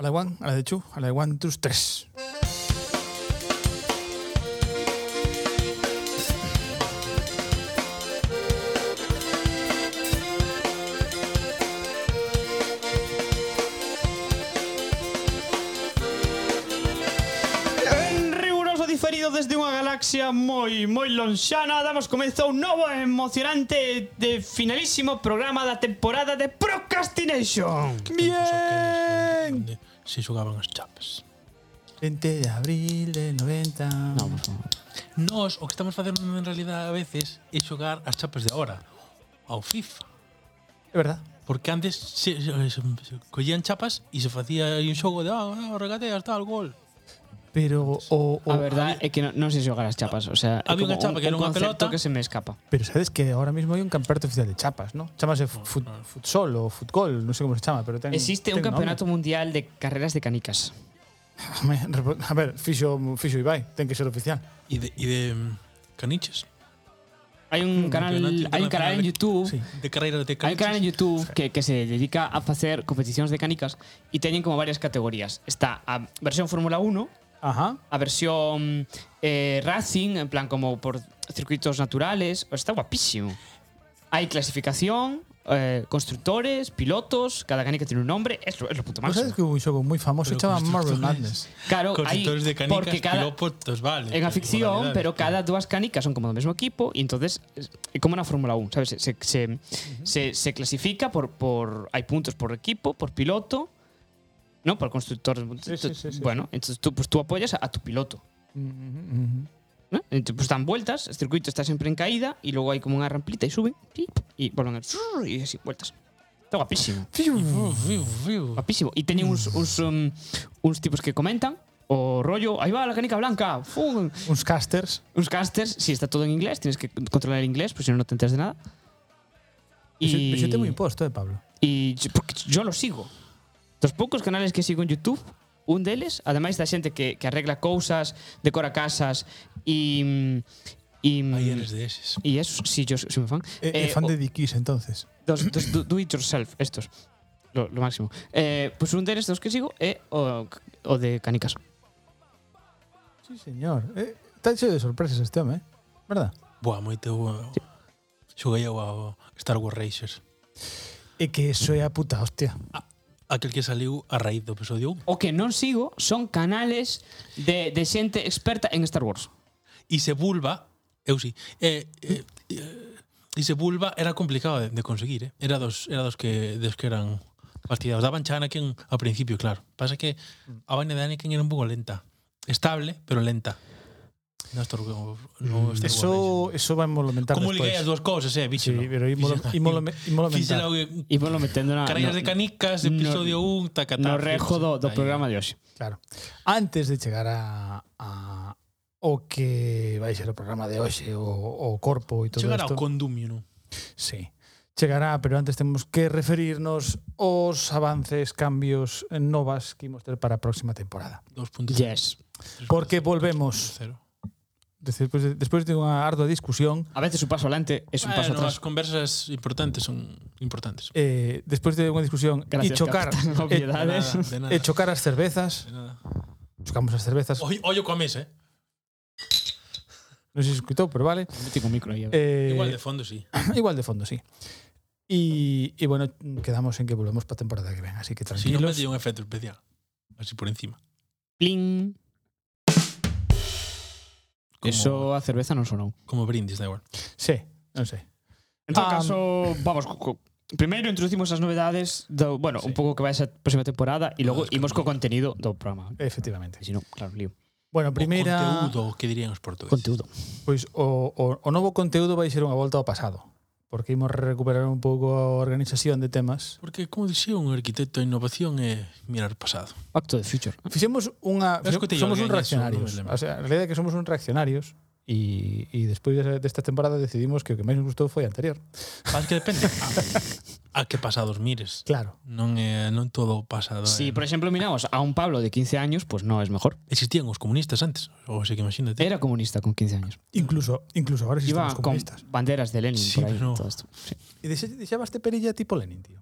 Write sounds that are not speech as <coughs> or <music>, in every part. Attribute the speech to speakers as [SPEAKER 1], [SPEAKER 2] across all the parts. [SPEAKER 1] A la de one, a la de two, a la de one, two, tres.
[SPEAKER 2] En riguroso diferido desde unha galaxia moi, moi lonxana Damos comezo a un novo e emocionante de finalísimo programa da temporada de Procrastination
[SPEAKER 1] Bien.
[SPEAKER 3] Si xugaban as chaves.
[SPEAKER 1] 20 de abril del 90.
[SPEAKER 4] No, por favor.
[SPEAKER 3] Nós o que estamos facendo en realidad a veces é xogar as chapas de agora ao FIFA.
[SPEAKER 1] Es verdad.
[SPEAKER 3] Porque antes se, se, se, se collían chapas e se facía aí un xogo de ah, ah, regateas, tal, gol.
[SPEAKER 1] Pero o, o-
[SPEAKER 4] A verdade é que non, non sei xogar as chapas, o sea, é
[SPEAKER 3] Había
[SPEAKER 4] como
[SPEAKER 3] unha chapa
[SPEAKER 4] un,
[SPEAKER 3] que era
[SPEAKER 4] un
[SPEAKER 3] unha
[SPEAKER 4] concepto
[SPEAKER 3] pelota.
[SPEAKER 4] que se me escapa.
[SPEAKER 1] pero sabes que ahora mismo hay un campeonato oficial de chapas, ¿no? Chamase fu- fut- futsol o fútbol, no sé cómo se llama, pero ten,
[SPEAKER 4] Existe un
[SPEAKER 1] ten nombre.
[SPEAKER 4] campeonato mundial de carreras de canicas.
[SPEAKER 1] <laughs> Me- repo- A ver, Fixo, Fixo Ibai, ten que ser oficial.
[SPEAKER 3] E de, e de mm, caniches.
[SPEAKER 4] Hai un canal,
[SPEAKER 3] Mm, campeonato
[SPEAKER 4] hai un canal en
[SPEAKER 3] internacional de-
[SPEAKER 4] YouTube
[SPEAKER 1] Sí.
[SPEAKER 3] De carreira de
[SPEAKER 4] Hay un canal en
[SPEAKER 3] caniches.
[SPEAKER 4] YouTube que, que se dedica a hacer competiciones de canicas y tienen como varias categorías. Está a versión Fórmula 1,
[SPEAKER 1] Ajá.
[SPEAKER 4] a versión eh, Racing, en plan como por circuitos naturales. Pues Está guapísimo. Hay clasificación, eh, constructores, pilotos, cada canica tiene un nombre. Es lo, es lo puto
[SPEAKER 1] ¿Vos Pues, sabes
[SPEAKER 4] máximo.
[SPEAKER 1] que hubo un xogo moi famoso
[SPEAKER 3] Pero
[SPEAKER 1] que chama Marvel
[SPEAKER 3] constructores.
[SPEAKER 1] Madness?
[SPEAKER 4] Claro, hay,
[SPEAKER 3] Corredores de canicas,
[SPEAKER 4] porque cada,
[SPEAKER 3] pilotos, vale.
[SPEAKER 4] en a ficción,
[SPEAKER 3] modalidades,
[SPEAKER 4] pero
[SPEAKER 3] claro.
[SPEAKER 4] cada dúas canicas son como do mesmo equipo e entonces es é como na Fórmula 1, sabes? Se, se, se, se, se clasifica por, por hai puntos por equipo, por piloto, ¿no? Por constructor.
[SPEAKER 1] sí, sí, sí.
[SPEAKER 4] bueno, entonces tú, pues, tú apoyas a, a tu piloto.
[SPEAKER 1] Mm-hmm.
[SPEAKER 4] ¿no? Entonces, pues dan vueltas, el circuito está siempre en caída y luego hay como una ramplita y suben tip, y vuelven a y así vueltas. Está guapísimo.
[SPEAKER 3] Uf, uf, uf.
[SPEAKER 4] Guapísimo. E teñen uns, uns, um, uns tipos que comentan o rollo, aí va la canica blanca, fun,
[SPEAKER 1] Uns casters.
[SPEAKER 4] Los casters, si está todo en inglés, tienes que controlar el inglés, pues si no, no te enteras de nada.
[SPEAKER 1] Y... Pues Yo,
[SPEAKER 4] Y,
[SPEAKER 1] tengo impuesto, eh, Pablo.
[SPEAKER 4] y yo, porque yo lo sigo. Dos pocos canales que sigo en YouTube, un deles, además da xente que, que arregla cousas, decora casas y... y
[SPEAKER 3] Aí eres de eses.
[SPEAKER 4] y eso, sí, yo soy muy fan.
[SPEAKER 1] Eh,
[SPEAKER 4] Eh,
[SPEAKER 1] eh, fan
[SPEAKER 4] o-
[SPEAKER 1] de Dickies, entonces.
[SPEAKER 4] dos, dos do, do it yourself, estos. Lo, lo máximo. Eh, pues un deles dos que sigo é o, o de canicas.
[SPEAKER 1] Sí, señor. Eh, está hecho de sorpresas este home, eh? ¿Verdad?
[SPEAKER 3] Buah, moito bueno. Xoguei eu ao Star Wars Racers.
[SPEAKER 1] É que eso é a puta hostia.
[SPEAKER 3] Aquel que saliu a raíz do episodio 1.
[SPEAKER 4] O que non sigo son canales de, de xente experta en Star Wars.
[SPEAKER 3] E se vulva, eu si, eh, eh, eh, e se vulva era complicado de, de conseguir, eh? Era dos, era dos que dos que eran partidados. Daban xa a Anakin ao principio, claro. Pasa que a vaina de Anakin era un pouco lenta. Estable, pero lenta. No, Star Wars- no Star Wars
[SPEAKER 1] Eso,
[SPEAKER 3] Racers.
[SPEAKER 1] eso va a monumentar
[SPEAKER 3] Como
[SPEAKER 1] despois.
[SPEAKER 3] liguei as dúas cousas, eh, bicho.
[SPEAKER 1] Sí, pero ímolo, ímolo, ímolo mentar.
[SPEAKER 4] E volo metendo na...
[SPEAKER 3] Carreiras de canicas, episodio 1, no, tacatá.
[SPEAKER 4] no rejo do, do programa de hoxe.
[SPEAKER 1] Claro. Antes de chegar a, a o que vai ser o programa de hoxe, o, o corpo e todo
[SPEAKER 3] Chegará
[SPEAKER 1] isto.
[SPEAKER 3] ao condumio, non?
[SPEAKER 1] Sí. Chegará, pero antes temos que referirnos aos avances, cambios, eh, novas que imos ter para a próxima temporada.
[SPEAKER 3] 2.0.
[SPEAKER 4] Yes.
[SPEAKER 1] Porque volvemos.
[SPEAKER 3] Cero.
[SPEAKER 1] Despois de, despois de unha ardua discusión,
[SPEAKER 4] A veces un paso adelante es un paso
[SPEAKER 3] Bueno, as
[SPEAKER 4] atrás.
[SPEAKER 3] conversas importantes son importantes.
[SPEAKER 1] eh, despois de unha discusión e
[SPEAKER 4] Gracias,
[SPEAKER 1] chocar
[SPEAKER 4] capitán, <laughs>
[SPEAKER 1] e,
[SPEAKER 3] De nada,
[SPEAKER 4] obviedades.
[SPEAKER 3] de nada.
[SPEAKER 1] e chocar as cervezas,
[SPEAKER 3] de nada.
[SPEAKER 1] chocamos as cervezas,
[SPEAKER 3] Ollo, ollo coa mesa, eh?
[SPEAKER 1] non se escutou, pero vale.
[SPEAKER 4] Mete con micro aí. a ver.
[SPEAKER 1] Eh,
[SPEAKER 3] Igual de fondo, sí.
[SPEAKER 1] <coughs> igual de fondo, sí. Y, y bueno, quedamos en que volvemos para temporada que ven, así que
[SPEAKER 3] Si non me
[SPEAKER 1] tranquilos.
[SPEAKER 3] dio un efecto especial. Así por encima.
[SPEAKER 4] Pling.
[SPEAKER 3] Como,
[SPEAKER 4] Eso a cerveza non sonou.
[SPEAKER 3] como brindis, da igual.
[SPEAKER 1] sí, non sei.
[SPEAKER 4] En todo
[SPEAKER 1] Ah,
[SPEAKER 4] caso, vamos co, co, Primeiro introducimos as novedades do, bueno,
[SPEAKER 3] Sí.
[SPEAKER 4] un pouco que vai ser a próxima temporada e logo
[SPEAKER 3] Novedades
[SPEAKER 4] imos co contenido do programa.
[SPEAKER 1] Efectivamente.
[SPEAKER 4] Si non, claro, lío.
[SPEAKER 1] Bueno,
[SPEAKER 3] O
[SPEAKER 1] primeira,
[SPEAKER 3] conteúdo, que dirían os portugueses.
[SPEAKER 4] Conteúdo.
[SPEAKER 1] pois o, o, o novo conteúdo vai ser unha volta ao pasado, porque imos recuperar un pouco a organización de temas.
[SPEAKER 3] Porque, como dixía un arquitecto, a innovación é mirar o pasado.
[SPEAKER 4] Back to the future.
[SPEAKER 1] Fixemos unha
[SPEAKER 3] Eu escutei
[SPEAKER 1] somos un
[SPEAKER 3] alguén eso,
[SPEAKER 1] reaccionarios.
[SPEAKER 3] non me lembro.
[SPEAKER 1] o sea, a realidade é que somos un reaccionarios e e despois desa- desta temporada decidimos que o que máis nos gustou foi a anterior.
[SPEAKER 3] Mas que depende
[SPEAKER 4] <laughs>
[SPEAKER 3] a, a que pasados mires.
[SPEAKER 1] Claro.
[SPEAKER 3] Non é non todo o pasado.
[SPEAKER 4] Si,
[SPEAKER 3] é-
[SPEAKER 4] por exemplo, miramos a un Pablo de 15 años, pues no es mejor.
[SPEAKER 3] Existían os comunistas antes, ou sei que imagínate.
[SPEAKER 4] Era comunista con 15 años.
[SPEAKER 1] Incluso incluso agora
[SPEAKER 4] Iba
[SPEAKER 1] existimos
[SPEAKER 4] con
[SPEAKER 1] comunistas.
[SPEAKER 4] banderas de Lenin
[SPEAKER 3] Sí,
[SPEAKER 4] por aí.
[SPEAKER 3] pero-
[SPEAKER 4] Todo esto. Sí.
[SPEAKER 1] E deixe- deixabaste perilla tipo Lenin, tío.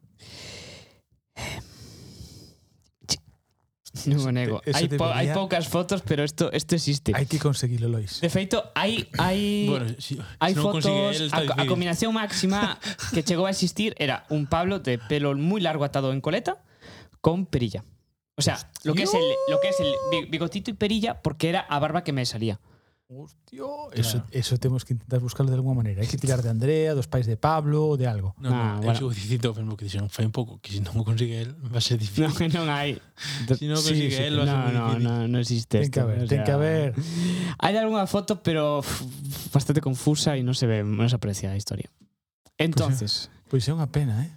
[SPEAKER 4] Non o nego.
[SPEAKER 1] Eso
[SPEAKER 4] Hai, po- hai
[SPEAKER 1] debería-
[SPEAKER 4] poucas fotos, pero isto isto existe.
[SPEAKER 1] Hai que conseguilo, Lois.
[SPEAKER 4] De feito, hai hai
[SPEAKER 3] Bueno, si,
[SPEAKER 4] hai
[SPEAKER 3] se non
[SPEAKER 4] fotos,
[SPEAKER 3] consigue él, está
[SPEAKER 4] a, a
[SPEAKER 3] difícil.
[SPEAKER 4] combinación máxima que chegou a existir era un Pablo de pelo muy largo atado en coleta con perilla. O sea, lo que es el lo que es el bi- bigotito y perilla porque era a barba que me
[SPEAKER 3] <laughs>
[SPEAKER 4] salía.
[SPEAKER 1] Hostia, eso, eso tenemos que intentar buscarlo de alguna manera. Hai que tirar de Andrea, dos pais de Pablo, de algo.
[SPEAKER 3] No,
[SPEAKER 4] Ah,
[SPEAKER 3] no,
[SPEAKER 4] bueno.
[SPEAKER 3] eu sigo dicindo ao mesmo que dixeron fai un pouco, que se non o consigue él va a
[SPEAKER 4] No,
[SPEAKER 3] ser difícil.
[SPEAKER 4] non hai.
[SPEAKER 3] Se non o consigue
[SPEAKER 1] sí, sí.
[SPEAKER 3] él va a
[SPEAKER 4] No,
[SPEAKER 3] ser moi
[SPEAKER 4] no,
[SPEAKER 3] difícil.
[SPEAKER 4] no, no existe
[SPEAKER 1] Ten que
[SPEAKER 4] esto, o
[SPEAKER 1] haber,
[SPEAKER 4] sea,
[SPEAKER 1] ten que haber.
[SPEAKER 4] Hay alguna foto, pero pff, bastante confusa y no se ve, no se aprecia la historia.
[SPEAKER 1] Pues
[SPEAKER 4] Entonces,
[SPEAKER 1] Pois é unha pena, eh?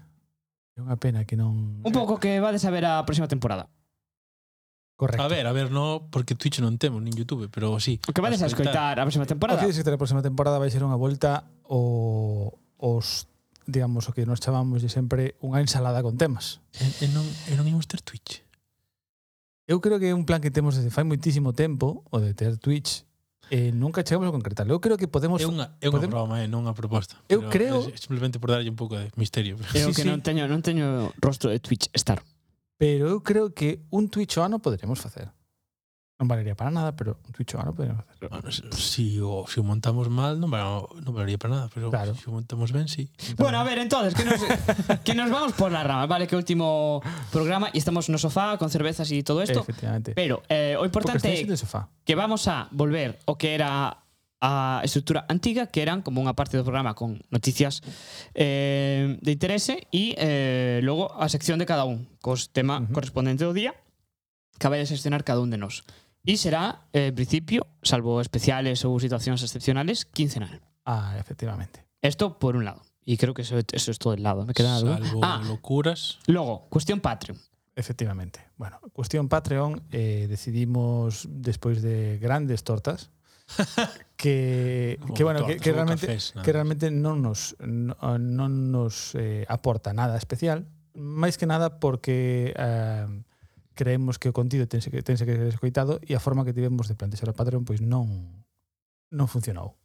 [SPEAKER 1] É unha pena que non...
[SPEAKER 4] un pouco que va de saber a próxima temporada.
[SPEAKER 1] Correcto.
[SPEAKER 3] A ver, a ver, no, porque Twitch non temos nin YouTube, pero sí.
[SPEAKER 4] O que vades a escoitar a próxima
[SPEAKER 1] O
[SPEAKER 4] temporada.
[SPEAKER 1] que dices que a próxima temporada vai ser unha volta o os digamos o que nos chamamos de sempre unha ensalada con temas.
[SPEAKER 3] E, e Eh, non, e non imos ter Twitch.
[SPEAKER 1] Eu creo que é un plan que temos desde fai moitísimo tempo, o de ter Twitch, e nunca chegamos a concretarlo. Eu creo que podemos...
[SPEAKER 3] É unha, é unha
[SPEAKER 1] podemos-
[SPEAKER 3] broma, eh, non unha proposta.
[SPEAKER 1] Eu creo-
[SPEAKER 3] Pero é simplemente por darlle un pouco de misterio.
[SPEAKER 1] Sí,
[SPEAKER 4] Eu que
[SPEAKER 1] sí.
[SPEAKER 4] non teño non teño rostro de Twitch Star.
[SPEAKER 1] Pero eu creo que un Twitch ao ano poderemos facer. Non valería para nada, pero un Twitch ao ano poderemos facer.
[SPEAKER 3] Bueno, se si o, si o montamos mal non, va, non valería para nada, pero
[SPEAKER 1] Claro.
[SPEAKER 3] claro. si o montamos ben, sí.
[SPEAKER 4] Bueno, a ver, entonces, que nos, que nos vamos por las ramas, ¿vale? Que último programa y estamos en el sofá con cervezas y todo esto.
[SPEAKER 1] Efectivamente.
[SPEAKER 4] Pero eh, o
[SPEAKER 1] Porque
[SPEAKER 4] importante
[SPEAKER 1] estáis en
[SPEAKER 4] é
[SPEAKER 1] el sofá.
[SPEAKER 4] que vamos a volver o que era a estructura antiga, que eran como unha parte do programa con noticias eh, de interese e eh, logo a sección de cada un, cos tema
[SPEAKER 1] Ujú.
[SPEAKER 4] uh -huh. correspondente do día que vai a seleccionar cada un de nós. E será, eh, en principio, salvo especiales ou situacións excepcionales, quincenal.
[SPEAKER 1] Ah, efectivamente.
[SPEAKER 4] Esto por un lado. Y creo que eso, eso es todo el lado. ¿Me queda algo?
[SPEAKER 3] Salvo
[SPEAKER 4] Ah,
[SPEAKER 3] locuras.
[SPEAKER 4] Logo, cuestión Patreon.
[SPEAKER 1] Efectivamente. Bueno, cuestión Patreon, eh, decidimos despois de grandes
[SPEAKER 4] <laughs>
[SPEAKER 1] tortas que, que bueno, que,
[SPEAKER 3] tortas
[SPEAKER 1] que
[SPEAKER 3] ou
[SPEAKER 1] realmente
[SPEAKER 3] cafés, nada
[SPEAKER 1] que
[SPEAKER 3] máis.
[SPEAKER 1] realmente non nos no- non nos eh, aporta nada especial, máis que nada porque eh, creemos que o contido tense que tense que ser escoitado e a forma que tivemos de plantexar o Patreon pois non non funcionou.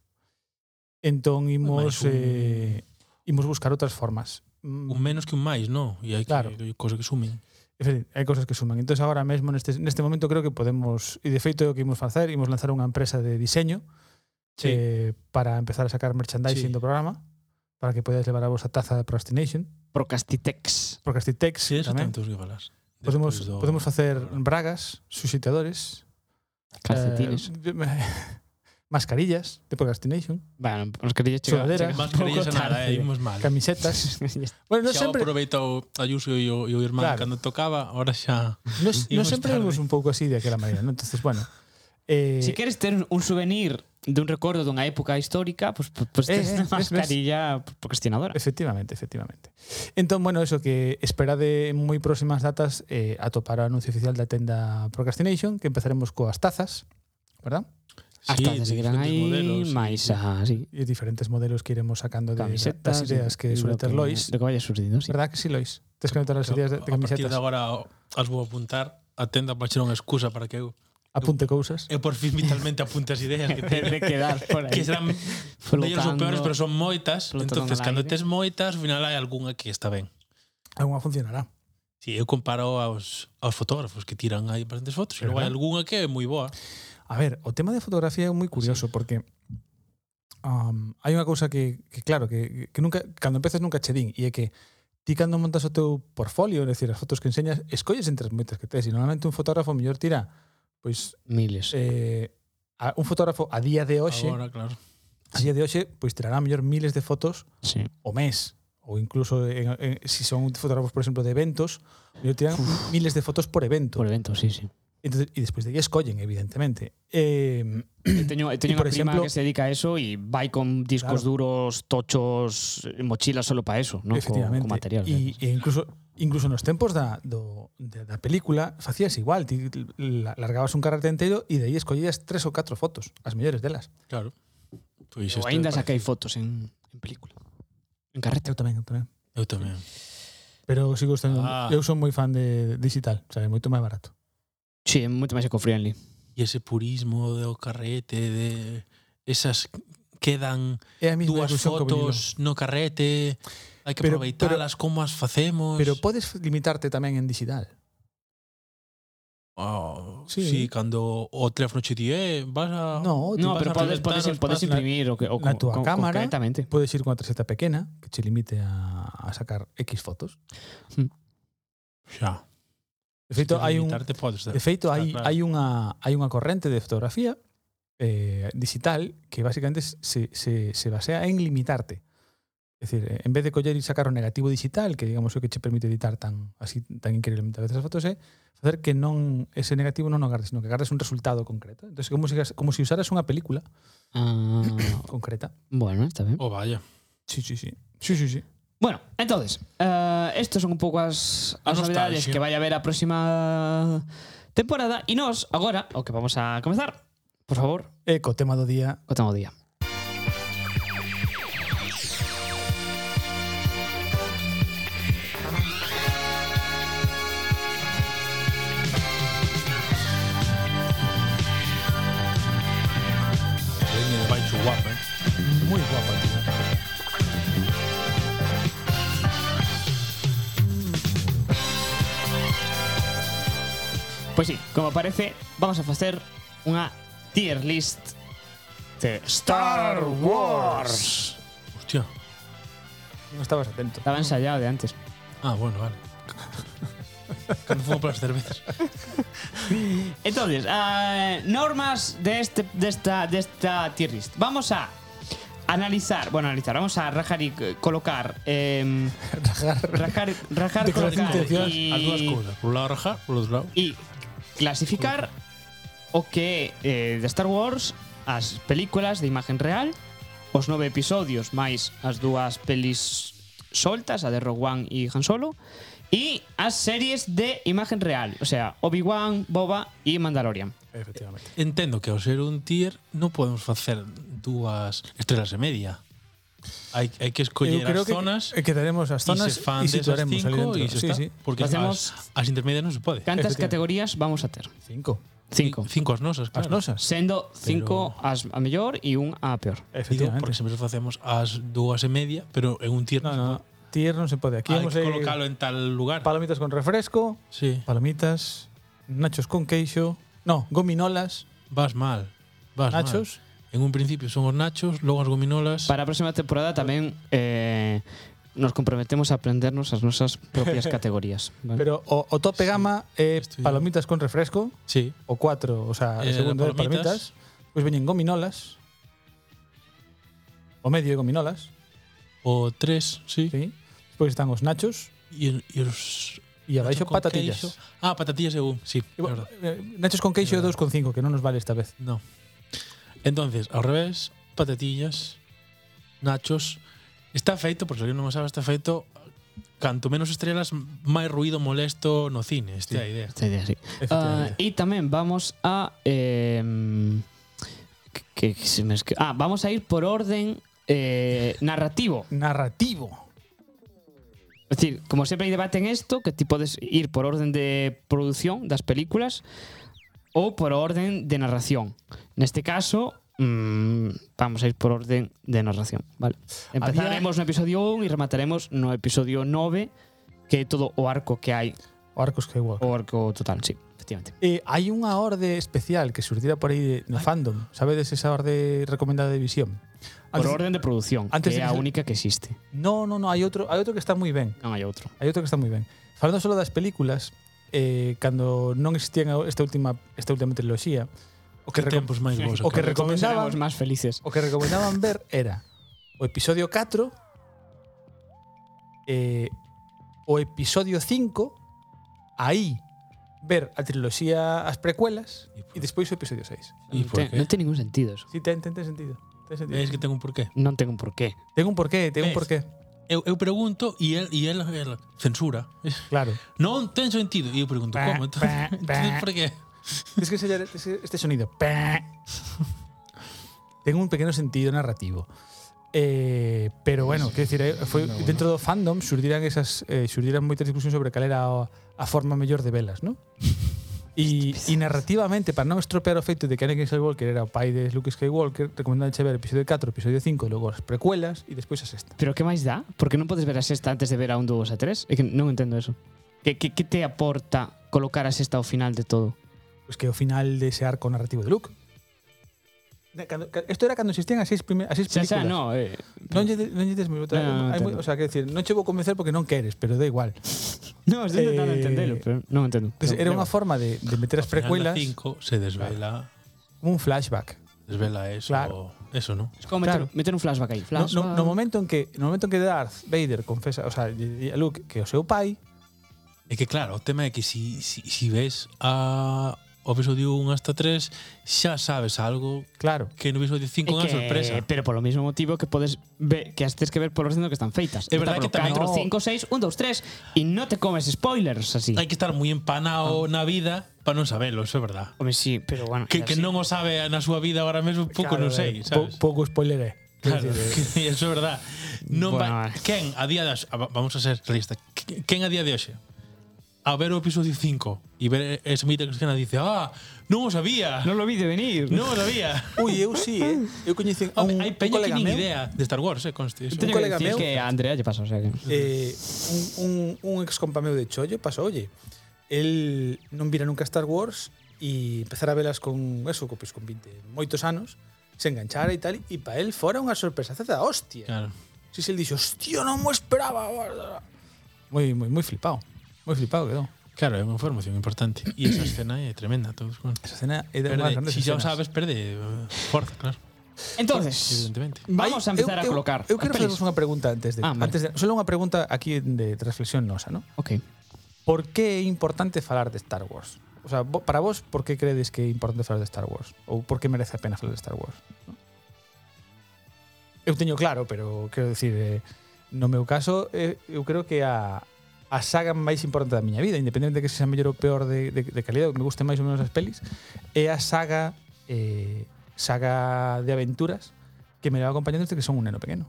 [SPEAKER 1] Entón imos
[SPEAKER 3] Ademais, un-
[SPEAKER 1] eh, imos buscar outras formas. Mm,
[SPEAKER 3] Un menos que un máis, non? E hai que,
[SPEAKER 1] Claro.
[SPEAKER 3] claro. cosas que sumen.
[SPEAKER 1] En fin, hai cousas que suman. Entón, agora mesmo, neste, neste momento, creo que podemos... E, de feito, é o que imos facer, imos lanzar unha empresa de diseño
[SPEAKER 3] Sí.
[SPEAKER 1] eh, para empezar a sacar merchandising
[SPEAKER 3] Sí.
[SPEAKER 1] do programa, para que podáis levar a vosa taza de Procrastination,
[SPEAKER 4] Procastitex.
[SPEAKER 1] Procrastitex
[SPEAKER 3] Si, eso
[SPEAKER 1] tamén.
[SPEAKER 3] tanto os que falar.
[SPEAKER 1] Podemos,
[SPEAKER 3] Despois do-
[SPEAKER 1] podemos facer bragas, suscitadores,
[SPEAKER 4] Calcetines.
[SPEAKER 1] eh, <laughs> mascarillas de Procrastination,
[SPEAKER 4] bueno, os queréis chegar.
[SPEAKER 3] <laughs>
[SPEAKER 1] Sudaderas.
[SPEAKER 4] chegar un
[SPEAKER 3] Mascarillas
[SPEAKER 4] pouco
[SPEAKER 3] a nada,
[SPEAKER 4] tarde.
[SPEAKER 3] eh, imos mal. <laughs>
[SPEAKER 1] camisetas... bueno, non
[SPEAKER 3] xa sempre...
[SPEAKER 1] sempre,
[SPEAKER 3] aproveita o Ayuso e o, e o irmán
[SPEAKER 1] Claro.
[SPEAKER 3] claro. cando tocaba, ahora xa...
[SPEAKER 1] non, non
[SPEAKER 3] Imos
[SPEAKER 1] sempre
[SPEAKER 3] tarde.
[SPEAKER 1] vemos un pouco así de aquela maneira, non? Entonces, bueno... Eh,
[SPEAKER 4] Si queres ter un souvenir dun recordo dunha época histórica, pois pues, pues,
[SPEAKER 1] Eh,
[SPEAKER 4] tes
[SPEAKER 1] eh,
[SPEAKER 4] unha
[SPEAKER 1] ves, ves.
[SPEAKER 4] mascarilla procrastinadora.
[SPEAKER 1] Efectivamente, efectivamente. Entón, bueno, eso que espera de moi próximas datas eh, atopar o anuncio oficial da tenda Procrastination, que empezaremos coas tazas, verdad?
[SPEAKER 4] As
[SPEAKER 3] Sí,
[SPEAKER 4] tazas
[SPEAKER 3] de
[SPEAKER 4] seguirán
[SPEAKER 3] diferentes
[SPEAKER 4] aí,
[SPEAKER 3] modelos,
[SPEAKER 4] máis
[SPEAKER 3] sí.
[SPEAKER 4] a sí,
[SPEAKER 1] E diferentes modelos que iremos sacando de, das
[SPEAKER 4] camisetas,
[SPEAKER 1] ideas que
[SPEAKER 4] e
[SPEAKER 1] suele
[SPEAKER 4] lo
[SPEAKER 1] ter Lois.
[SPEAKER 4] Lo que vaya surdindo,
[SPEAKER 3] <laughs>
[SPEAKER 4] sí. <laughs>
[SPEAKER 1] Verdad que sí, Lois? Tes que anotar as ideas de, de
[SPEAKER 3] A partir
[SPEAKER 1] camisetas.
[SPEAKER 3] de agora o- as vou apuntar a tenda para ser unha excusa para que eu,
[SPEAKER 1] Apunte cousas.
[SPEAKER 3] eu por fin vitalmente apunte as ideas que
[SPEAKER 4] Ter <laughs>
[SPEAKER 3] teño.
[SPEAKER 4] de quedar por aí.
[SPEAKER 3] que serán mellores ou peores, pero son moitas.
[SPEAKER 4] Flotando
[SPEAKER 3] entonces
[SPEAKER 4] no
[SPEAKER 3] cando
[SPEAKER 4] aire.
[SPEAKER 3] tes moitas, ao final hai algunha que está ben.
[SPEAKER 1] Alguna funcionará.
[SPEAKER 3] Si, eu comparo aos, aos fotógrafos que tiran aí bastantes fotos, e logo hai
[SPEAKER 1] Verdad.
[SPEAKER 3] algunha que é moi boa.
[SPEAKER 1] A ver, o tema de fotografía é moi curioso porque um, hai unha cousa que, que claro, que, que nunca, cando empezas nunca che din e é que ti cando montas o teu portfolio, é dicir, as fotos que enseñas, escolles entre as moitas que tes e normalmente un fotógrafo mellor tira pois
[SPEAKER 4] Miles.
[SPEAKER 1] eh, a, un fotógrafo a día de hoxe,
[SPEAKER 3] Agora, claro.
[SPEAKER 1] a día de hoxe, pois tirará mellor miles de fotos
[SPEAKER 4] Sí.
[SPEAKER 1] o mes ou incluso en, en, si son fotógrafos, por exemplo, de eventos, mellor tiran miles de fotos por evento.
[SPEAKER 4] Por evento, sí, sí.
[SPEAKER 1] Entonces, e despois de aí escollen, evidentemente. Eh,
[SPEAKER 4] Eu teño, eu teño
[SPEAKER 1] por
[SPEAKER 4] unha prima
[SPEAKER 1] exemplo-
[SPEAKER 4] que se dedica a eso e vai con discos
[SPEAKER 1] Claro.
[SPEAKER 4] duros, tochos, eh, mochilas solo para eso, non? Co,
[SPEAKER 1] Efectivamente.
[SPEAKER 4] co material.
[SPEAKER 1] E, e incluso incluso nos tempos da, do, de, da película facías igual, ti la- largabas un carrete entero e de aí escollías tres ou catro fotos, as mellores delas.
[SPEAKER 3] Claro.
[SPEAKER 4] Ou
[SPEAKER 3] Pois isto
[SPEAKER 4] ainda
[SPEAKER 3] parece-
[SPEAKER 4] saquei fotos en, en película. En carrete.
[SPEAKER 1] Eu tamén, eu tamén.
[SPEAKER 3] Eu tamén.
[SPEAKER 1] Pero sigo gostando.
[SPEAKER 3] Ah.
[SPEAKER 1] Eu son moi fan de digital, o sea, é moito máis barato.
[SPEAKER 4] Sí, é moito máis eco-friendly.
[SPEAKER 3] E ese purismo do carrete, de esas quedan
[SPEAKER 1] É a mesma
[SPEAKER 3] dúas
[SPEAKER 1] ilusión co vinilo.
[SPEAKER 3] fotos no carrete, hai que
[SPEAKER 1] Pero-
[SPEAKER 3] aproveitalas, como as facemos.
[SPEAKER 1] Pero podes limitarte tamén en digital.
[SPEAKER 3] Ah,
[SPEAKER 1] Sí.
[SPEAKER 3] sí. cando o teléfono che di, eh, vas a...
[SPEAKER 1] No,
[SPEAKER 4] No,
[SPEAKER 3] vas
[SPEAKER 4] pero
[SPEAKER 3] a
[SPEAKER 4] podes,
[SPEAKER 3] reventar
[SPEAKER 4] podes,
[SPEAKER 3] os
[SPEAKER 4] podes
[SPEAKER 3] pazos na-
[SPEAKER 4] imprimir o, que, o
[SPEAKER 1] na
[SPEAKER 4] con,
[SPEAKER 1] túa
[SPEAKER 4] con-
[SPEAKER 1] cámara
[SPEAKER 4] concretamente.
[SPEAKER 1] Puedes ir cunha tarxeta pequena que che limite a, a sacar X fotos.
[SPEAKER 3] Xa.
[SPEAKER 1] De feito, hai un
[SPEAKER 3] Limitarte podes dar.
[SPEAKER 1] De feito, hai,
[SPEAKER 3] claro.
[SPEAKER 1] hai, unha, hai unha corrente de fotografía eh, digital que basicamente se, se, se basea en limitarte. É dicir, eh, en vez de coller e sacar o negativo digital, que digamos é o que che permite editar tan así tan increíblemente a veces as fotos, é facer que non ese negativo non o agardes, sino que agardes un resultado concreto. Entonces, como se como se usaras unha película <laughs>
[SPEAKER 4] Ah,
[SPEAKER 1] concreta.
[SPEAKER 4] bueno, está ben.
[SPEAKER 3] Oh, vaya.
[SPEAKER 1] Sí, sí, sí. Sí, sí, sí.
[SPEAKER 4] Bueno, entonces, eh, estas son un pouco as,
[SPEAKER 3] A
[SPEAKER 4] as
[SPEAKER 3] nostalgia.
[SPEAKER 4] novidades que vai haber a próxima temporada e nós agora o que vamos a comezar. Por favor,
[SPEAKER 1] E co tema do día
[SPEAKER 4] co tema do día.
[SPEAKER 3] Veña de baixo guapa, eh.
[SPEAKER 1] moi guapa. Tío.
[SPEAKER 4] Pois Pues sí, como parece, vamos a facer unha tier list de Star Wars.
[SPEAKER 3] Hostia.
[SPEAKER 1] Non estabas atento.
[SPEAKER 4] Estaba ensayado de antes.
[SPEAKER 3] Ah, bueno,
[SPEAKER 1] <laughs>
[SPEAKER 3] vale. Cando fumo para as cervezas.
[SPEAKER 4] Entonces, eh, normas de, este, de, esta, de esta tier list. Vamos a analizar, bueno, analizar, vamos a rajar y eh, colocar.
[SPEAKER 1] <laughs>
[SPEAKER 4] em, rajar, rajar,
[SPEAKER 1] Declaración
[SPEAKER 4] colocar.
[SPEAKER 1] de intenciones,
[SPEAKER 3] As dúas
[SPEAKER 4] Y,
[SPEAKER 3] cousas. Por un lado rajar, por outro lado.
[SPEAKER 4] y clasificar o que eh, de Star Wars as películas de imagen real, os nove episodios máis as dúas pelis soltas, a de Rogue One e Han Solo, e as series de imagen real, o sea, Obi-Wan, Boba e Mandalorian.
[SPEAKER 1] Efectivamente.
[SPEAKER 3] Entendo que ao ser un tier non podemos facer dúas estrelas e media. Hai, hai
[SPEAKER 1] Eu
[SPEAKER 3] que escoller as
[SPEAKER 1] creo que
[SPEAKER 3] zonas
[SPEAKER 1] que quedaremos as zonas
[SPEAKER 3] e se
[SPEAKER 1] e
[SPEAKER 3] fan desas
[SPEAKER 1] situaremos ali
[SPEAKER 3] cinco
[SPEAKER 1] dentro.
[SPEAKER 3] e se
[SPEAKER 1] Sí,
[SPEAKER 3] está.
[SPEAKER 1] sí.
[SPEAKER 3] Porque
[SPEAKER 4] Facemos-
[SPEAKER 3] as, as intermedias non se pode.
[SPEAKER 4] Cantas
[SPEAKER 1] Efectivamente.
[SPEAKER 4] categorías vamos a ter?
[SPEAKER 1] Cinco.
[SPEAKER 4] Cinco.
[SPEAKER 3] Cinco as nosas,
[SPEAKER 1] As
[SPEAKER 3] claro.
[SPEAKER 1] nosas.
[SPEAKER 4] Sendo cinco as a mellor e un a peor.
[SPEAKER 3] Digo,
[SPEAKER 1] Efectivamente.
[SPEAKER 3] porque sempre facemos as dúas e media, pero en un tier
[SPEAKER 1] No,
[SPEAKER 3] non se
[SPEAKER 1] no, no. Tier non se pode. Aquí
[SPEAKER 3] Hay
[SPEAKER 1] vamos a
[SPEAKER 3] que colocarlo en tal lugar.
[SPEAKER 1] palomitas con refresco,
[SPEAKER 3] Sí,
[SPEAKER 1] palomitas, nachos con queixo, no, gominolas,
[SPEAKER 3] vas mal. Vas
[SPEAKER 1] nachos.
[SPEAKER 3] mal. En un principio son os nachos, logo as gominolas.
[SPEAKER 4] Para a próxima temporada tamén eh, nos comprometemos a aprendernos as nosas
[SPEAKER 1] <laughs>
[SPEAKER 4] propias categorías. Vale?
[SPEAKER 1] Pero o, o tope gama é
[SPEAKER 3] estoy-
[SPEAKER 1] palomitas con refresco,
[SPEAKER 3] Sí,
[SPEAKER 1] o cuatro, o sea,
[SPEAKER 3] Eh,
[SPEAKER 1] segundo é palomitas.
[SPEAKER 3] palomitas.
[SPEAKER 1] Pois veñen gominolas, o medio é gominolas,
[SPEAKER 3] o tres, sí.
[SPEAKER 1] sí. Despois están os nachos
[SPEAKER 3] E, e os...
[SPEAKER 1] e abaixo
[SPEAKER 3] nachos con
[SPEAKER 1] patatillas.
[SPEAKER 3] queixo. Ah, patatillas é un, sí,
[SPEAKER 1] E,
[SPEAKER 3] é
[SPEAKER 1] bueno,
[SPEAKER 3] verdad.
[SPEAKER 1] eh, Nachos con queixo é 2,5, que non nos vale esta vez.
[SPEAKER 3] No. Entonces, ao revés, patatillas, nachos... Está feito, por se alguén non o sabe, está feito canto menos estrelas, máis ruido molesto no cine. Esta é a idea.
[SPEAKER 4] Esta idea, sí. Ah,
[SPEAKER 1] Efectivamente.
[SPEAKER 4] e tamén vamos a eh, que, que se me esque- Ah, vamos a ir por orden eh, narrativo.
[SPEAKER 1] Narrativo.
[SPEAKER 4] Es decir, como siempre hay debate en esto, que ti podes ir por orden de producción das películas ou por orden de narración. Neste caso, mm, vamos a ir por orden de narración, vale. Empezaremos no episodio 1 e remataremos no episodio 9, que é todo o arco que hai,
[SPEAKER 1] O arco Skywalker.
[SPEAKER 4] o arco total, sí, efectivamente.
[SPEAKER 1] Eh, hai unha orde especial que surtira por aí de- no fandom. Sabedes esa orde recomendada de visión?
[SPEAKER 4] por orden de producción,
[SPEAKER 1] antes de
[SPEAKER 4] que é a
[SPEAKER 1] que se-
[SPEAKER 4] única que existe.
[SPEAKER 1] No, no, no, hai outro, hai outro que está moi ben.
[SPEAKER 4] Non hai outro.
[SPEAKER 1] Hai outro que está moi ben. Falando solo das películas, eh, cando non existían esta última esta última triloxía, o que,
[SPEAKER 3] Que
[SPEAKER 1] recom
[SPEAKER 3] tempos máis bons.
[SPEAKER 1] o que
[SPEAKER 3] acaban.
[SPEAKER 1] recomendaban
[SPEAKER 4] Seremos máis felices.
[SPEAKER 1] o que recomendaban ver era o episodio 4 eh, o episodio 5 aí ver a triloxía as precuelas e despois o episodio 6.
[SPEAKER 3] E por
[SPEAKER 4] Ten, non
[SPEAKER 3] qué?
[SPEAKER 4] ten ningún sentido eso.
[SPEAKER 1] Si, sí, ten, ten, ten sentido. Ten sentido.
[SPEAKER 3] Ves que ten un porqué.
[SPEAKER 4] Non ten un porqué.
[SPEAKER 1] Ten un porqué, ten un
[SPEAKER 3] Ves.
[SPEAKER 1] porqué.
[SPEAKER 3] Eu, eu pregunto e el, e el, el censura.
[SPEAKER 1] Claro.
[SPEAKER 3] Non ten sentido. E eu pregunto,
[SPEAKER 1] Bah,
[SPEAKER 3] como? Entón, <laughs>
[SPEAKER 1] bah, bah.
[SPEAKER 3] entón, por qué?
[SPEAKER 1] Tienes que sellar este, este sonido. Tengo un pequeno sentido narrativo. Eh, pero bueno, quero dicir, eh, foi
[SPEAKER 3] No, bueno.
[SPEAKER 1] dentro do fandom surdiran esas eh, surdiran moitas discusións sobre cal era a, a forma mellor de velas, ¿no? E, e narrativamente, para non estropear o feito de que Anakin Skywalker era o pai de Luke Skywalker, recomendan ver episodio 4, episodio 5, logo as precuelas e despois a sexta.
[SPEAKER 4] Pero que máis dá? Porque non podes ver a sexta antes de ver a un 2 a 3? É que non entendo eso. Que, que, que te aporta colocar a sexta ao final de todo?
[SPEAKER 1] Pois que é o final dese arco narrativo de Luke. De Cando, ca- isto era cando existían as seis, prime, as seis
[SPEAKER 4] Xa,
[SPEAKER 1] películas.
[SPEAKER 4] xa, no. Eh,
[SPEAKER 1] Non lle de- non lle des mi botón.
[SPEAKER 4] No, no, no,
[SPEAKER 1] Hai moi- O
[SPEAKER 4] entendo.
[SPEAKER 1] sea, que decir, non che vou convencer porque non queres, pero da igual.
[SPEAKER 4] no, estou
[SPEAKER 1] Eh,
[SPEAKER 4] intentando entendelo, pero non entendo.
[SPEAKER 1] Entonces, Pues era
[SPEAKER 4] No,
[SPEAKER 1] unha forma de, de meter as
[SPEAKER 3] Precuelas.
[SPEAKER 1] precuelas
[SPEAKER 3] 5 se desvela,
[SPEAKER 1] como un flashback.
[SPEAKER 3] desvela eso,
[SPEAKER 1] Claro.
[SPEAKER 3] eso, ¿no?
[SPEAKER 4] Es como meter,
[SPEAKER 1] claro.
[SPEAKER 4] meter un flashback aí.
[SPEAKER 1] No,
[SPEAKER 4] Flashback.
[SPEAKER 1] no, no momento en que no momento en que Darth Vader confesa, o sea, lle di a Luke que o seu pai
[SPEAKER 3] É que claro, o tema é que si, si, si ves a o episodio 1 hasta 3 xa sabes algo
[SPEAKER 1] Claro.
[SPEAKER 3] que no episodio
[SPEAKER 4] É
[SPEAKER 3] 5 unha
[SPEAKER 4] que-
[SPEAKER 3] sorpresa.
[SPEAKER 4] Pero polo mismo motivo que podes ver, que as tens que ver polo resto que están feitas.
[SPEAKER 3] É verdad que tamén-
[SPEAKER 4] 4,
[SPEAKER 3] No.
[SPEAKER 4] 5, 6, 1, 2, 3 e non te comes spoilers así.
[SPEAKER 3] Hai que estar moi empanado na vida para non sabelo, eso é verdad.
[SPEAKER 4] Home, sí, pero bueno.
[SPEAKER 3] Que,
[SPEAKER 4] era
[SPEAKER 3] que
[SPEAKER 4] así.
[SPEAKER 3] non o sabe na súa vida ahora mesmo, pouco
[SPEAKER 1] Claro,
[SPEAKER 3] non sei,
[SPEAKER 1] eh,
[SPEAKER 3] sabes?
[SPEAKER 1] pou- pouco spoiler é. Quer
[SPEAKER 3] Claro,
[SPEAKER 1] dizer, eh,
[SPEAKER 3] que <laughs> eso é verdad.
[SPEAKER 4] Bueno,
[SPEAKER 3] Non va,
[SPEAKER 4] vale.
[SPEAKER 3] quen a día de hoxe, a- vamos a ser realistas, qu- quen a día de hoxe a ver o episodio 5 e ver ese mito que escena dice, ah, non o sabía,
[SPEAKER 4] Non lo vi de venir. <laughs>
[SPEAKER 3] non o sabía.
[SPEAKER 1] Ui, eu sí, eh. Eu coñecín a un, un
[SPEAKER 3] Hai peña que
[SPEAKER 1] colega
[SPEAKER 3] nin
[SPEAKER 1] meu,
[SPEAKER 3] idea de Star Wars, eh, conste. Eso.
[SPEAKER 4] Teño que
[SPEAKER 1] colega
[SPEAKER 4] decir
[SPEAKER 1] meu-
[SPEAKER 4] que a Andrea lle pasa, o sea que...
[SPEAKER 1] eh, un, un, un ex compa meu de chollo pasoulle. El non vira nunca Star Wars e empezara a velas con eso, co- pois, con 20 moitos anos, se enganchara e tal, e pa el fora unha sorpresa da hostia.
[SPEAKER 3] Claro.
[SPEAKER 1] Si se el dixo, hostia, non mo esperaba. Moi, moi, moi flipado. Moi flipado quedou.
[SPEAKER 3] Claro, é unha información importante. E esa escena é tremenda. Todos, bueno.
[SPEAKER 1] Esa escena é de
[SPEAKER 3] Perde,
[SPEAKER 1] unhas grandes
[SPEAKER 3] si xa o
[SPEAKER 1] escenas.
[SPEAKER 3] sabes, perde eh, forza, claro.
[SPEAKER 4] Entonces,
[SPEAKER 3] Evidentemente.
[SPEAKER 4] vamos a
[SPEAKER 1] Ai,
[SPEAKER 4] empezar a
[SPEAKER 1] eu,
[SPEAKER 4] colocar
[SPEAKER 1] Eu, eu
[SPEAKER 4] as
[SPEAKER 1] quero
[SPEAKER 4] pelis.
[SPEAKER 1] faceros unha pregunta antes de,
[SPEAKER 4] Ah, vale.
[SPEAKER 1] antes de solo unha pregunta aquí de reflexión nosa, ¿no?
[SPEAKER 4] Ok.
[SPEAKER 1] Por que é importante falar de Star Wars? O sea, vo- para vos, por que credes que é importante falar de Star Wars? Ou por que merece a pena falar de Star Wars? ¿No? Eu teño claro, pero quero dicir, eh, no meu caso, eh, eu creo que a a saga máis importante da miña vida, independente de que sexa mellor ou peor de, de, de calidad, ou que me gusten máis ou menos as pelis, é a saga eh, saga de aventuras que me leva acompañando desde que son un neno pequeno.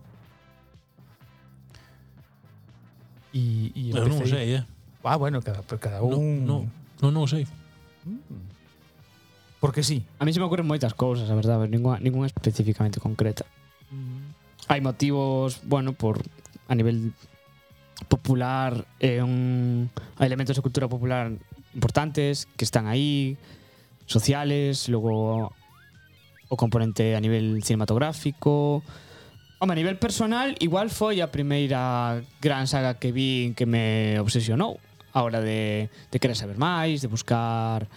[SPEAKER 1] E, e
[SPEAKER 3] Eu non o
[SPEAKER 1] empecé-
[SPEAKER 3] sei, eh.
[SPEAKER 1] Ah, bueno, cada, pero cada
[SPEAKER 3] Non,
[SPEAKER 1] un...
[SPEAKER 3] non, non, non o sei.
[SPEAKER 1] Porque sí.
[SPEAKER 4] A mí se me ocurren moitas cousas, a verdade, pero ninguna, ninguna especificamente concreta. Hai motivos, bueno, por a nivel popular, é un hai elementos de cultura popular importantes que están aí, sociales, logo o componente a nivel cinematográfico. Home, a nivel personal, igual foi a primeira gran saga que vi que me obsesionou a hora de, de querer saber máis, de buscar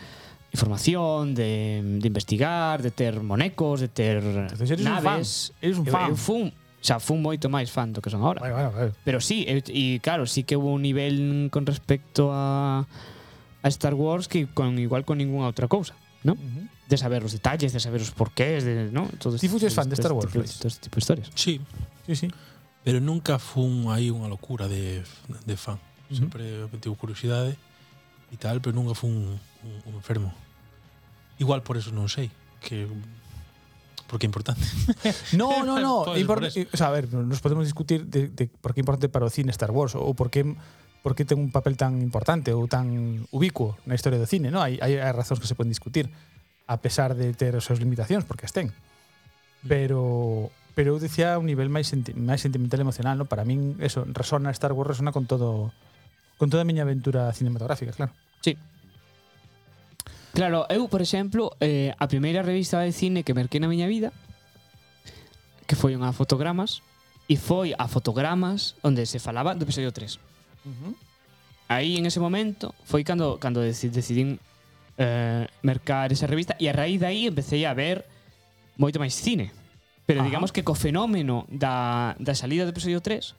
[SPEAKER 4] información, de, de investigar, de ter monecos, de ter
[SPEAKER 1] Entonces eres un
[SPEAKER 4] naves.
[SPEAKER 1] fan, eres un
[SPEAKER 4] Eu-
[SPEAKER 1] fan.
[SPEAKER 4] Eu fun, xa fun moito máis fan do que son ahora.
[SPEAKER 1] Bueno, bueno, claro.
[SPEAKER 4] Pero sí, e, e claro, sí que hubo un nivel con respecto a, a Star Wars que con igual con ninguna outra cousa, ¿no?
[SPEAKER 1] Mm-hmm.
[SPEAKER 4] De saber os detalles, de saber os porqués, de, ¿no? Todo este
[SPEAKER 1] Ti fuches fan de Star Wars,
[SPEAKER 4] Todo,
[SPEAKER 1] Luis?
[SPEAKER 4] este- todo este tipo de historias.
[SPEAKER 3] Sí,
[SPEAKER 1] Sí, sí.
[SPEAKER 3] pero nunca fun aí unha locura de, de fan. Sempre tivo curiosidade e tal, pero nunca fun un, un, un enfermo. Igual por eso non sei, que porque é importante. <laughs>
[SPEAKER 1] No, no, no.
[SPEAKER 3] Pois,
[SPEAKER 1] Impor-
[SPEAKER 3] por eso.
[SPEAKER 1] o sea, a ver, nos podemos discutir de, de por qué é importante para o cine Star Wars ou por qué por que ten un papel tan importante ou tan ubicuo na historia do cine, no? Hai, hai, hai razóns que se poden discutir a pesar de ter as súas limitacións, porque as ten.
[SPEAKER 3] Mm.
[SPEAKER 1] Pero pero eu dicía a un nivel máis senti máis sentimental e emocional, no? Para min eso resona Star Wars resona con todo con toda a miña aventura cinematográfica, claro.
[SPEAKER 4] Claro, eu, por exemplo, eh, a primeira revista de cine que merquei na miña vida que foi unha fotogramas e foi a fotogramas onde se falaba do episodio 3. aí en ese momento foi cando cando deci- decidín eh, mercar esa revista e a raíz de aí empecé a ver moito máis cine. Pero
[SPEAKER 1] Ajá.
[SPEAKER 4] digamos que co fenómeno da, da salida do episodio 3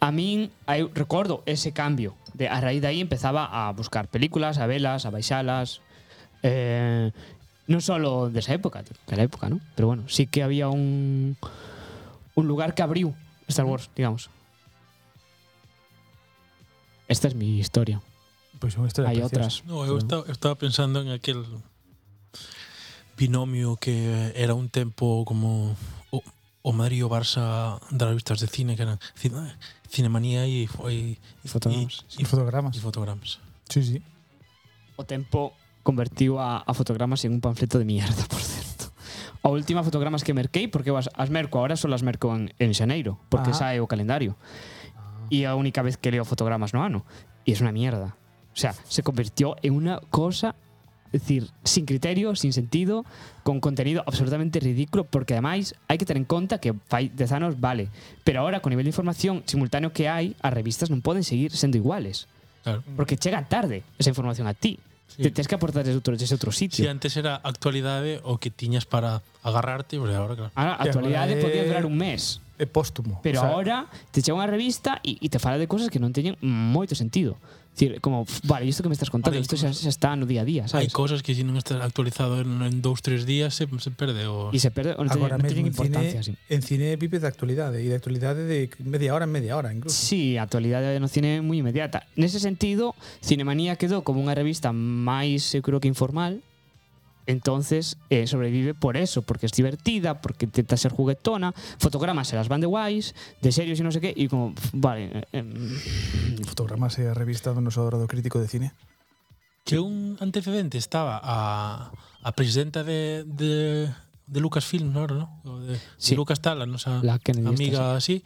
[SPEAKER 4] a min aí recordo ese cambio de a raíz de aí empezaba a buscar películas, a velas, a baixalas eh, non solo desa época, daquela época, ¿no? Pero bueno, sí que había un un lugar que abriu Star Wars, digamos. Esta es mi historia.
[SPEAKER 1] Pois é unha historia
[SPEAKER 4] Hay
[SPEAKER 1] preciosa.
[SPEAKER 4] otras.
[SPEAKER 3] No, eu estaba, eu estaba pensando en aquel binomio que era un tempo como o, o Madrid e o Barça das revistas de cine que eran cine, Cinemanía e, e,
[SPEAKER 4] E fotogramas.
[SPEAKER 1] E
[SPEAKER 3] E,
[SPEAKER 1] fotogramas.
[SPEAKER 3] e fotogramas.
[SPEAKER 1] Sí, sí.
[SPEAKER 4] O tempo convertiu a, a fotogramas en un panfleto de mierda, <laughs> por certo. A última fotogramas que merquei, porque eu as, as merco agora só as merco en, en xaneiro, porque
[SPEAKER 1] Ah.
[SPEAKER 4] sae o calendario.
[SPEAKER 3] Ah.
[SPEAKER 4] E é a única vez que leo fotogramas no ano. E é unha mierda. O sea, se convirtió en unha cosa Es decir, sin criterio, sin sentido, con contenido absolutamente ridículo, porque ademais hai que ter en conta que fai dez anos vale, pero ahora con nivel de información simultáneo que hai, as revistas non poden seguir sendo iguales,
[SPEAKER 3] Claro.
[SPEAKER 4] porque chega tarde esa información a ti.
[SPEAKER 3] Sí.
[SPEAKER 4] Sí. Te tens que aportar desde outro, desde outro
[SPEAKER 3] Si
[SPEAKER 4] sitio. Sí,
[SPEAKER 3] antes era actualidade o que tiñas para agarrarte, pues ahora claro.
[SPEAKER 4] Ahora, a
[SPEAKER 1] Sí,
[SPEAKER 4] actualidade
[SPEAKER 1] agora é-
[SPEAKER 4] podía durar un mes.
[SPEAKER 1] É póstumo. O
[SPEAKER 4] Pero
[SPEAKER 1] sea,
[SPEAKER 4] ahora te chega unha revista e, e te fala de cosas que non teñen moito sentido. Dicir, como, "Pf, vale, isto que me estás contando,
[SPEAKER 3] Vale,
[SPEAKER 4] isto xa, xa está no día a día,
[SPEAKER 3] Hai
[SPEAKER 4] sabes?
[SPEAKER 3] cosas que se non estás actualizado en, en dous, tres días se, se perde o...
[SPEAKER 4] E se perde, non teñen,
[SPEAKER 1] agora
[SPEAKER 4] non
[SPEAKER 1] mesmo en cine,
[SPEAKER 4] teñen importancia. Cine...
[SPEAKER 1] en cine vive de actualidade e de actualidade de media hora en media hora incluso.
[SPEAKER 4] Sí, a actualidade no cine é moi inmediata. Nese sentido, Cinemanía quedou como unha revista máis, eu creo que informal, entonces eh, sobrevive por eso, porque es divertida, porque intenta ser juguetona, fotogramas se las van de guays, de serios y no sé qué, y como, pf, vale, eh, em,
[SPEAKER 1] Fotogramase a revista do noso adorado crítico de cine.
[SPEAKER 3] Que un antecedente estaba a, a presidenta de, de, de Lucasfilm, non? No? O De,
[SPEAKER 4] Sí.
[SPEAKER 3] de Lucas Tal, a nosa
[SPEAKER 4] La Kennedy
[SPEAKER 3] Ah, amiga así,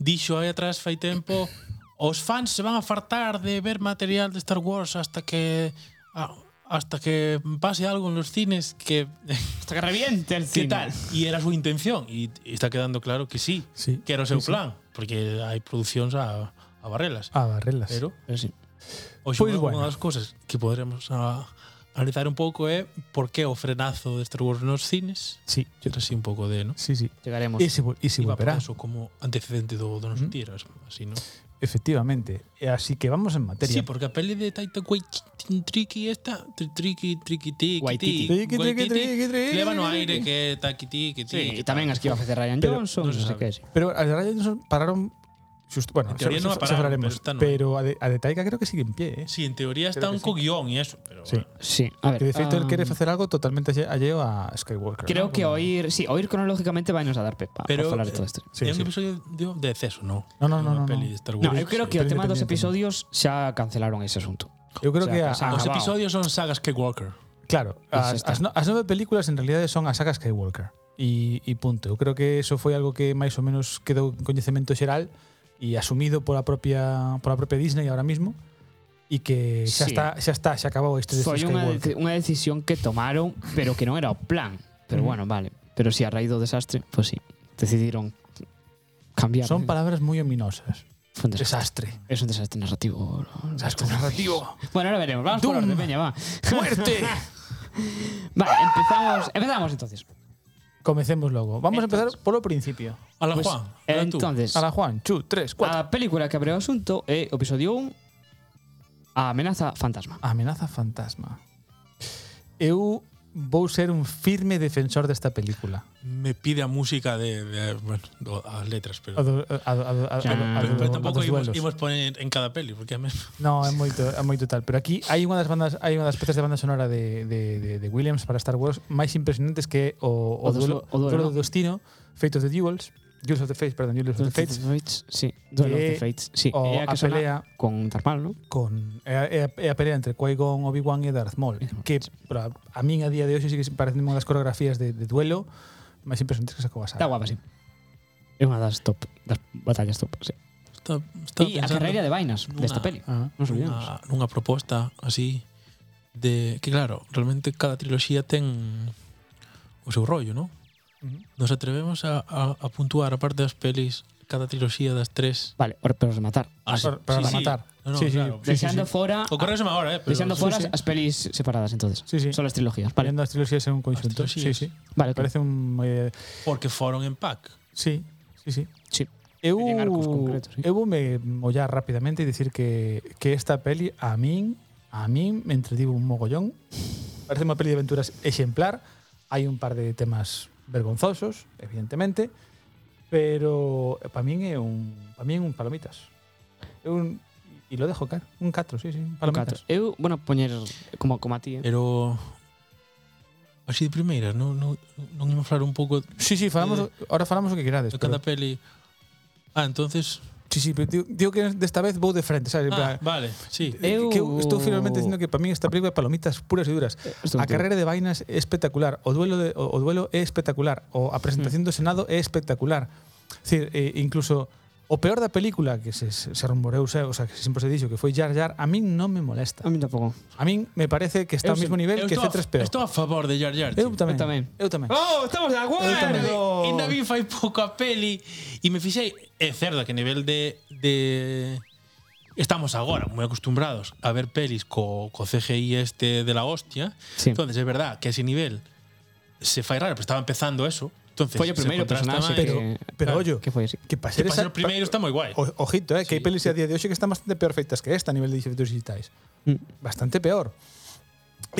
[SPEAKER 3] dixo aí atrás fai tempo os fans se van a fartar de ver material de Star Wars hasta que a- hasta que pase algo en los cines que <laughs>
[SPEAKER 4] hasta que reviente el
[SPEAKER 3] que
[SPEAKER 4] cine.
[SPEAKER 3] tal e era a súa intención e e está quedando claro que sí,
[SPEAKER 1] Sí,
[SPEAKER 3] que era o seu plan porque hai producións a, a barrelas
[SPEAKER 1] A barrelas.
[SPEAKER 3] pero
[SPEAKER 4] Pero sí.
[SPEAKER 3] Oxe,
[SPEAKER 1] Pois Pues
[SPEAKER 3] unha,
[SPEAKER 1] bueno.
[SPEAKER 3] unha das cousas que poderemos a, analizar un pouco é por que o frenazo de Star Wars nos cines.
[SPEAKER 1] Sí,
[SPEAKER 3] Era así un pouco de, ¿no?
[SPEAKER 1] sí, sí.
[SPEAKER 4] Llegaremos.
[SPEAKER 1] E se, vol- e se
[SPEAKER 3] Iba
[SPEAKER 1] volverá,
[SPEAKER 3] por eso como antecedente do, do nos
[SPEAKER 1] Ujú.
[SPEAKER 3] tiras, así, ¿no?
[SPEAKER 1] efectivamente. E Así que vamos en materia.
[SPEAKER 3] Sí, porque a peli de Taika Waititi Triki esta, tri- Triki Triki Tiki,
[SPEAKER 4] Waititi.
[SPEAKER 1] Triqui, triqui, triqui, triqui,
[SPEAKER 3] Leva no
[SPEAKER 1] triqui,
[SPEAKER 3] aire
[SPEAKER 1] triqui.
[SPEAKER 3] que taqui tiki
[SPEAKER 4] Sí,
[SPEAKER 3] tiki.
[SPEAKER 4] e tamén as que iba a facer Ryan
[SPEAKER 1] Pero
[SPEAKER 4] Johnson, non
[SPEAKER 3] non
[SPEAKER 4] sei
[SPEAKER 3] se sabe.
[SPEAKER 4] que é. sí.
[SPEAKER 1] Pero a de Ryan Johnson pararon xusto, bueno,
[SPEAKER 3] En teoría
[SPEAKER 1] xa-
[SPEAKER 3] non a
[SPEAKER 1] xa- xa
[SPEAKER 3] pararon,
[SPEAKER 1] falaremos,
[SPEAKER 3] pero está no.
[SPEAKER 1] pero a de, a de Taika creo que sigue en pie, eh?
[SPEAKER 3] Sí, en teoría está
[SPEAKER 1] Creo que
[SPEAKER 3] un co guión e eso, pero
[SPEAKER 1] Sí.
[SPEAKER 3] bueno.
[SPEAKER 4] Sí, a ver.
[SPEAKER 1] Que de feito
[SPEAKER 4] ah,
[SPEAKER 1] el
[SPEAKER 3] um,
[SPEAKER 1] quere facer algo totalmente alle- alleo a Skywalker. ¿no?
[SPEAKER 4] Creo que
[SPEAKER 1] Como-
[SPEAKER 4] oír, sí, oír cronológicamente vai nos a dar pepa
[SPEAKER 3] Pero,
[SPEAKER 4] para falar de
[SPEAKER 3] eh,
[SPEAKER 4] todo isto.
[SPEAKER 1] Sí,
[SPEAKER 3] é
[SPEAKER 1] sí.
[SPEAKER 3] un episodio de, de exceso, ¿no?
[SPEAKER 1] No, no, no, no,
[SPEAKER 3] Unha peli
[SPEAKER 1] no.
[SPEAKER 3] de Star Wars.
[SPEAKER 4] No, eu creo que o tema dos episodios xa cancelaron ese asunto.
[SPEAKER 1] Eu creo
[SPEAKER 4] o sea,
[SPEAKER 1] que a-
[SPEAKER 4] que se
[SPEAKER 1] a-
[SPEAKER 3] Os
[SPEAKER 4] acabao.
[SPEAKER 3] episodios son sagas que Walker.
[SPEAKER 1] Claro, as,
[SPEAKER 4] está.
[SPEAKER 1] as, no, as nove películas en realidade son a saga Skywalker e, e punto. Eu creo que eso foi algo que máis ou menos quedou en coñecemento xeral e asumido pola propia pola propia Disney ahora mismo e que xa
[SPEAKER 4] Sí.
[SPEAKER 1] está, xa está, xa acabou a historia de
[SPEAKER 4] Foi
[SPEAKER 1] Skywalker.
[SPEAKER 4] unha, deci- unha decisión que tomaron, pero que non era o plan. Pero
[SPEAKER 1] Ujú.
[SPEAKER 4] bueno, vale. Pero si sí, a raíz do desastre, pois pues sí, decidiron cambiar.
[SPEAKER 1] Son palabras moi ominosas.
[SPEAKER 4] Fue un desastre.
[SPEAKER 1] Desastre.
[SPEAKER 4] Es un desastre narrativo. ¿no?
[SPEAKER 1] Desastre narrativo.
[SPEAKER 4] Bueno, ahora veremos. Vamos por
[SPEAKER 1] Doom.
[SPEAKER 4] orden, veña, va.
[SPEAKER 1] <laughs> ¡Muerte!
[SPEAKER 4] <laughs> Vale, empezamos, empezamos entonces.
[SPEAKER 1] Comecemos logo. Vamos a
[SPEAKER 4] Entonces.
[SPEAKER 1] empezar polo principio.
[SPEAKER 3] A la
[SPEAKER 4] Pues,
[SPEAKER 3] Juan. era tú.
[SPEAKER 4] Entonces,
[SPEAKER 1] A la Juan, chu, tres, cuatro.
[SPEAKER 4] a película que abre o asunto é o episodio 1 A amenaza fantasma.
[SPEAKER 1] Amenaza fantasma. Eu vou ser un firme defensor desta película.
[SPEAKER 3] me pide a música de, de bueno, do- as letras,
[SPEAKER 1] A
[SPEAKER 3] pero,
[SPEAKER 1] do, a, a, a, a, a,
[SPEAKER 4] Pero-
[SPEAKER 1] a, a,
[SPEAKER 3] pero,
[SPEAKER 1] do-
[SPEAKER 3] pero
[SPEAKER 1] a,
[SPEAKER 3] tampouco
[SPEAKER 1] dos
[SPEAKER 3] imos,
[SPEAKER 1] duelos.
[SPEAKER 3] imos poner en cada peli, porque a mí <laughs>
[SPEAKER 1] No, é moito, é moito tal, pero aquí hai unha das bandas, hai unha das pezas de banda sonora de, de, de, de Williams para Star Wars máis impresionantes que é o, o,
[SPEAKER 4] O dos-
[SPEAKER 1] duelo,
[SPEAKER 4] o duelo,
[SPEAKER 1] duelo
[SPEAKER 4] ¿no?
[SPEAKER 1] do destino, Fate of the Duels, Duels of the Fates, perdón, Duels of the Fates,
[SPEAKER 4] Sí, Duel of
[SPEAKER 1] Que-
[SPEAKER 4] the Fates. Sí,
[SPEAKER 1] Eh, o
[SPEAKER 4] é
[SPEAKER 1] a
[SPEAKER 4] sona
[SPEAKER 1] pelea
[SPEAKER 4] con Darth Maul, ¿no?
[SPEAKER 1] con é, a- é, a- é a pelea entre Qui-Gon, Obi-Wan e Darth Maul, que pra, a min a día de hoxe sí que se parecen unha das coreografías de, de duelo máis impresionantes que sacou a
[SPEAKER 4] Está
[SPEAKER 1] saga.
[SPEAKER 4] guapa, sí. É unha das top, das batallas top, sí.
[SPEAKER 3] está, está
[SPEAKER 4] E a carreira de vainas
[SPEAKER 3] nunha-
[SPEAKER 4] desta peli.
[SPEAKER 1] Ah,
[SPEAKER 4] Non nos olvidemos.
[SPEAKER 3] nunha, nunha proposta así de que claro, realmente cada triloxía ten o seu rollo, non?
[SPEAKER 1] Ujú.
[SPEAKER 3] Nos atrevemos a, a, a puntuar a parte das pelis cada triloxía das tres
[SPEAKER 4] Vale, ora pero rematar.
[SPEAKER 3] as,
[SPEAKER 1] Para- para rematar.
[SPEAKER 3] No, no,
[SPEAKER 1] Sí, sí,
[SPEAKER 3] claro.
[SPEAKER 1] Ah, sí.
[SPEAKER 4] Deixando fora
[SPEAKER 3] O correo me ahora, eh, pero
[SPEAKER 4] Deixando
[SPEAKER 1] Sí,
[SPEAKER 4] fora
[SPEAKER 1] sí.
[SPEAKER 4] as pelis separadas, entonces.
[SPEAKER 1] Sí, sí.
[SPEAKER 4] Son as trilogías,
[SPEAKER 1] Vale.
[SPEAKER 4] vale.
[SPEAKER 1] as triloxías en un conxunto.
[SPEAKER 3] As
[SPEAKER 1] Sí,
[SPEAKER 3] triloxías.
[SPEAKER 1] sí.
[SPEAKER 4] Vale,
[SPEAKER 1] Parece un eh,
[SPEAKER 3] porque foron en pack.
[SPEAKER 1] sí, sí, sí.
[SPEAKER 4] Sí.
[SPEAKER 1] Eu,
[SPEAKER 4] Teñen arcos concretos, sí.
[SPEAKER 1] eu vou me mollar rapidamente e dicir que, que esta peli a min a min me entretivo un mogollón. Parece unha peli de aventuras exemplar. Hai un par de temas vergonzosos, evidentemente, pero para min é un para min é un palomitas. É un e lo dejo caer, un 4, sí, sí, un
[SPEAKER 4] o catro.
[SPEAKER 1] palomitas.
[SPEAKER 4] Eu, bueno, poñer como como a ti, eh.
[SPEAKER 3] Pero así de primeira, non, non, non imos falar un pouco
[SPEAKER 1] Sí, sí, falamos, ahora falamos o que querades.
[SPEAKER 3] de
[SPEAKER 1] pero-
[SPEAKER 3] cada peli. Ah, entonces
[SPEAKER 1] Sí, sí, pero digo, digo que desta vez vou de frente, sabes? En plan,
[SPEAKER 3] Ah, vale, sí.
[SPEAKER 1] eh, que eu
[SPEAKER 4] Eu-
[SPEAKER 1] estou finalmente dicindo que para min esta película é palomitas puras e duras.
[SPEAKER 4] Estou
[SPEAKER 1] A
[SPEAKER 4] contigo.
[SPEAKER 1] carreira de vainas é espectacular, o duelo de, o, o duelo é espectacular, o a presentación do Senado é espectacular. Es decir, eh, incluso O peor da película, que se, se se rumoreou, se- o sea, que sempre se dixo que foi Jar Jar, a min non me molesta.
[SPEAKER 4] A mí tampouco.
[SPEAKER 1] A min me parece que está
[SPEAKER 3] Eu
[SPEAKER 1] ao mesmo
[SPEAKER 3] se-
[SPEAKER 1] nivel
[SPEAKER 3] eu
[SPEAKER 1] que
[SPEAKER 3] estou a-
[SPEAKER 1] C3PO.
[SPEAKER 3] Estou a favor de Jar Jar.
[SPEAKER 1] Eu
[SPEAKER 3] tío.
[SPEAKER 1] tamén.
[SPEAKER 4] Eu tamén.
[SPEAKER 1] Eu tamén.
[SPEAKER 2] ¡Oh, estamos de acuerdo!
[SPEAKER 3] Ainda vi fai pouco a peli e me fixei, é cerda que a nivel de, de estamos agora moi acostumbrados a ver pelis co, co CGI este de la hostia.
[SPEAKER 4] Sí.
[SPEAKER 3] Entonces, é verdad que ese nivel se fai raro, pero estaba empezando eso. Entonces,
[SPEAKER 4] Foi o
[SPEAKER 3] se
[SPEAKER 4] primeiro
[SPEAKER 3] contrasta
[SPEAKER 4] personaxe
[SPEAKER 3] máis.
[SPEAKER 1] Pero,
[SPEAKER 4] que-
[SPEAKER 1] pero
[SPEAKER 3] claro,
[SPEAKER 1] ollo,
[SPEAKER 4] que foi así.
[SPEAKER 1] que para ser
[SPEAKER 3] Que para
[SPEAKER 1] esa,
[SPEAKER 3] ser o primeiro está moi guai.
[SPEAKER 1] O- ojito, eh, que hai pelis a día de hoxe que están bastante peor feitas que esta a nivel de efectos digitais. Bastante peor.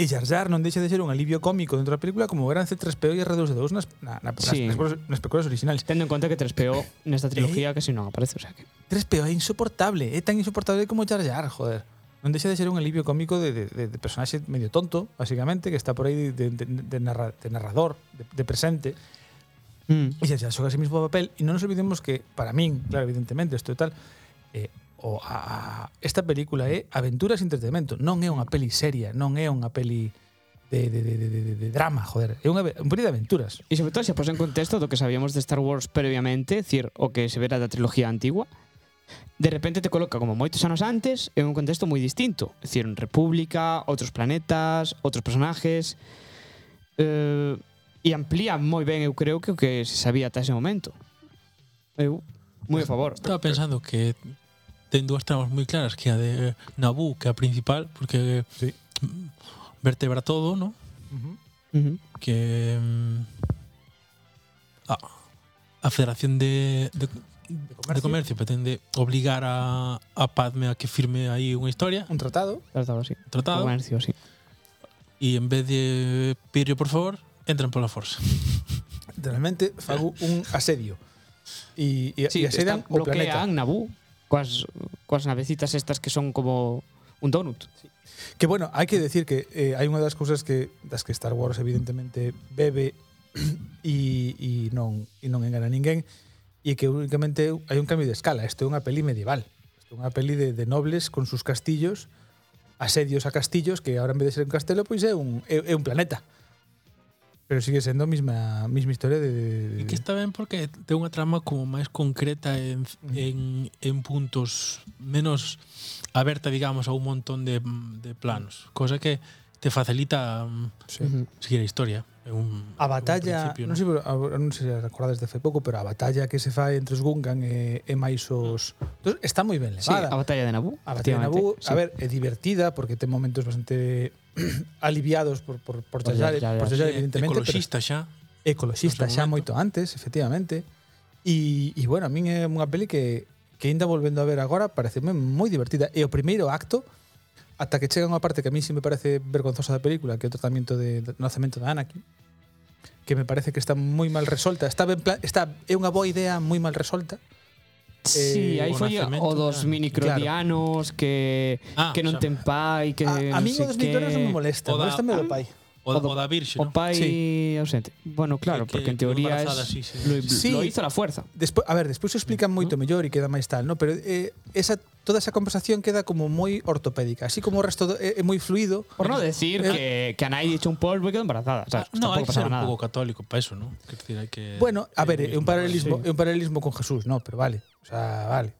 [SPEAKER 1] E Jar Jar non deixa de ser un alivio cómico dentro da película como eran C3PO e R2D2 nas, na, na,
[SPEAKER 4] Sí.
[SPEAKER 1] nas, nas, películas- nas películas originais.
[SPEAKER 4] Tendo en conta que 3PO nesta
[SPEAKER 1] ¿Eh?
[SPEAKER 4] trilogía casi non aparece, o sea que...
[SPEAKER 1] 3PO é insoportable, é tan insoportable como Jar Jar, joder. Non deixa de ser un alivio cómico de, de, de, de personaxe medio tonto, basicamente, que está por aí de, de, de, narra, de narrador, de, de presente.
[SPEAKER 4] Mm.
[SPEAKER 1] E se xoga ese mismo papel e non nos olvidemos que para min, claro, evidentemente, isto é tal eh, o a, a, esta película é aventuras e entretenimento, non é unha peli seria, non é unha peli de, de, de, de, de, de drama, joder, é unha, ave- unha peli de aventuras.
[SPEAKER 4] E sobre todo se a posa en contexto do que sabíamos de Star Wars previamente, decir, o que se vera da trilogía antigua, de repente te coloca como moitos anos antes en un contexto moi distinto. É dicir, República, outros planetas, outros personajes... Eh, e amplía moi ben, eu creo, que o que se sabía ata ese momento. Eu, moi a favor.
[SPEAKER 3] Estaba pensando que ten dúas tramas moi claras, que a de Naboo, que é a principal, porque mm,
[SPEAKER 1] Sí.
[SPEAKER 3] vertebra todo, ¿no?
[SPEAKER 1] Uh -huh.
[SPEAKER 4] Ujú.
[SPEAKER 3] que mm, a, a Federación de, de, de comercio. pretende obligar a, a Padme a que firme aí unha historia,
[SPEAKER 1] Un tratado,
[SPEAKER 4] Tratado así.
[SPEAKER 3] un tratado,
[SPEAKER 4] Comercio, sí.
[SPEAKER 3] e en vez de Pirio, por favor, entran pola Forza.
[SPEAKER 1] realmente fago un asedio. E, e,
[SPEAKER 4] Sí,
[SPEAKER 1] e asedian
[SPEAKER 4] está-
[SPEAKER 1] o planeta.
[SPEAKER 4] bloquean Naboo coas, coas navecitas estas que son como un donut.
[SPEAKER 1] Que bueno, hai que decir que eh, hai unha das cousas que das que Star Wars evidentemente bebe <clears throat> e, e non e non engana ninguén e que únicamente hai un cambio de escala. Isto é unha peli medieval. Isto é unha peli de, de nobles con sus castillos, asedios a castillos que ahora en vez de ser un castelo pois é un é, é un planeta. Pero sigue sendo a mesma mesma historia de, de,
[SPEAKER 3] E que
[SPEAKER 1] de
[SPEAKER 3] está ben porque ten unha trama como máis concreta en, en, en puntos menos aberta, digamos, a un montón de, de planos. Cosa que te facilita mm,
[SPEAKER 1] sí.
[SPEAKER 3] seguir a historia. É Un,
[SPEAKER 1] A
[SPEAKER 3] é un
[SPEAKER 1] batalla,
[SPEAKER 3] principio,
[SPEAKER 1] non sei, pero, ah, a- non sei se recordades de fai pouco, pero a batalla que se fai entre os Gungan e, e máis os... Entón, está moi ben
[SPEAKER 4] Mm. Sí,
[SPEAKER 1] levada.
[SPEAKER 4] a batalla de Naboo.
[SPEAKER 1] A batalla de
[SPEAKER 4] efectivamente,
[SPEAKER 1] Naboo,
[SPEAKER 4] sí.
[SPEAKER 1] a ver, é divertida porque ten momentos bastante <clears throat> aliviados por por por
[SPEAKER 4] Por
[SPEAKER 1] Jar Jar,
[SPEAKER 4] Jar Jar,
[SPEAKER 1] por Jar Jar,
[SPEAKER 3] É
[SPEAKER 1] evidentemente,
[SPEAKER 3] ecoloxista xa.
[SPEAKER 1] pero ecoloxista
[SPEAKER 3] no seu
[SPEAKER 1] xa
[SPEAKER 3] momento.
[SPEAKER 1] moito antes, efectivamente. E e bueno, a min é unha peli que que ainda volvendo a ver agora pareceme moi divertida e o primeiro acto ata que chega unha parte que a mí sí me parece vergonzosa da película, que é o tratamento de, do nacemento de Anakin, que me parece que está moi mal resolta. Está ben pla- está é unha boa idea moi mal resolta.
[SPEAKER 4] Sí,
[SPEAKER 1] eh,
[SPEAKER 4] aí
[SPEAKER 3] o
[SPEAKER 4] foi
[SPEAKER 3] nacemento,
[SPEAKER 4] o dos
[SPEAKER 3] claro.
[SPEAKER 4] microdianos que
[SPEAKER 3] Ah,
[SPEAKER 4] que non
[SPEAKER 3] xa.
[SPEAKER 4] ten pai, que
[SPEAKER 1] A, a
[SPEAKER 4] non
[SPEAKER 1] mí
[SPEAKER 4] sei
[SPEAKER 1] o dos
[SPEAKER 4] que...
[SPEAKER 1] millones non me molesta,
[SPEAKER 3] O da-
[SPEAKER 1] molestame
[SPEAKER 4] Ah.
[SPEAKER 1] o do pai.
[SPEAKER 3] O, o da Virxe,
[SPEAKER 4] O
[SPEAKER 3] non?
[SPEAKER 4] pai
[SPEAKER 1] Sí.
[SPEAKER 4] ausente. Bueno, claro,
[SPEAKER 3] Que-
[SPEAKER 4] porque en
[SPEAKER 3] que quedou
[SPEAKER 4] teoría
[SPEAKER 3] embarazada,
[SPEAKER 4] es,
[SPEAKER 3] sí, sí.
[SPEAKER 4] lo,
[SPEAKER 1] Sí.
[SPEAKER 4] lo hizo a la fuerza.
[SPEAKER 1] Despois, a ver, despois se explican moito mellor e queda máis tal, no? pero eh, esa toda esa conversación queda como moi ortopédica, así como o resto do, é, é moi fluido.
[SPEAKER 4] Por non decir
[SPEAKER 1] Eh,
[SPEAKER 4] que, que a Nai echó un polvo e quedou embarazada.
[SPEAKER 1] Ah,
[SPEAKER 4] O sea,
[SPEAKER 3] no, Ah,
[SPEAKER 4] tampouco
[SPEAKER 3] hai que ser
[SPEAKER 4] pasaba
[SPEAKER 3] un
[SPEAKER 4] nada.
[SPEAKER 3] pouco católico para eso, non? Que, decir, hai que, eh,
[SPEAKER 1] Bueno, a ver, é un paralelismo, é
[SPEAKER 4] Eh, sí.
[SPEAKER 1] un paralelismo con Jesús, no, pero vale, o sea, vale.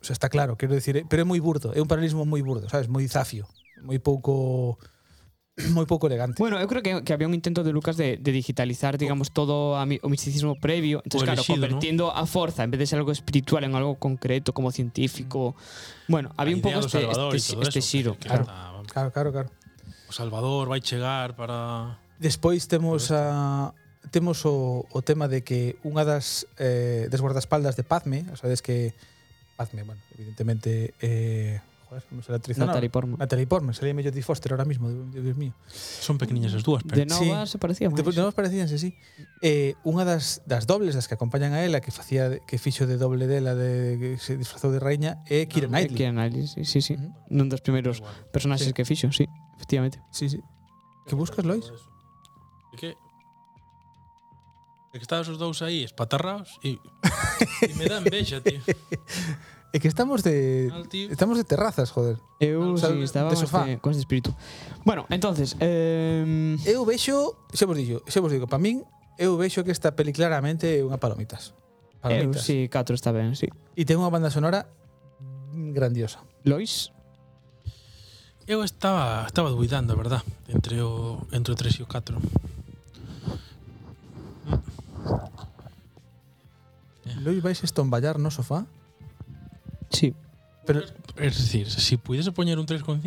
[SPEAKER 1] O sea, está claro, quero decir, eh, pero é moi burdo, é un paralelismo moi burdo, sabes, moi zafio, moi <clears throat> pouco moi pouco elegante.
[SPEAKER 4] Bueno, eu creo que, que había un intento de Lucas de, de digitalizar, digamos, todo a mi- o misticismo previo. Entonces,
[SPEAKER 3] O
[SPEAKER 4] claro,
[SPEAKER 3] elegido,
[SPEAKER 4] convirtiendo a Forza, en vez de ser algo espiritual, en algo concreto, como científico. Bueno, había un poco este, este, este xiro. claro.
[SPEAKER 1] Claro, claro, claro.
[SPEAKER 3] o Salvador vai chegar para...
[SPEAKER 1] Despois temos a temos o, o tema de que unha das eh, das guardaespaldas de Padme, o sabes que Padme, bueno, evidentemente eh, joder, como se la atriz
[SPEAKER 4] Natalie Portman.
[SPEAKER 1] Natalie Portman, salía mellor de Foster ahora mismo, Dios Dios mío.
[SPEAKER 3] Son pequeniñas as dúas,
[SPEAKER 4] De
[SPEAKER 3] pero...
[SPEAKER 4] Nova se parecía máis.
[SPEAKER 1] Te, non os parecíanse, sí. Eh, unha das, das dobles das que acompañan a ela, que facía que fixo de doble dela, de, que se disfrazou de raíña, é Kira
[SPEAKER 4] Eh,
[SPEAKER 1] Knightley.
[SPEAKER 4] Keira Knightley, sí, sí, sí.
[SPEAKER 1] Ujú.
[SPEAKER 4] Nun dos primeiros
[SPEAKER 3] Igual.
[SPEAKER 4] personaxes
[SPEAKER 1] Sí.
[SPEAKER 4] que fixo, sí, efectivamente.
[SPEAKER 1] Sí, sí. Que buscas, Lois?
[SPEAKER 3] É que... É que estaban os dous aí espatarraos
[SPEAKER 1] <laughs>
[SPEAKER 3] e... e me dan vexa, tío.
[SPEAKER 1] É que estamos de
[SPEAKER 3] Al tío.
[SPEAKER 1] estamos de terrazas, joder.
[SPEAKER 4] Eu
[SPEAKER 1] O sea,
[SPEAKER 4] sí, estaba
[SPEAKER 1] de
[SPEAKER 4] con
[SPEAKER 1] sofá.
[SPEAKER 4] este, con este espírito. Bueno, entonces, eh,
[SPEAKER 1] Eu vexo, xa vos dixo, xa vos digo, para min eu vexo que esta peli claramente é unha palomitas. Para
[SPEAKER 4] Eu,
[SPEAKER 1] palomitas.
[SPEAKER 4] Eh, sí, 4 está ben, sí.
[SPEAKER 1] E ten unha banda sonora grandiosa.
[SPEAKER 4] Lois?
[SPEAKER 3] Eu estaba estaba duvidando, a verdad, entre o entre o 3 e o 4.
[SPEAKER 1] Lois vais estomballar no sofá?
[SPEAKER 4] Sí.
[SPEAKER 1] Pero
[SPEAKER 3] Es decir, se si pudiese poñer un 3,5,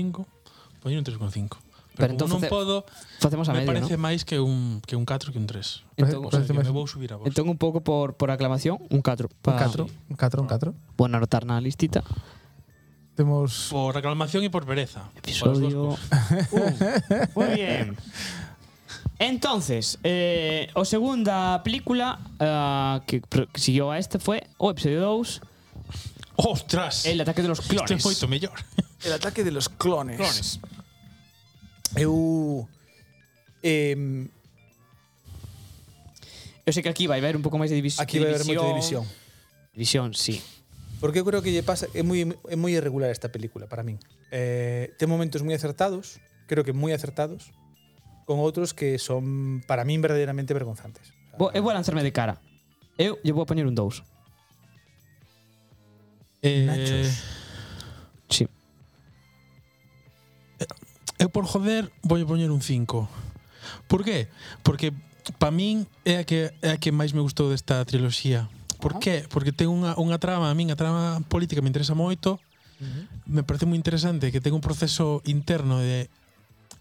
[SPEAKER 3] poñer un 3,5. Pero,
[SPEAKER 4] Pero
[SPEAKER 3] Pero
[SPEAKER 4] entón
[SPEAKER 3] como non
[SPEAKER 4] face-
[SPEAKER 3] podo,
[SPEAKER 4] Facemos a
[SPEAKER 3] me
[SPEAKER 4] medio,
[SPEAKER 3] parece
[SPEAKER 4] ¿no?
[SPEAKER 3] máis que un que un 4 que un 3.
[SPEAKER 4] Entón,
[SPEAKER 3] O sea, que
[SPEAKER 1] Parece máis-
[SPEAKER 3] me vou subir a vos.
[SPEAKER 4] entón un pouco por, por aclamación, un 4.
[SPEAKER 1] un 4, un
[SPEAKER 4] Ah.
[SPEAKER 1] 4, un 4.
[SPEAKER 4] Vou anotar na listita.
[SPEAKER 1] Temos
[SPEAKER 3] por reclamación e por pereza. Por as dúas
[SPEAKER 4] Episodio.
[SPEAKER 3] cousas.
[SPEAKER 4] Uh, muy bien. Entonces, eh, o segunda película ah, que, pro- que siguió a este fue o episodio 2,
[SPEAKER 3] Ostras.
[SPEAKER 4] El ataque de los
[SPEAKER 3] Isto é
[SPEAKER 4] clones.
[SPEAKER 3] moito mellor.
[SPEAKER 1] el ataque de los clones.
[SPEAKER 4] Clones.
[SPEAKER 1] Eu eh,
[SPEAKER 4] Eu sei que aquí vai haber un pouco máis de, divis
[SPEAKER 1] aquí vai
[SPEAKER 4] de
[SPEAKER 1] haber moita división.
[SPEAKER 4] división. División, sí.
[SPEAKER 1] Porque eu creo que lle pasa é moi é moi irregular esta película para min. Eh, ten momentos moi acertados, creo que moi acertados, con outros que son para min verdadeiramente vergonzantes.
[SPEAKER 4] Vou, eu vou lanzarme de cara. Eu lle vou a poñer un 2.
[SPEAKER 3] Eh,
[SPEAKER 1] Nachos.
[SPEAKER 4] Sí.
[SPEAKER 3] Eu por joder voulle poñer un 5. Por qué? Porque para min é a que é a que máis me gustou desta triloxía. Por qué? Porque ten unha, unha trama, a min a trama política me interesa moito. Me parece moi interesante que ten un proceso interno de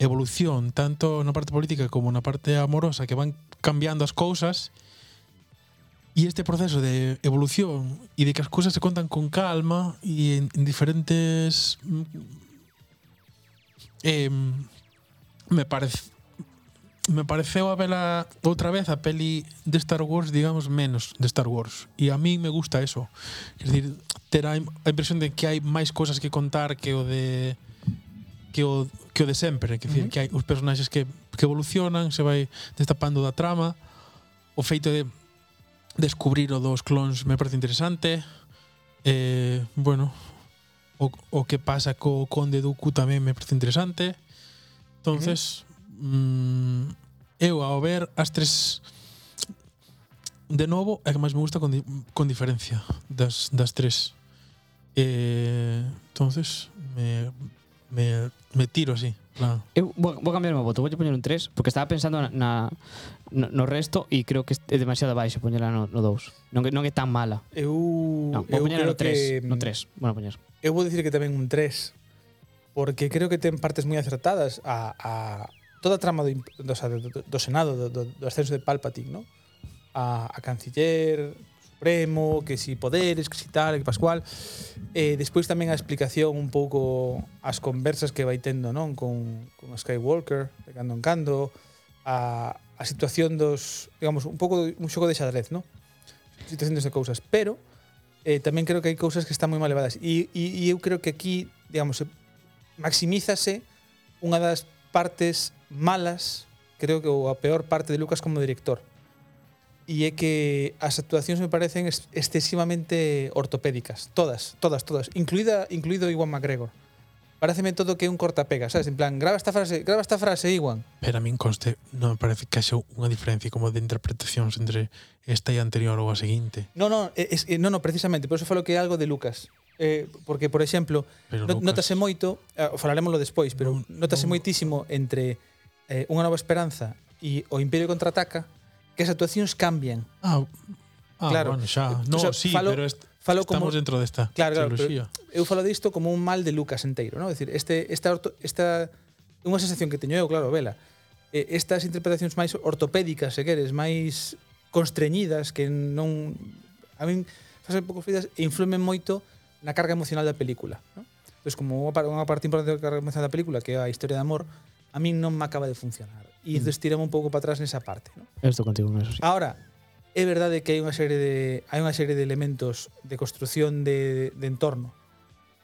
[SPEAKER 3] evolución tanto na parte política como na parte amorosa que van cambiando as cousas e este proceso de evolución e de que as cousas se contan con calma e en, en diferentes mm, eh, me parece me pareceu a vela outra vez a peli de Star Wars, digamos, menos de Star Wars. E a mí me gusta eso. Es decir, ter a, im- a impresión de que hai máis cousas que contar que o de que o, que o de sempre, que, decir, que hai os personaxes que, que evolucionan, se vai destapando da trama, o feito de descubrir o dos clones me parece interesante. Eh, bueno, o, o que pasa co Conde Dooku tamén me parece interesante. Entonces, mm, eu ao ver as tres de novo é a que máis me gusta con, di con diferencia das, das tres. Eh, entonces me, me, me tiro así. en plan,
[SPEAKER 4] Eu vou, vou cambiar o meu voto, voulle poñer un 3 porque estaba pensando na, na no, no resto e creo que é demasiado baixo poñela no, no 2. Non, que- non é tan mala.
[SPEAKER 1] Eu
[SPEAKER 4] Non,
[SPEAKER 1] eu
[SPEAKER 4] vou poñela
[SPEAKER 1] creo que
[SPEAKER 4] no 3, no 3. Bueno, poñer.
[SPEAKER 1] Eu vou dicir que tamén un 3 porque creo que ten partes moi acertadas a, a toda a trama do, imp- do, o sea, do, do- do Senado, do, do, do ascenso de Palpatine, ¿no? A, a Canciller, Supremo, que si poderes, que si tal, que Pascual. Eh, despois tamén a explicación un pouco as conversas que vai tendo non con, con Skywalker, de cando en cando, a, a situación dos, digamos, un pouco un xogo de xadrez, non? Situaciones de cousas, pero eh, tamén creo que hai cousas que están moi mal elevadas e, e, e eu creo que aquí, digamos, se- maximízase unha das partes malas, creo que ou a peor parte de Lucas como director. E é que as actuacións me parecen ex- excesivamente ortopédicas, todas, todas, todas, incluída incluído Iwan McGregor. Pareceme todo que é un cortapega, sabes? En plan, graba esta frase, graba esta frase, Iwan.
[SPEAKER 3] Pero a min conste, non me parece que haxa unha diferencia como de interpretacións entre esta e a anterior ou a seguinte.
[SPEAKER 1] No, no, eh, es, eh, no, no, precisamente, por eso falo que é algo de Lucas. Eh, porque, por exemplo,
[SPEAKER 3] Pero
[SPEAKER 1] no,
[SPEAKER 3] Lucas-
[SPEAKER 1] notase moito, eh, falaremoslo despois, pero
[SPEAKER 3] Non-
[SPEAKER 1] notase
[SPEAKER 3] non-
[SPEAKER 1] moitísimo entre eh, Unha Nova Esperanza e O Imperio Contraataca que as actuacións cambian.
[SPEAKER 3] Ah, ah
[SPEAKER 1] Claro.
[SPEAKER 3] claro. bueno, xa.
[SPEAKER 1] O
[SPEAKER 3] No,
[SPEAKER 1] sea,
[SPEAKER 3] sí,
[SPEAKER 1] falo-
[SPEAKER 3] pero est
[SPEAKER 1] falo como-
[SPEAKER 3] estamos dentro desta
[SPEAKER 1] Claro, claro,
[SPEAKER 3] triloxía.
[SPEAKER 1] pero eu falo disto como un mal de Lucas enteiro, non? É dicir, este esta orto, esta unha sensación que teño eu, claro, vela. Eh, estas interpretacións máis ortopédicas, se queres, máis constreñidas que non a min fase pouco fridas e influemen moito na carga emocional da película, non? Entón, como unha, par- unha parte importante da carga emocional da película, que é a historia de amor, a min non me acaba de funcionar. E mm. estirame un pouco para atrás nesa parte, non?
[SPEAKER 4] Eu estou contigo con eso, sí.
[SPEAKER 1] Ahora, é verdade que hai unha serie de hai unha serie de elementos de construción de, de entorno,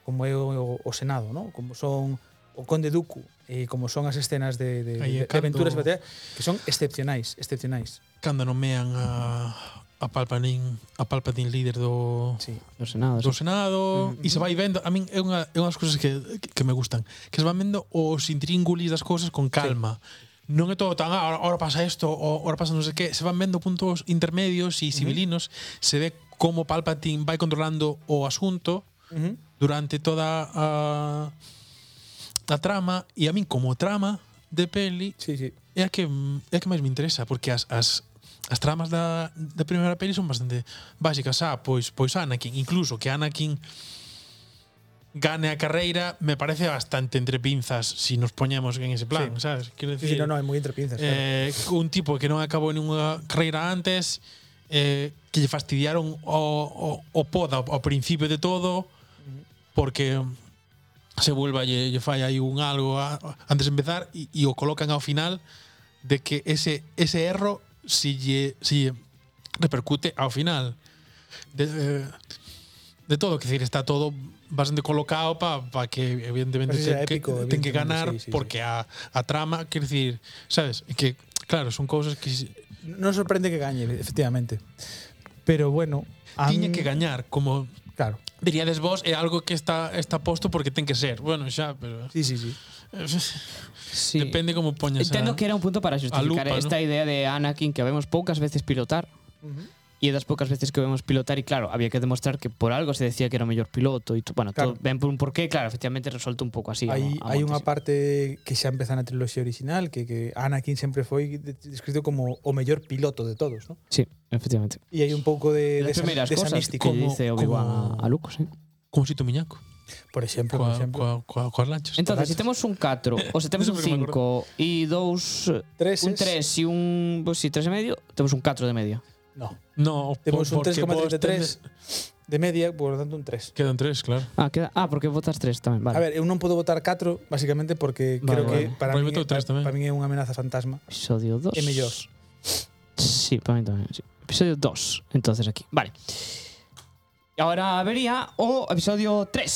[SPEAKER 1] como é o, o Senado, ¿no? como son o Conde Duku e como son as escenas de, de,
[SPEAKER 3] Aí
[SPEAKER 1] de,
[SPEAKER 3] é
[SPEAKER 1] de
[SPEAKER 3] cando-
[SPEAKER 1] aventuras e batallas, que son excepcionais, excepcionais.
[SPEAKER 3] cando nomean a a Palpatine, a Palpatine líder do
[SPEAKER 1] Sí.
[SPEAKER 4] Non sei nada.
[SPEAKER 3] do Senado e se vai vendo, a min é unha é unhas cousas que que me gustan, que se van vendo os intríngulis das cousas con calma. non é todo tan "Ah, ahora, ahora pasa isto, ou ahora pasa non sei que, se van vendo puntos intermedios e civilinos, se ve como Palpatine vai controlando o asunto durante toda a a trama e a min como trama de peli
[SPEAKER 1] Sí, sí.
[SPEAKER 3] é a que é a que máis me interesa porque as as as tramas da da primeira peli son bastante básicas, ah, pois pois Anakin, incluso que Anakin gane a carreira me parece bastante entre pinzas si nos poñemos en ese plan,
[SPEAKER 1] Sí.
[SPEAKER 3] sabes? Quero
[SPEAKER 1] Sí,
[SPEAKER 3] decir,
[SPEAKER 1] sí, no, no, é moi entre pinzas. claro.
[SPEAKER 3] eh, un tipo que non acabou nunha carreira antes eh, que lle fastidiaron o, o, o poda ao principio de todo porque se vuelva lle, lle falla aí un algo a, antes de empezar e, e o colocan ao final de que ese ese erro si lle, si lle repercute ao final de, eh, de todo, que decir, está todo bastante colocado para pa que evidentemente
[SPEAKER 1] Así sea
[SPEAKER 3] ten que,
[SPEAKER 1] épico,
[SPEAKER 3] ten
[SPEAKER 1] evidentemente,
[SPEAKER 3] que ganar
[SPEAKER 1] sí, sí, sí.
[SPEAKER 3] porque A, a trama, quer decir, sabes, que claro, son cousas que se-
[SPEAKER 1] Non sorprende que gañe, efectivamente. Pero bueno, a
[SPEAKER 3] tiña
[SPEAKER 1] min-
[SPEAKER 3] que gañar, como
[SPEAKER 1] Claro.
[SPEAKER 3] diríades vos, é algo que está está posto porque ten que ser. Bueno, xa, pero
[SPEAKER 1] Sí, sí, sí.
[SPEAKER 4] Sí.
[SPEAKER 3] depende como poñas
[SPEAKER 4] Entendo
[SPEAKER 3] a,
[SPEAKER 4] que era un punto para justificar
[SPEAKER 3] lupa, ¿no?
[SPEAKER 4] esta idea de Anakin que vemos poucas veces pilotar. E das poucas veces que o vemos pilotar, e claro, había que demostrar que por algo se decía que era o mellor piloto. E, to- bueno,
[SPEAKER 1] Claro.
[SPEAKER 4] claro. todo, ben por un porqué, claro, efectivamente resolto un pouco así.
[SPEAKER 1] hai,
[SPEAKER 4] a, a
[SPEAKER 1] hai unha
[SPEAKER 4] montes.
[SPEAKER 1] parte que xa empeza na triloxía original que, que Anakin sempre foi de- descrito como o mellor piloto de todos, ¿no?
[SPEAKER 4] Sí, efectivamente.
[SPEAKER 1] E hai un pouco de,
[SPEAKER 4] Las
[SPEAKER 1] desa,
[SPEAKER 4] primeiras
[SPEAKER 1] desa
[SPEAKER 4] cosas que
[SPEAKER 1] mística.
[SPEAKER 3] como-
[SPEAKER 4] dice Obi-Wan
[SPEAKER 3] como-
[SPEAKER 4] a, a Luke, ¿eh? sí.
[SPEAKER 3] como sito miñaco,
[SPEAKER 1] Por exemplo, por
[SPEAKER 3] coa,
[SPEAKER 1] exemplo.
[SPEAKER 3] coa, coa, coas lanchas.
[SPEAKER 4] Entonces, se temos un 4, ou se temos
[SPEAKER 3] Non
[SPEAKER 4] un
[SPEAKER 3] sei por
[SPEAKER 4] 5
[SPEAKER 3] que me
[SPEAKER 4] e dous, eh,
[SPEAKER 1] Tres
[SPEAKER 4] un
[SPEAKER 1] es-
[SPEAKER 4] 3 e un, pois si 3 e medio, temos un 4 de media.
[SPEAKER 1] No,
[SPEAKER 3] No,
[SPEAKER 1] temos un
[SPEAKER 3] porque vos
[SPEAKER 1] 3,33 de media, por lo tanto un 3.
[SPEAKER 3] tende- Quedan tres, claro.
[SPEAKER 4] Ah, queda, ah, porque votas 3 tamén, vale.
[SPEAKER 1] A ver, eu non podo votar 4 basicamente porque
[SPEAKER 4] Vale,
[SPEAKER 1] creo que
[SPEAKER 4] vale.
[SPEAKER 1] para
[SPEAKER 3] Pois
[SPEAKER 1] min,
[SPEAKER 3] voto
[SPEAKER 1] para,
[SPEAKER 3] tres tamén.
[SPEAKER 1] para min é unha amenaza fantasma.
[SPEAKER 4] Episodio 2.
[SPEAKER 1] É mellor.
[SPEAKER 4] Sí, para mí también. sí. Episodio 2, entonces aquí. Vale. Y ahora vería o episodio 3.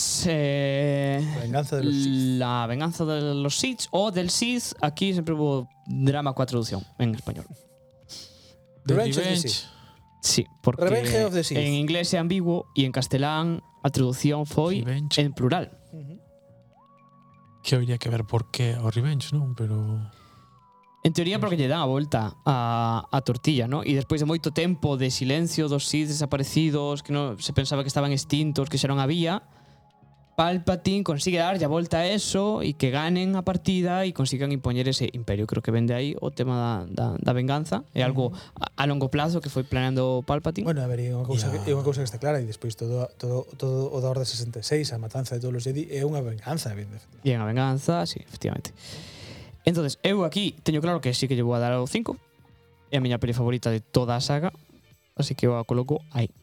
[SPEAKER 1] La venganza de los Sith.
[SPEAKER 4] La venganza de los Sith o del Sith. Aquí siempre hubo drama con traducción en español.
[SPEAKER 3] The
[SPEAKER 1] Revenge of the
[SPEAKER 3] Revenge.
[SPEAKER 1] Sith.
[SPEAKER 4] Sí, porque
[SPEAKER 1] Revenge of the Sith.
[SPEAKER 4] en inglés é ambiguo e en castelán a traducción foi
[SPEAKER 3] Revenge.
[SPEAKER 4] en plural.
[SPEAKER 3] Que habría que ver por qué o Oh, Revenge, non? Pero
[SPEAKER 4] En teoría porque lle dan a volta a, a tortilla, ¿no? E despois de moito tempo de silencio dos Sith desaparecidos, que no se pensaba que estaban extintos, que xa non había, Palpatine consigue darlle a volta a eso e que ganen a partida e consigan impoñer ese imperio. Creo que vende aí o tema da, da, da venganza. É algo a, a longo plazo que foi planeando Palpatine.
[SPEAKER 1] Bueno,
[SPEAKER 4] Bueno,
[SPEAKER 1] a ver, é unha cousa,
[SPEAKER 3] Ya.
[SPEAKER 1] que, é unha cousa que está clara e despois todo, todo, todo o da Orde 66, a matanza de todos os Jedi é unha venganza, evidentemente.
[SPEAKER 4] e a venganza, sí, efectivamente. Entonces, eu aquí teño claro que sí que lle vou a dar o 5. É a miña peli favorita de toda a saga. Así que eu a coloco aí.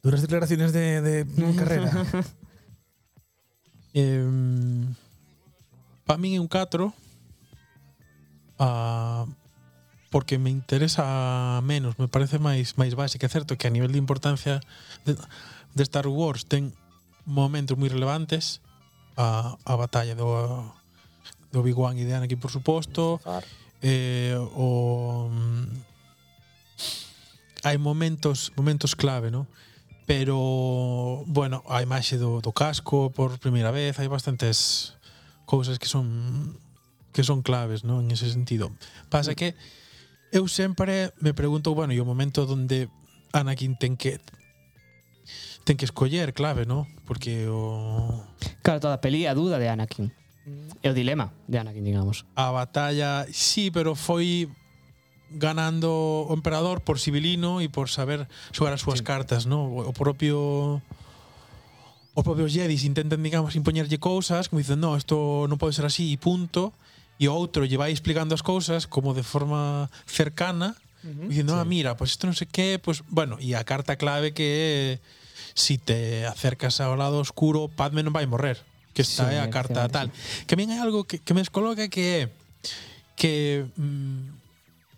[SPEAKER 1] Duras declaraciones de, de
[SPEAKER 4] <laughs>
[SPEAKER 1] carrera.
[SPEAKER 3] Eh, para min é un 4 ah, porque me interesa menos, me parece máis máis básica, é certo que a nivel de importancia de, de Star Wars ten momentos moi relevantes a, a batalla do do Obi-Wan e de Anakin, por suposto, eh, o mm, hai momentos momentos clave, ¿no? Pero bueno, a imaxe do, do casco por primeira vez, hai bastantes cousas que son que son claves, ¿no? En ese sentido. Pasa que eu sempre me pregunto, bueno, e o momento onde Anakin ten que ten que escoller clave, ¿no? Porque o
[SPEAKER 4] Claro, toda a peli é a duda de Anakin. É o dilema de Anakin, digamos.
[SPEAKER 3] a batalla, sí, pero foi ganando o emperador por civilino e por saber xogar as súas sí. cartas, ¿no? O o propio os propios Jedis intentan, digamos, impoñerlle cousas, como dicen, no, isto non pode ser así, e punto. E o outro lle vai explicando as cousas como de forma cercana, uh -huh, dicindo, ah, mira, pois pues isto non sei que, pois, pues, bueno, e a carta clave que é si te acercas ao lado oscuro, Padme non vai morrer, que esta
[SPEAKER 4] Sí,
[SPEAKER 3] é a carta
[SPEAKER 4] efectivamente,
[SPEAKER 3] tal. Que a min hai algo que, que me descoloca que é que mm,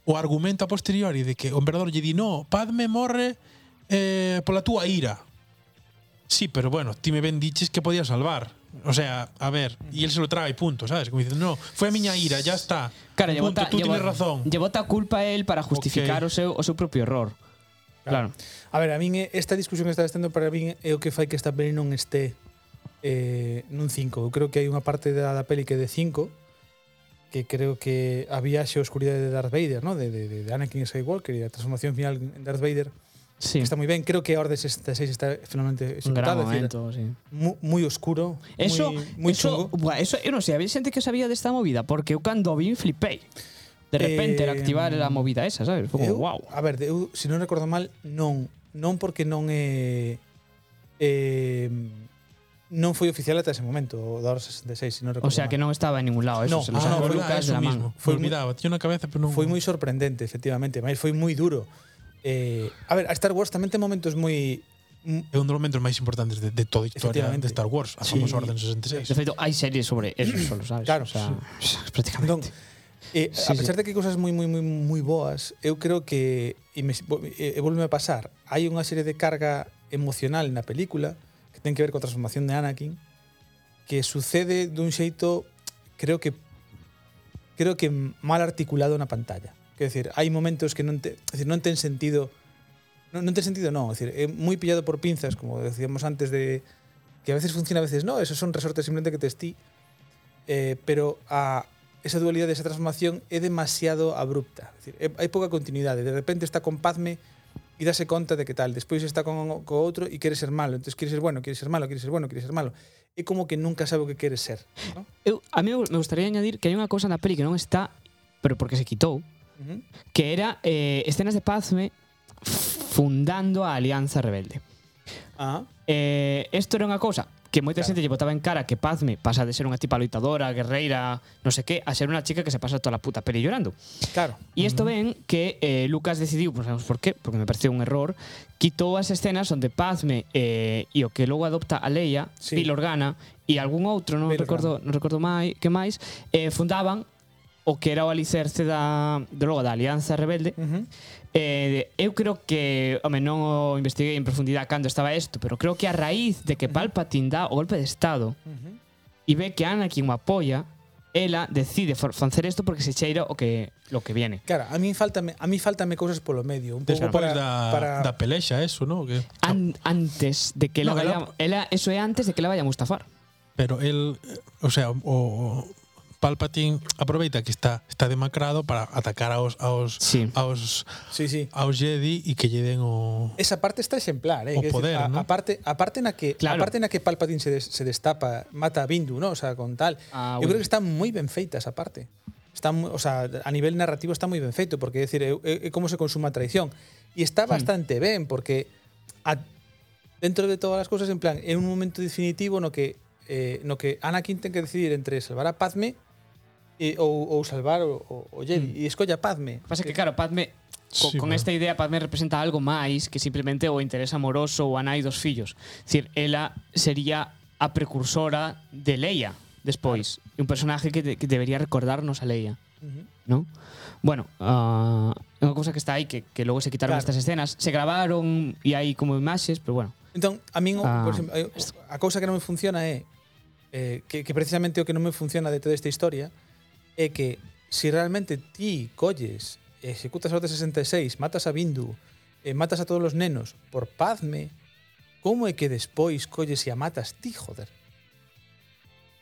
[SPEAKER 3] o argumento a posteriori de que o emperador lle di, no, Padme morre eh, pola túa ira, Sí, pero bueno, ti me ben diches que podía salvar. O sea, a ver, y él se lo traga y punto, ¿sabes? Como diciendo, no, fue a miña ira, ya está.
[SPEAKER 4] Claro,
[SPEAKER 3] punto,
[SPEAKER 4] llevota,
[SPEAKER 3] tú tienes razón.
[SPEAKER 4] Llevota a culpa a él para justificar
[SPEAKER 3] Ok.
[SPEAKER 4] o, seu, o seu propio error. Claro.
[SPEAKER 1] A ver, a min é- esta discusión que está estendo para min é o que fai que esta peli non este eh, nun 5. Eu creo que hai unha parte da, da peli que é de 5 que creo que había esa oscuridade de Darth Vader, ¿no? de, de, de Anakin Skywalker e a transformación final en Darth Vader
[SPEAKER 4] Sí.
[SPEAKER 1] que está moi ben. Creo que a Orde 66 está finalmente
[SPEAKER 4] un gran
[SPEAKER 1] executada, é dicir,
[SPEAKER 4] momento, sí.
[SPEAKER 1] mu- moi oscuro,
[SPEAKER 4] Eso,
[SPEAKER 1] moi, moi
[SPEAKER 4] eso,
[SPEAKER 1] chungo.
[SPEAKER 4] buah, eso, eu non sei, había xente que sabía desta movida, porque eu cando o vi flipei. De repente, era
[SPEAKER 1] Eh, ah,
[SPEAKER 4] activar a movida esa, sabes? Foi
[SPEAKER 1] Eu,
[SPEAKER 4] como, wow.
[SPEAKER 1] A ver, eu, se non recordo mal, non, non porque non é eh, non foi oficial ata ese momento, o da Orde 66, se non recordo
[SPEAKER 4] O sea, que
[SPEAKER 1] mal.
[SPEAKER 4] non estaba en ningún lado,
[SPEAKER 1] No,
[SPEAKER 4] eso. se lo
[SPEAKER 1] ah,
[SPEAKER 4] sacou
[SPEAKER 1] no,
[SPEAKER 4] Lucas de la man.
[SPEAKER 1] Foi
[SPEAKER 3] Foi
[SPEAKER 1] moi-
[SPEAKER 3] moi olvidaba, tiña na cabeza, pero non
[SPEAKER 1] Foi moi sorprendente, efectivamente, mas foi moi duro. Eh, a ver, a Star Wars tamén ten momentos moi
[SPEAKER 3] É un dos momentos máis importantes de, de toda a historia
[SPEAKER 1] Efectivamente.
[SPEAKER 3] de Star Wars, a
[SPEAKER 1] Sí.
[SPEAKER 3] famosa Orden
[SPEAKER 4] De
[SPEAKER 3] 66.
[SPEAKER 4] feito, hai series sobre eso solo, sabes?
[SPEAKER 1] Claro,
[SPEAKER 4] o sea, <clears throat>
[SPEAKER 1] Non.
[SPEAKER 4] prácticamente.
[SPEAKER 1] Eh,
[SPEAKER 4] Sí,
[SPEAKER 1] a pesar de que hai cousas moi moi moi moi boas, eu creo que e me e, e volveme a pasar, hai unha serie de carga emocional na película que ten que ver coa transformación de Anakin que sucede dun xeito creo que creo que mal articulado na pantalla. Quer decir, hai momentos que non te, é dicir, non ten sentido non, non ten sentido non, é dicir, é moi pillado por pinzas, como decíamos antes de que a veces funciona, a veces no, esos son resortes simplemente que te estí eh, pero a esa dualidade, esa transformación é demasiado abrupta. Es decir, é- hai pouca continuidade. De repente está con Padme e dase conta de que tal, despois está con co outro e quere ser malo, entonces quere ser bueno, quere ser malo, quere ser bueno, quere ser malo. É como que nunca sabe o que quere ser, ¿no?
[SPEAKER 4] Eu, a mí me gustaría añadir que hai unha cousa na peli que non está, pero porque se quitou,
[SPEAKER 1] Uh -huh.
[SPEAKER 4] que era eh, escenas de Padme fundando a Alianza Rebelde.
[SPEAKER 1] Ah,
[SPEAKER 4] Eh, esto era unha cousa que moita
[SPEAKER 1] Claro.
[SPEAKER 4] xente lle botaba en cara que Padme pasa de ser unha tipa loitadora, guerreira, non sei que, a ser unha chica que se pasa toda la puta peli llorando.
[SPEAKER 1] claro.
[SPEAKER 4] E isto ven que eh, Lucas decidiu, pues sabemos por qué, porque me pareceu un error, quitou as escenas onde Padme eh, e o que logo adopta a Leia,
[SPEAKER 1] Sí.
[SPEAKER 4] Bill Organa e algún outro, non
[SPEAKER 1] Bail
[SPEAKER 4] recordo, non recordo mai, que máis, eh, fundaban o que era o alicerce da, de logo da Alianza Rebelde.
[SPEAKER 1] Uh -huh.
[SPEAKER 4] Eh, eu creo que, home, non o investiguei en profundidade cando estaba isto, pero creo que a raíz de que Palpatine dá o golpe de estado
[SPEAKER 1] Uh -huh.
[SPEAKER 4] e ve que Anakin o apoia, ela decide for- facer isto porque se cheira o que lo que viene.
[SPEAKER 1] Claro, a mí faltame, a mí faltame cousas polo medio, un pouco
[SPEAKER 3] Despois
[SPEAKER 1] para,
[SPEAKER 3] pois da,
[SPEAKER 1] para
[SPEAKER 3] da pelexa, eso, ¿no? Que,
[SPEAKER 4] An- antes de que la
[SPEAKER 3] No, que
[SPEAKER 4] vaya,
[SPEAKER 3] la-
[SPEAKER 4] ela- eso é antes de que la vaya a Mustafar.
[SPEAKER 3] pero el, o sea, o, o Palpatine aproveita que está está demacrado para atacar aos aos
[SPEAKER 4] Sí.
[SPEAKER 3] aos
[SPEAKER 1] Sí, sí.
[SPEAKER 3] aos Jedi e que lle den o
[SPEAKER 1] Esa parte está exemplar, eh,
[SPEAKER 3] O
[SPEAKER 1] quer decir,
[SPEAKER 3] poder,
[SPEAKER 1] a,
[SPEAKER 3] ¿no?
[SPEAKER 1] a parte a parte na que a
[SPEAKER 4] Claro.
[SPEAKER 1] parte na que Palpatine se, des, se destapa, mata a Bindu, ¿no? O sea, con tal.
[SPEAKER 4] Ah,
[SPEAKER 1] eu
[SPEAKER 4] bueno.
[SPEAKER 1] creo que está moi ben feita esa parte. Está, mu- o sea, a nivel narrativo está moi ben feito porque é decir, é, é, é como se consuma a traición e
[SPEAKER 4] Hmm.
[SPEAKER 1] está bastante ben porque a, dentro de todas as cousas en plan, é un momento definitivo no que eh, no que Anakin ten que decidir entre salvar a Padme e, ou, ou salvar o, o, o Jedi e escolla a Padme.
[SPEAKER 4] Hmm. Pasa que claro, Padme co,
[SPEAKER 3] Sí,
[SPEAKER 4] con
[SPEAKER 3] bueno.
[SPEAKER 4] esta idea Padme representa algo máis que simplemente o interés amoroso ou a nai dos fillos. Cir, ela sería a precursora de Leia despois, un personaje que, de- que debería recordarnos a Leia.
[SPEAKER 1] Ujú.
[SPEAKER 4] ¿no? Bueno, ah, é unha cousa que está aí que, que logo se quitaron
[SPEAKER 1] Claro.
[SPEAKER 4] estas escenas, se grabaron e hai como imaxes, pero bueno.
[SPEAKER 1] Entón, a min, o-
[SPEAKER 4] Ah,
[SPEAKER 1] por exemplo, eu- a cousa que non me funciona é eh, que, que precisamente o que non me funciona de toda esta historia é que se realmente ti colles, executas a Orde 66, matas a Bindu, eh, matas a todos os nenos por Padme, como é que despois colles e a matas ti, joder?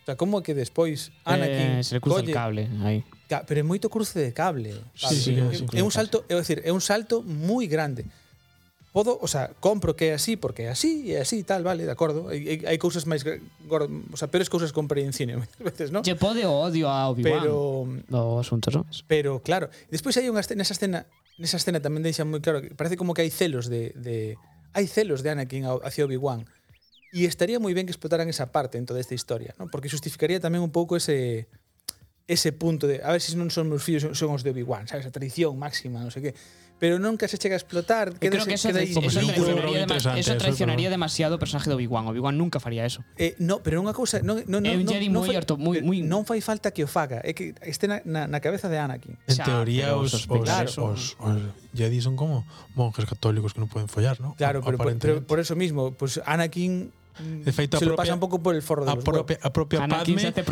[SPEAKER 1] O sea, como é que despois Anakin
[SPEAKER 4] eh, se le cruza el cable aí.
[SPEAKER 1] Ca- pero é moito cruce de cable.
[SPEAKER 3] Sí,
[SPEAKER 1] Pablo.
[SPEAKER 3] sí,
[SPEAKER 1] é,
[SPEAKER 3] sí,
[SPEAKER 1] é un salto, é decir, é un salto moi grande. Podo, o sea, compro que é así porque é así, é así e tal, vale, de acordo. Hai, hai- hai cousas máis gr- gor- o sea, peores cousas comprei en cine <laughs> moitas veces, ¿no?
[SPEAKER 4] Lle pode o odio a Obi-Wan.
[SPEAKER 1] Pero
[SPEAKER 4] do asunto, sabes?
[SPEAKER 1] pero claro, despois hai unha escena, nesa escena, nesa escena tamén deixan moi claro que parece como que hai celos de, de hai celos de Anakin ao- hacia Obi-Wan. E estaría moi ben que explotaran esa parte en toda esta historia, ¿no? Porque justificaría tamén un pouco ese ese punto de a ver se si non son meus fillos, son- son os de Obi-Wan, sabes, a tradición máxima, non sei que. Pero nunca se chega a explotar,
[SPEAKER 4] Yo creo
[SPEAKER 1] quédase-
[SPEAKER 4] que eso,
[SPEAKER 1] queda aí-
[SPEAKER 4] eso,
[SPEAKER 3] Como si un cerebro
[SPEAKER 4] traicionaría, dema-
[SPEAKER 3] interesante,
[SPEAKER 4] eso
[SPEAKER 3] eso,
[SPEAKER 4] traicionaría
[SPEAKER 3] pero-
[SPEAKER 4] demasiado o personaje de Obi-Wan. Obi-Wan nunca faría eso.
[SPEAKER 1] Eh, no, pero é unha cousa, non non
[SPEAKER 4] É
[SPEAKER 1] non,
[SPEAKER 4] un
[SPEAKER 1] non,
[SPEAKER 4] Jedi
[SPEAKER 1] non,
[SPEAKER 4] moi
[SPEAKER 1] fai-
[SPEAKER 4] orto- moi- moi-
[SPEAKER 1] non fai falta que o faga, é que este na, na, na cabeza de Anakin.
[SPEAKER 3] En
[SPEAKER 4] Xa,
[SPEAKER 3] teoría
[SPEAKER 4] pero
[SPEAKER 3] os os,
[SPEAKER 4] sospechar
[SPEAKER 3] os,
[SPEAKER 1] son-
[SPEAKER 3] os Jedi son como monjes católicos que non poden follar, ¿no?
[SPEAKER 1] Claro, pero, por- pero
[SPEAKER 3] Aparentemente.
[SPEAKER 1] por eso mismo, pues Anakin mm,
[SPEAKER 3] De feito, a
[SPEAKER 1] se lo
[SPEAKER 3] propia-
[SPEAKER 1] pasa un pouco por el forro de
[SPEAKER 3] a
[SPEAKER 1] los
[SPEAKER 3] propia, a propia
[SPEAKER 4] Anakin se
[SPEAKER 3] Padme
[SPEAKER 4] hace
[SPEAKER 3] yo di,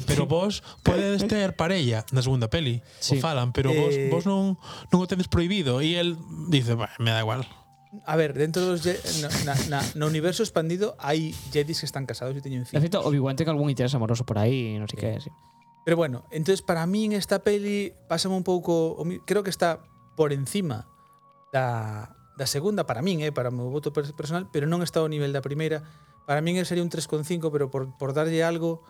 [SPEAKER 4] protestante.
[SPEAKER 3] pero vos
[SPEAKER 1] <laughs>
[SPEAKER 3] podedes ter parella na segunda peli
[SPEAKER 4] Sí.
[SPEAKER 3] o falan, pero vos,
[SPEAKER 1] Eh,
[SPEAKER 3] vos non, non o tedes prohibido e el dice, "Bah, me da igual
[SPEAKER 1] huevos. A ver, dentro dos Ye- na, na, na, no universo expandido hai Jedis que están casados e teñen
[SPEAKER 4] De
[SPEAKER 1] fillos.
[SPEAKER 4] feito, Obi-Wan ten algún interés amoroso por aí, non sei que, sí.
[SPEAKER 1] Pero bueno, entonces para mí en esta peli pásame un pouco, o mi- creo que está por encima da, da segunda para min, eh, para o meu voto pers- personal, pero non está ao nivel da primeira. Para min sería un 3,5, pero por, por darlle algo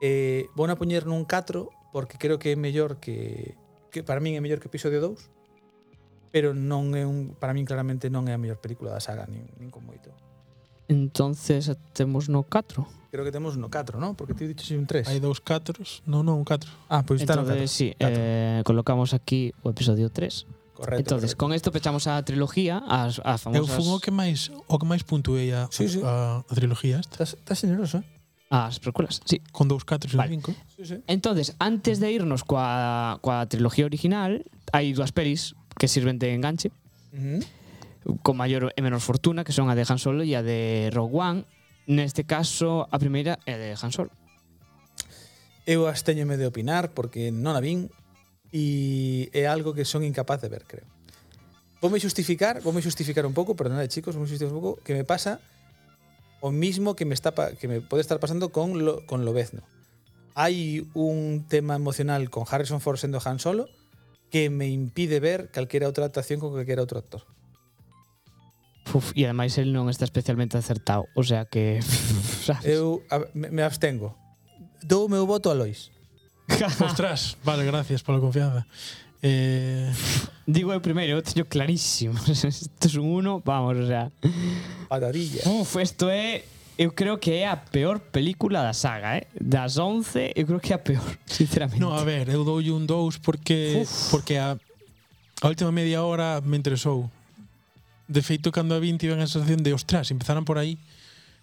[SPEAKER 1] eh, vou a poñer nun 4 porque creo que é mellor que, que para min é mellor que o episodio 2 pero non é un para min claramente non é a mellor película da saga nin, nin con moito
[SPEAKER 4] Entonces temos no 4.
[SPEAKER 1] creo que temos no 4, non? porque ti dices un 3
[SPEAKER 3] Hai dous catros. Non, non, un catro.
[SPEAKER 1] ah, pois está no 4
[SPEAKER 4] Entonces, sí, eh, colocamos aquí o episodio 3.
[SPEAKER 1] correcto,
[SPEAKER 4] Entonces,
[SPEAKER 1] correcto.
[SPEAKER 4] con esto pechamos a trilogía, as, as
[SPEAKER 3] Eu
[SPEAKER 4] famosas...
[SPEAKER 3] fun o que máis o que máis puntuei a,
[SPEAKER 1] Sí, sí.
[SPEAKER 3] a, a trilogía esta.
[SPEAKER 1] Estás, estás generoso, eh?
[SPEAKER 4] As precuelas, sí.
[SPEAKER 3] Con dous catros
[SPEAKER 4] Vale.
[SPEAKER 3] e un cinco.
[SPEAKER 1] Sí, sí.
[SPEAKER 4] Entonces, antes de irnos coa, coa trilogía original, hai dúas pelis que sirven de enganche,
[SPEAKER 1] Uh -huh.
[SPEAKER 4] con maior e menor fortuna, que son a de Han Solo e a de Rogue One. Neste caso, a primeira é a de Han Solo.
[SPEAKER 1] Eu abstéñome de opinar porque non a vin e é algo que son incapaz de ver, creo. Voume xustificar, voume xustificar un pouco, perdonade chicos, voume xustificar un pouco que me pasa o mismo que me está pa- que me pode estar pasando con lo, con Lobezno. Hai un tema emocional con Harrison Ford sendo Han Solo que me impide ver calquera outra adaptación con calquera outro actor.
[SPEAKER 4] Uf, e ademais el non está especialmente acertado, o sea que <laughs> sabes?
[SPEAKER 1] Eu a, me, me abstengo. Dou o meu voto a Lois.
[SPEAKER 3] Ostras, vale, gracias pola confianza. Eh,
[SPEAKER 4] Digo eu primeiro, eu teño clarísimo. <laughs> Isto é un uno, vamos, o sea.
[SPEAKER 1] Patadilla.
[SPEAKER 4] Uf, isto é eu creo que é a peor película da saga, eh? Das 11, eu creo que é a peor, <laughs> sinceramente.
[SPEAKER 3] no, a ver, eu doulle un 2 porque
[SPEAKER 4] Uf.
[SPEAKER 3] porque a, a última media hora me interesou. De feito, cando a 20 ven a sensación de, ostras, empezaran por aí.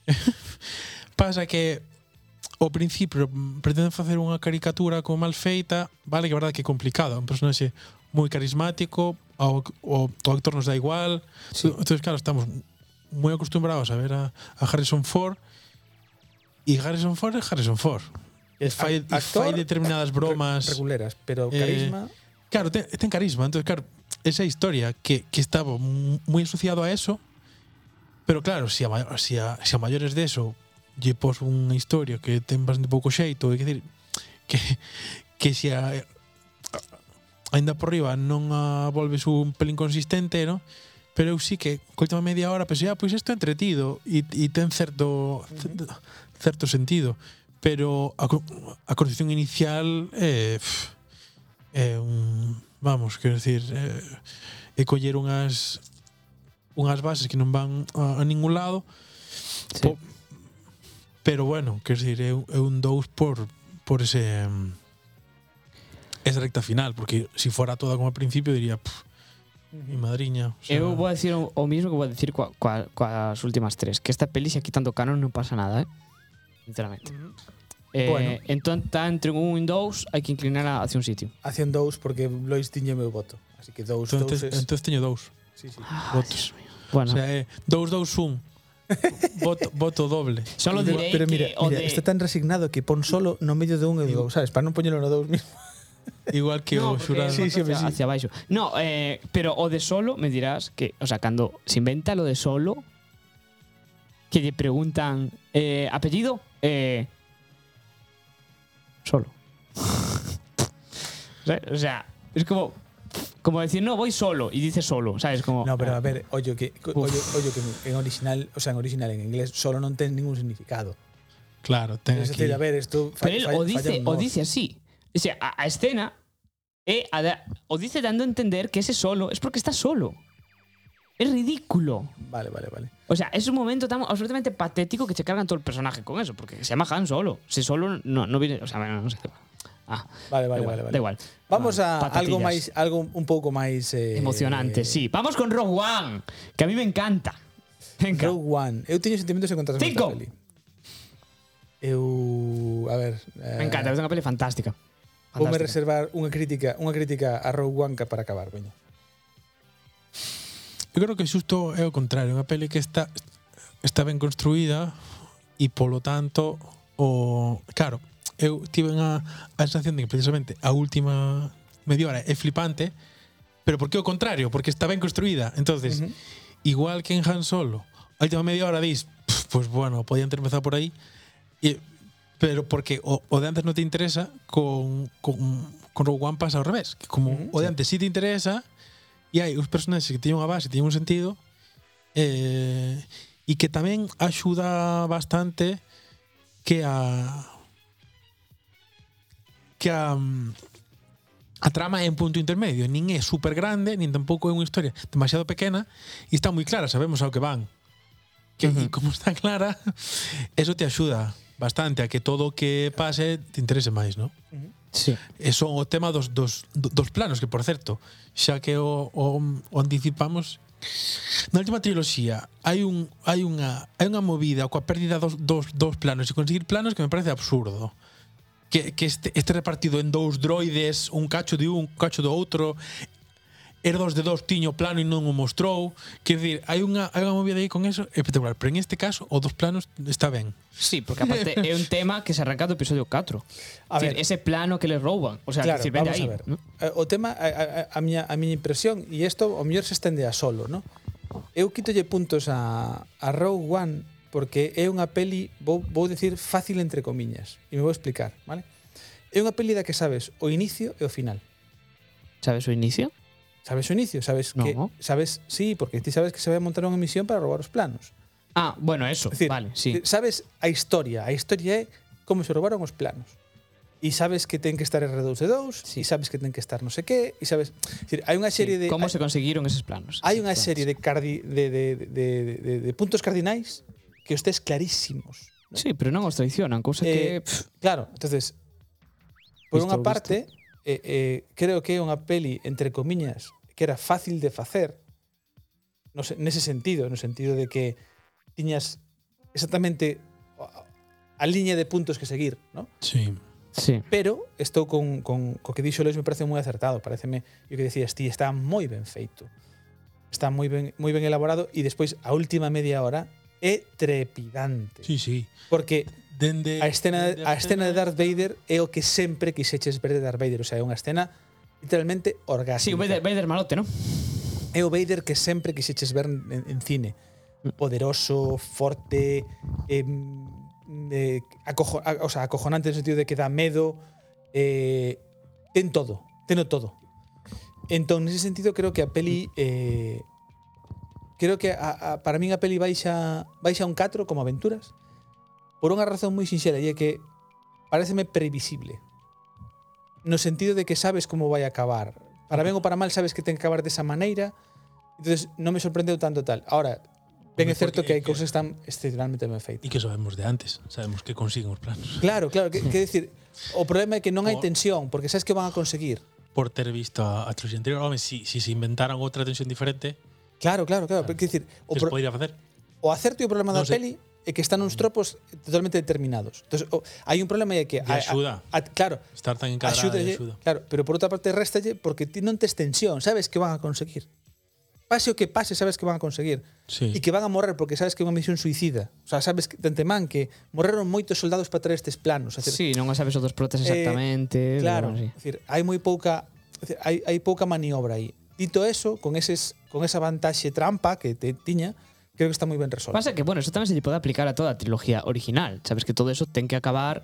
[SPEAKER 3] <laughs> Pasa que ao principio pretenden facer unha caricatura como mal feita, vale que a verdade que é complicado, un personaxe moi carismático, ao, o, o actor nos dá igual.
[SPEAKER 1] Sí.
[SPEAKER 3] Sí. Entonces, claro, estamos moi acostumbrados a ver a, a Harrison Ford e Harrison Ford é Harrison Ford. E fai, e
[SPEAKER 1] Actor,
[SPEAKER 3] fai determinadas bromas.
[SPEAKER 1] Re- reguleras, pero
[SPEAKER 3] Eh,
[SPEAKER 1] carisma.
[SPEAKER 3] Claro, ten, ten carisma. Entonces, claro, esa historia que, que estaba mu- muy asociado a eso, pero claro, si a, ma- si a, si a maiores de eso lle pos unha historia que ten bastante pouco xeito, é que decir, que, que se a, ainda por riba non a volves un pelín consistente, no? Pero eu sí que, coitame media hora, pensei, ah, pois isto é entretido e, e ten certo, certo, certo sentido. Pero a, co- a construcción inicial é... Eh, é un vamos, quero decir, é, é coller unhas unhas bases que non van a, a ningún lado.
[SPEAKER 4] Sí.
[SPEAKER 3] po- pero bueno, quero decir, é, un- é un 2 por por ese mm, esa recta final, porque se si fora toda como al principio diría, pff, mi madriña, o sea,
[SPEAKER 4] Eu vou dicir o, o mismo que vou dicir coa, coa, coas últimas tres, que esta peli se aquí tanto canon non pasa nada, eh? Sinceramente. Eh,
[SPEAKER 1] Bueno.
[SPEAKER 4] bueno. Entón, tá entre un e un dous, hai que inclinar a- hacia un sitio.
[SPEAKER 1] Hacen dous porque Lois tiñe meu voto. Así que dous,
[SPEAKER 3] entonces,
[SPEAKER 1] dous es...
[SPEAKER 3] entonces teño dous.
[SPEAKER 1] Sí, sí.
[SPEAKER 4] Ah,
[SPEAKER 3] votos. O
[SPEAKER 4] Bueno, o sea,
[SPEAKER 3] sea, é dous, dous, un. voto, voto doble.
[SPEAKER 4] solo direi
[SPEAKER 1] pero mira,
[SPEAKER 4] que o
[SPEAKER 1] mira
[SPEAKER 4] de...
[SPEAKER 1] está tan resignado que pon solo no medio de un e do dous, sabes? Para non poñelo no dous mismo.
[SPEAKER 3] Igual que
[SPEAKER 4] no,
[SPEAKER 3] o
[SPEAKER 4] porque
[SPEAKER 3] xurado.
[SPEAKER 1] Sí, sí,
[SPEAKER 4] hacia,
[SPEAKER 1] sí.
[SPEAKER 4] hacia abaixo. No, eh, pero o de solo me dirás que, o sea, cando se inventa lo de solo que lle preguntan eh, apellido eh, solo. <laughs> ¿Sabes? o sea, es como como decir, "No, voy solo" y dice solo, ¿sabes? Como
[SPEAKER 1] No,
[SPEAKER 3] ah.
[SPEAKER 1] pero a ver, ollo que co-
[SPEAKER 4] Uf.
[SPEAKER 1] ollo, ollo que en original, o sea, en original en inglés solo non ten ningún significado.
[SPEAKER 3] Claro, ten
[SPEAKER 1] Es
[SPEAKER 3] aquí.
[SPEAKER 1] decir, a ver, isto fa-
[SPEAKER 4] Pero él
[SPEAKER 1] fa-
[SPEAKER 4] o
[SPEAKER 1] falla
[SPEAKER 4] dice,
[SPEAKER 1] un
[SPEAKER 4] o
[SPEAKER 1] mos.
[SPEAKER 4] dice así. O sea, a, a escena, eh, a da- o dice dando a entender que ese solo es porque está solo. Es ridículo.
[SPEAKER 1] Vale, vale, vale.
[SPEAKER 4] O sea, es un momento tan absolutamente patético que se cargan todo el personaje con eso, porque se llama Han solo. Si solo no, no viene. O sea, bueno, no sé. Ah,
[SPEAKER 1] Vale,
[SPEAKER 4] da
[SPEAKER 1] vale,
[SPEAKER 4] igual,
[SPEAKER 1] vale, vale.
[SPEAKER 4] Da igual.
[SPEAKER 1] Vamos
[SPEAKER 4] Vale,
[SPEAKER 1] a algo eh,
[SPEAKER 4] patatillas.
[SPEAKER 1] máis algo un pouco máis eh,
[SPEAKER 4] Emocionante, sí. Vamos con Rogue One, que a mí me encanta. Venga.
[SPEAKER 1] Rogue One. Eu teño sentimentos encontrados con
[SPEAKER 4] Cinco.
[SPEAKER 1] esta peli. Eu, a ver, eh,
[SPEAKER 4] me encanta, es una peli fantástica.
[SPEAKER 1] Vou me
[SPEAKER 4] Fantástica.
[SPEAKER 1] reservar unha crítica, unha crítica a Rogue One ca- para acabar, veña.
[SPEAKER 3] Eu creo que xusto é o contrario, unha peli que está está ben construída e polo tanto o claro, eu tive unha a sensación de que precisamente a última media hora é flipante, pero por que o contrario? Porque está ben construída. Entonces, uh -huh. igual que en Han Solo, a última media hora dis, "Pf, pues bueno, podían ter empezado por aí. E, pero porque o, o de antes no te interesa, con, con, con Rogue One pasa ao revés. Que como o de antes sí te interesa, e hai uns personaxes que teñen unha base, teñen un sentido, eh, e que tamén axuda bastante que a que a a trama é un punto intermedio, nin é super grande, nin tampouco é unha historia demasiado pequena, e está moi clara, sabemos ao que van. Que uh -huh. como está clara, <laughs> eso te axuda bastante a que todo o que pase te interese máis, non?
[SPEAKER 4] Sí.
[SPEAKER 3] E son o tema dos, dos, dos planos, que por certo, xa que o, o, o anticipamos, na última triloxía hai un hai unha hai unha movida coa pérdida dos, dos, dos planos e conseguir planos que me parece absurdo. Que, que este, este repartido en dous droides, un cacho de un, un cacho do outro, Erdos de dos tiño plano e non o mostrou. Quer dicir, hai unha, hai unha movida aí con eso espectacular. Pero en este caso, o dos planos está ben.
[SPEAKER 4] Sí, porque aparte é un tema que se arranca do episodio 4.
[SPEAKER 1] A ver.
[SPEAKER 4] Decir, ese plano que le rouban. O sea,
[SPEAKER 1] Claro,
[SPEAKER 4] decir,
[SPEAKER 1] vamos
[SPEAKER 4] vende ahí,
[SPEAKER 1] a ver.
[SPEAKER 4] ¿no?
[SPEAKER 1] Eh, O tema, a, a, a, miña, a miña impresión, e isto o mellor se estende a solo, no? Eu quitolle puntos a, a Rogue One porque é unha peli, vou, vou decir fácil entre comiñas, e me vou explicar, vale? É unha peli da que sabes o inicio e o final.
[SPEAKER 4] ¿Sabes su inicio?
[SPEAKER 1] Sabes o inicio, sabes
[SPEAKER 4] No.
[SPEAKER 1] que sabes, sí, porque ti sabes que se vai montar unha misión para roubar os planos.
[SPEAKER 4] Ah, bueno, eso.
[SPEAKER 1] Es decir, eh,
[SPEAKER 4] vale, sí.
[SPEAKER 1] sabes a historia, a historia é como se roubaron os planos. E sabes que ten que estar R2D2, e
[SPEAKER 4] Sí.
[SPEAKER 1] sabes que ten que estar no sé que, e sabes, es decir, hai unha serie de
[SPEAKER 4] ¿Cómo
[SPEAKER 1] hai,
[SPEAKER 4] se consiguieron esos planos?
[SPEAKER 1] hai
[SPEAKER 4] Esos
[SPEAKER 1] unha
[SPEAKER 4] planos.
[SPEAKER 1] serie de, cardi, de, de, de, de, de, de puntos cardinais que os tes clarísimos. ¿no?
[SPEAKER 4] Sí, pero non os traicionan, cousa
[SPEAKER 1] Eh,
[SPEAKER 4] que... pff,
[SPEAKER 1] Claro, entonces, por
[SPEAKER 4] Visto
[SPEAKER 1] unha
[SPEAKER 4] o
[SPEAKER 1] parte, eh, eh, creo que é unha peli, entre comiñas, que era fácil de facer, no se, nese sentido, no sentido de que tiñas exactamente a, a liña de puntos que seguir, ¿no?
[SPEAKER 3] Sí.
[SPEAKER 4] Sí.
[SPEAKER 1] Pero estou con, con co que dixo Lois me parece moi acertado, pareceme, o que decías ti, está moi ben feito. Está moi ben moi ben elaborado e despois a última media hora é trepidante.
[SPEAKER 3] Sí, sí.
[SPEAKER 1] Porque
[SPEAKER 3] Dende
[SPEAKER 1] a escena
[SPEAKER 3] dende
[SPEAKER 1] a escena de Darth Vader é o que sempre quixeches ver de Darth Vader, o sea, é unha escena literalmente orgásmica.
[SPEAKER 4] Sí, o Vader, Vader malote, ¿no?
[SPEAKER 1] É o Vader que sempre quixeches ver en, en cine. Poderoso, forte, eh, eh, acojo, a- o sea, acojonante no sentido de que dá medo, eh, ten todo, teno todo. Entón, nese sentido, creo que a peli... Eh, creo que a, a, para min a peli baixa, baixa un 4 como aventuras por unha razón moi sinxela e é que pareceme previsible no sentido de que sabes como vai acabar para ben ou para mal sabes que ten que acabar desa maneira entonces non me sorprendeu tanto tal ahora ben é
[SPEAKER 3] Hombre,
[SPEAKER 1] certo que hai
[SPEAKER 3] porque-
[SPEAKER 1] cousas tan excepcionalmente ben feitas
[SPEAKER 3] E que sabemos de antes, sabemos que consiguen os planos.
[SPEAKER 1] claro, claro, que, que decir o problema é que non hai
[SPEAKER 3] O-
[SPEAKER 1] tensión porque sabes que van a conseguir
[SPEAKER 3] Por ter visto a, a triloxía anterior, home, si, si se inventaran outra tensión diferente,
[SPEAKER 1] claro, claro, claro, pero, que decir o,
[SPEAKER 3] que
[SPEAKER 1] pro-
[SPEAKER 3] se podría facer?
[SPEAKER 1] o acerto e o problema da
[SPEAKER 3] Non sei.
[SPEAKER 1] peli é que están uns tropos totalmente determinados. Entonces, o, hai un problema e é que
[SPEAKER 3] E axuda.
[SPEAKER 1] A, a, claro,
[SPEAKER 3] Estar tan encadrada
[SPEAKER 1] axúdalle,
[SPEAKER 3] e axuda.
[SPEAKER 1] claro, pero por outra parte réstalle porque ti non tes tensión, sabes que van a conseguir. Pase o que pase, sabes que van a conseguir.
[SPEAKER 3] Sí.
[SPEAKER 1] E que van a morrer porque sabes que é unha misión suicida. O sea, sabes que de antemán que morreron moitos soldados para traer estes planos, é dicir,
[SPEAKER 4] Sí, non sabes os dos protas
[SPEAKER 1] Eh,
[SPEAKER 4] exactamente.
[SPEAKER 1] Claro,
[SPEAKER 4] pero bueno, sí.
[SPEAKER 1] es decir, hai moi pouca, es decir, hai hai pouca maniobra aí. Dito eso, con eses con esa vantaxe trampa que te tiña, creo que está moi ben resolto.
[SPEAKER 4] Pasa que, bueno, eso tamén se lle pode aplicar a toda a trilogía original. Sabes que todo eso ten que acabar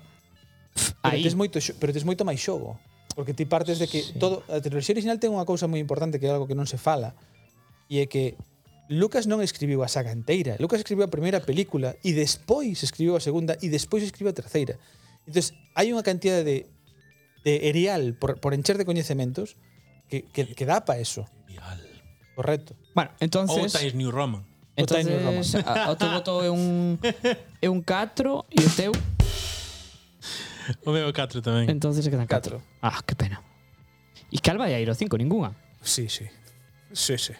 [SPEAKER 4] pff,
[SPEAKER 1] Pero
[SPEAKER 4] aí.
[SPEAKER 1] tes moito, xo- pero tes moito máis xogo. Porque ti partes de que
[SPEAKER 4] Sí.
[SPEAKER 1] todo a trilogía original ten unha cousa moi importante que é algo que non se fala e é que Lucas non escribiu a saga inteira. Lucas escribiu a primeira película e despois escribiu a segunda e despois escribiu a terceira. Entonces, hai unha cantidad de de erial por, por encher de coñecementos que, que, que dá para eso,
[SPEAKER 3] Ideal.
[SPEAKER 1] correcto.
[SPEAKER 4] Bueno,
[SPEAKER 3] Ou
[SPEAKER 4] entonces...
[SPEAKER 3] Times
[SPEAKER 4] <laughs>
[SPEAKER 3] New Roman.
[SPEAKER 1] Botei no
[SPEAKER 4] Entonces, a, o teu voto é un é un 4 e o teu
[SPEAKER 3] O meu 4 tamén.
[SPEAKER 4] entonces se quedan 4.
[SPEAKER 1] Catro.
[SPEAKER 4] Ah, que pena. E cal vai a ir o 5 ningunha.
[SPEAKER 1] Sí, sí. Sí, sí.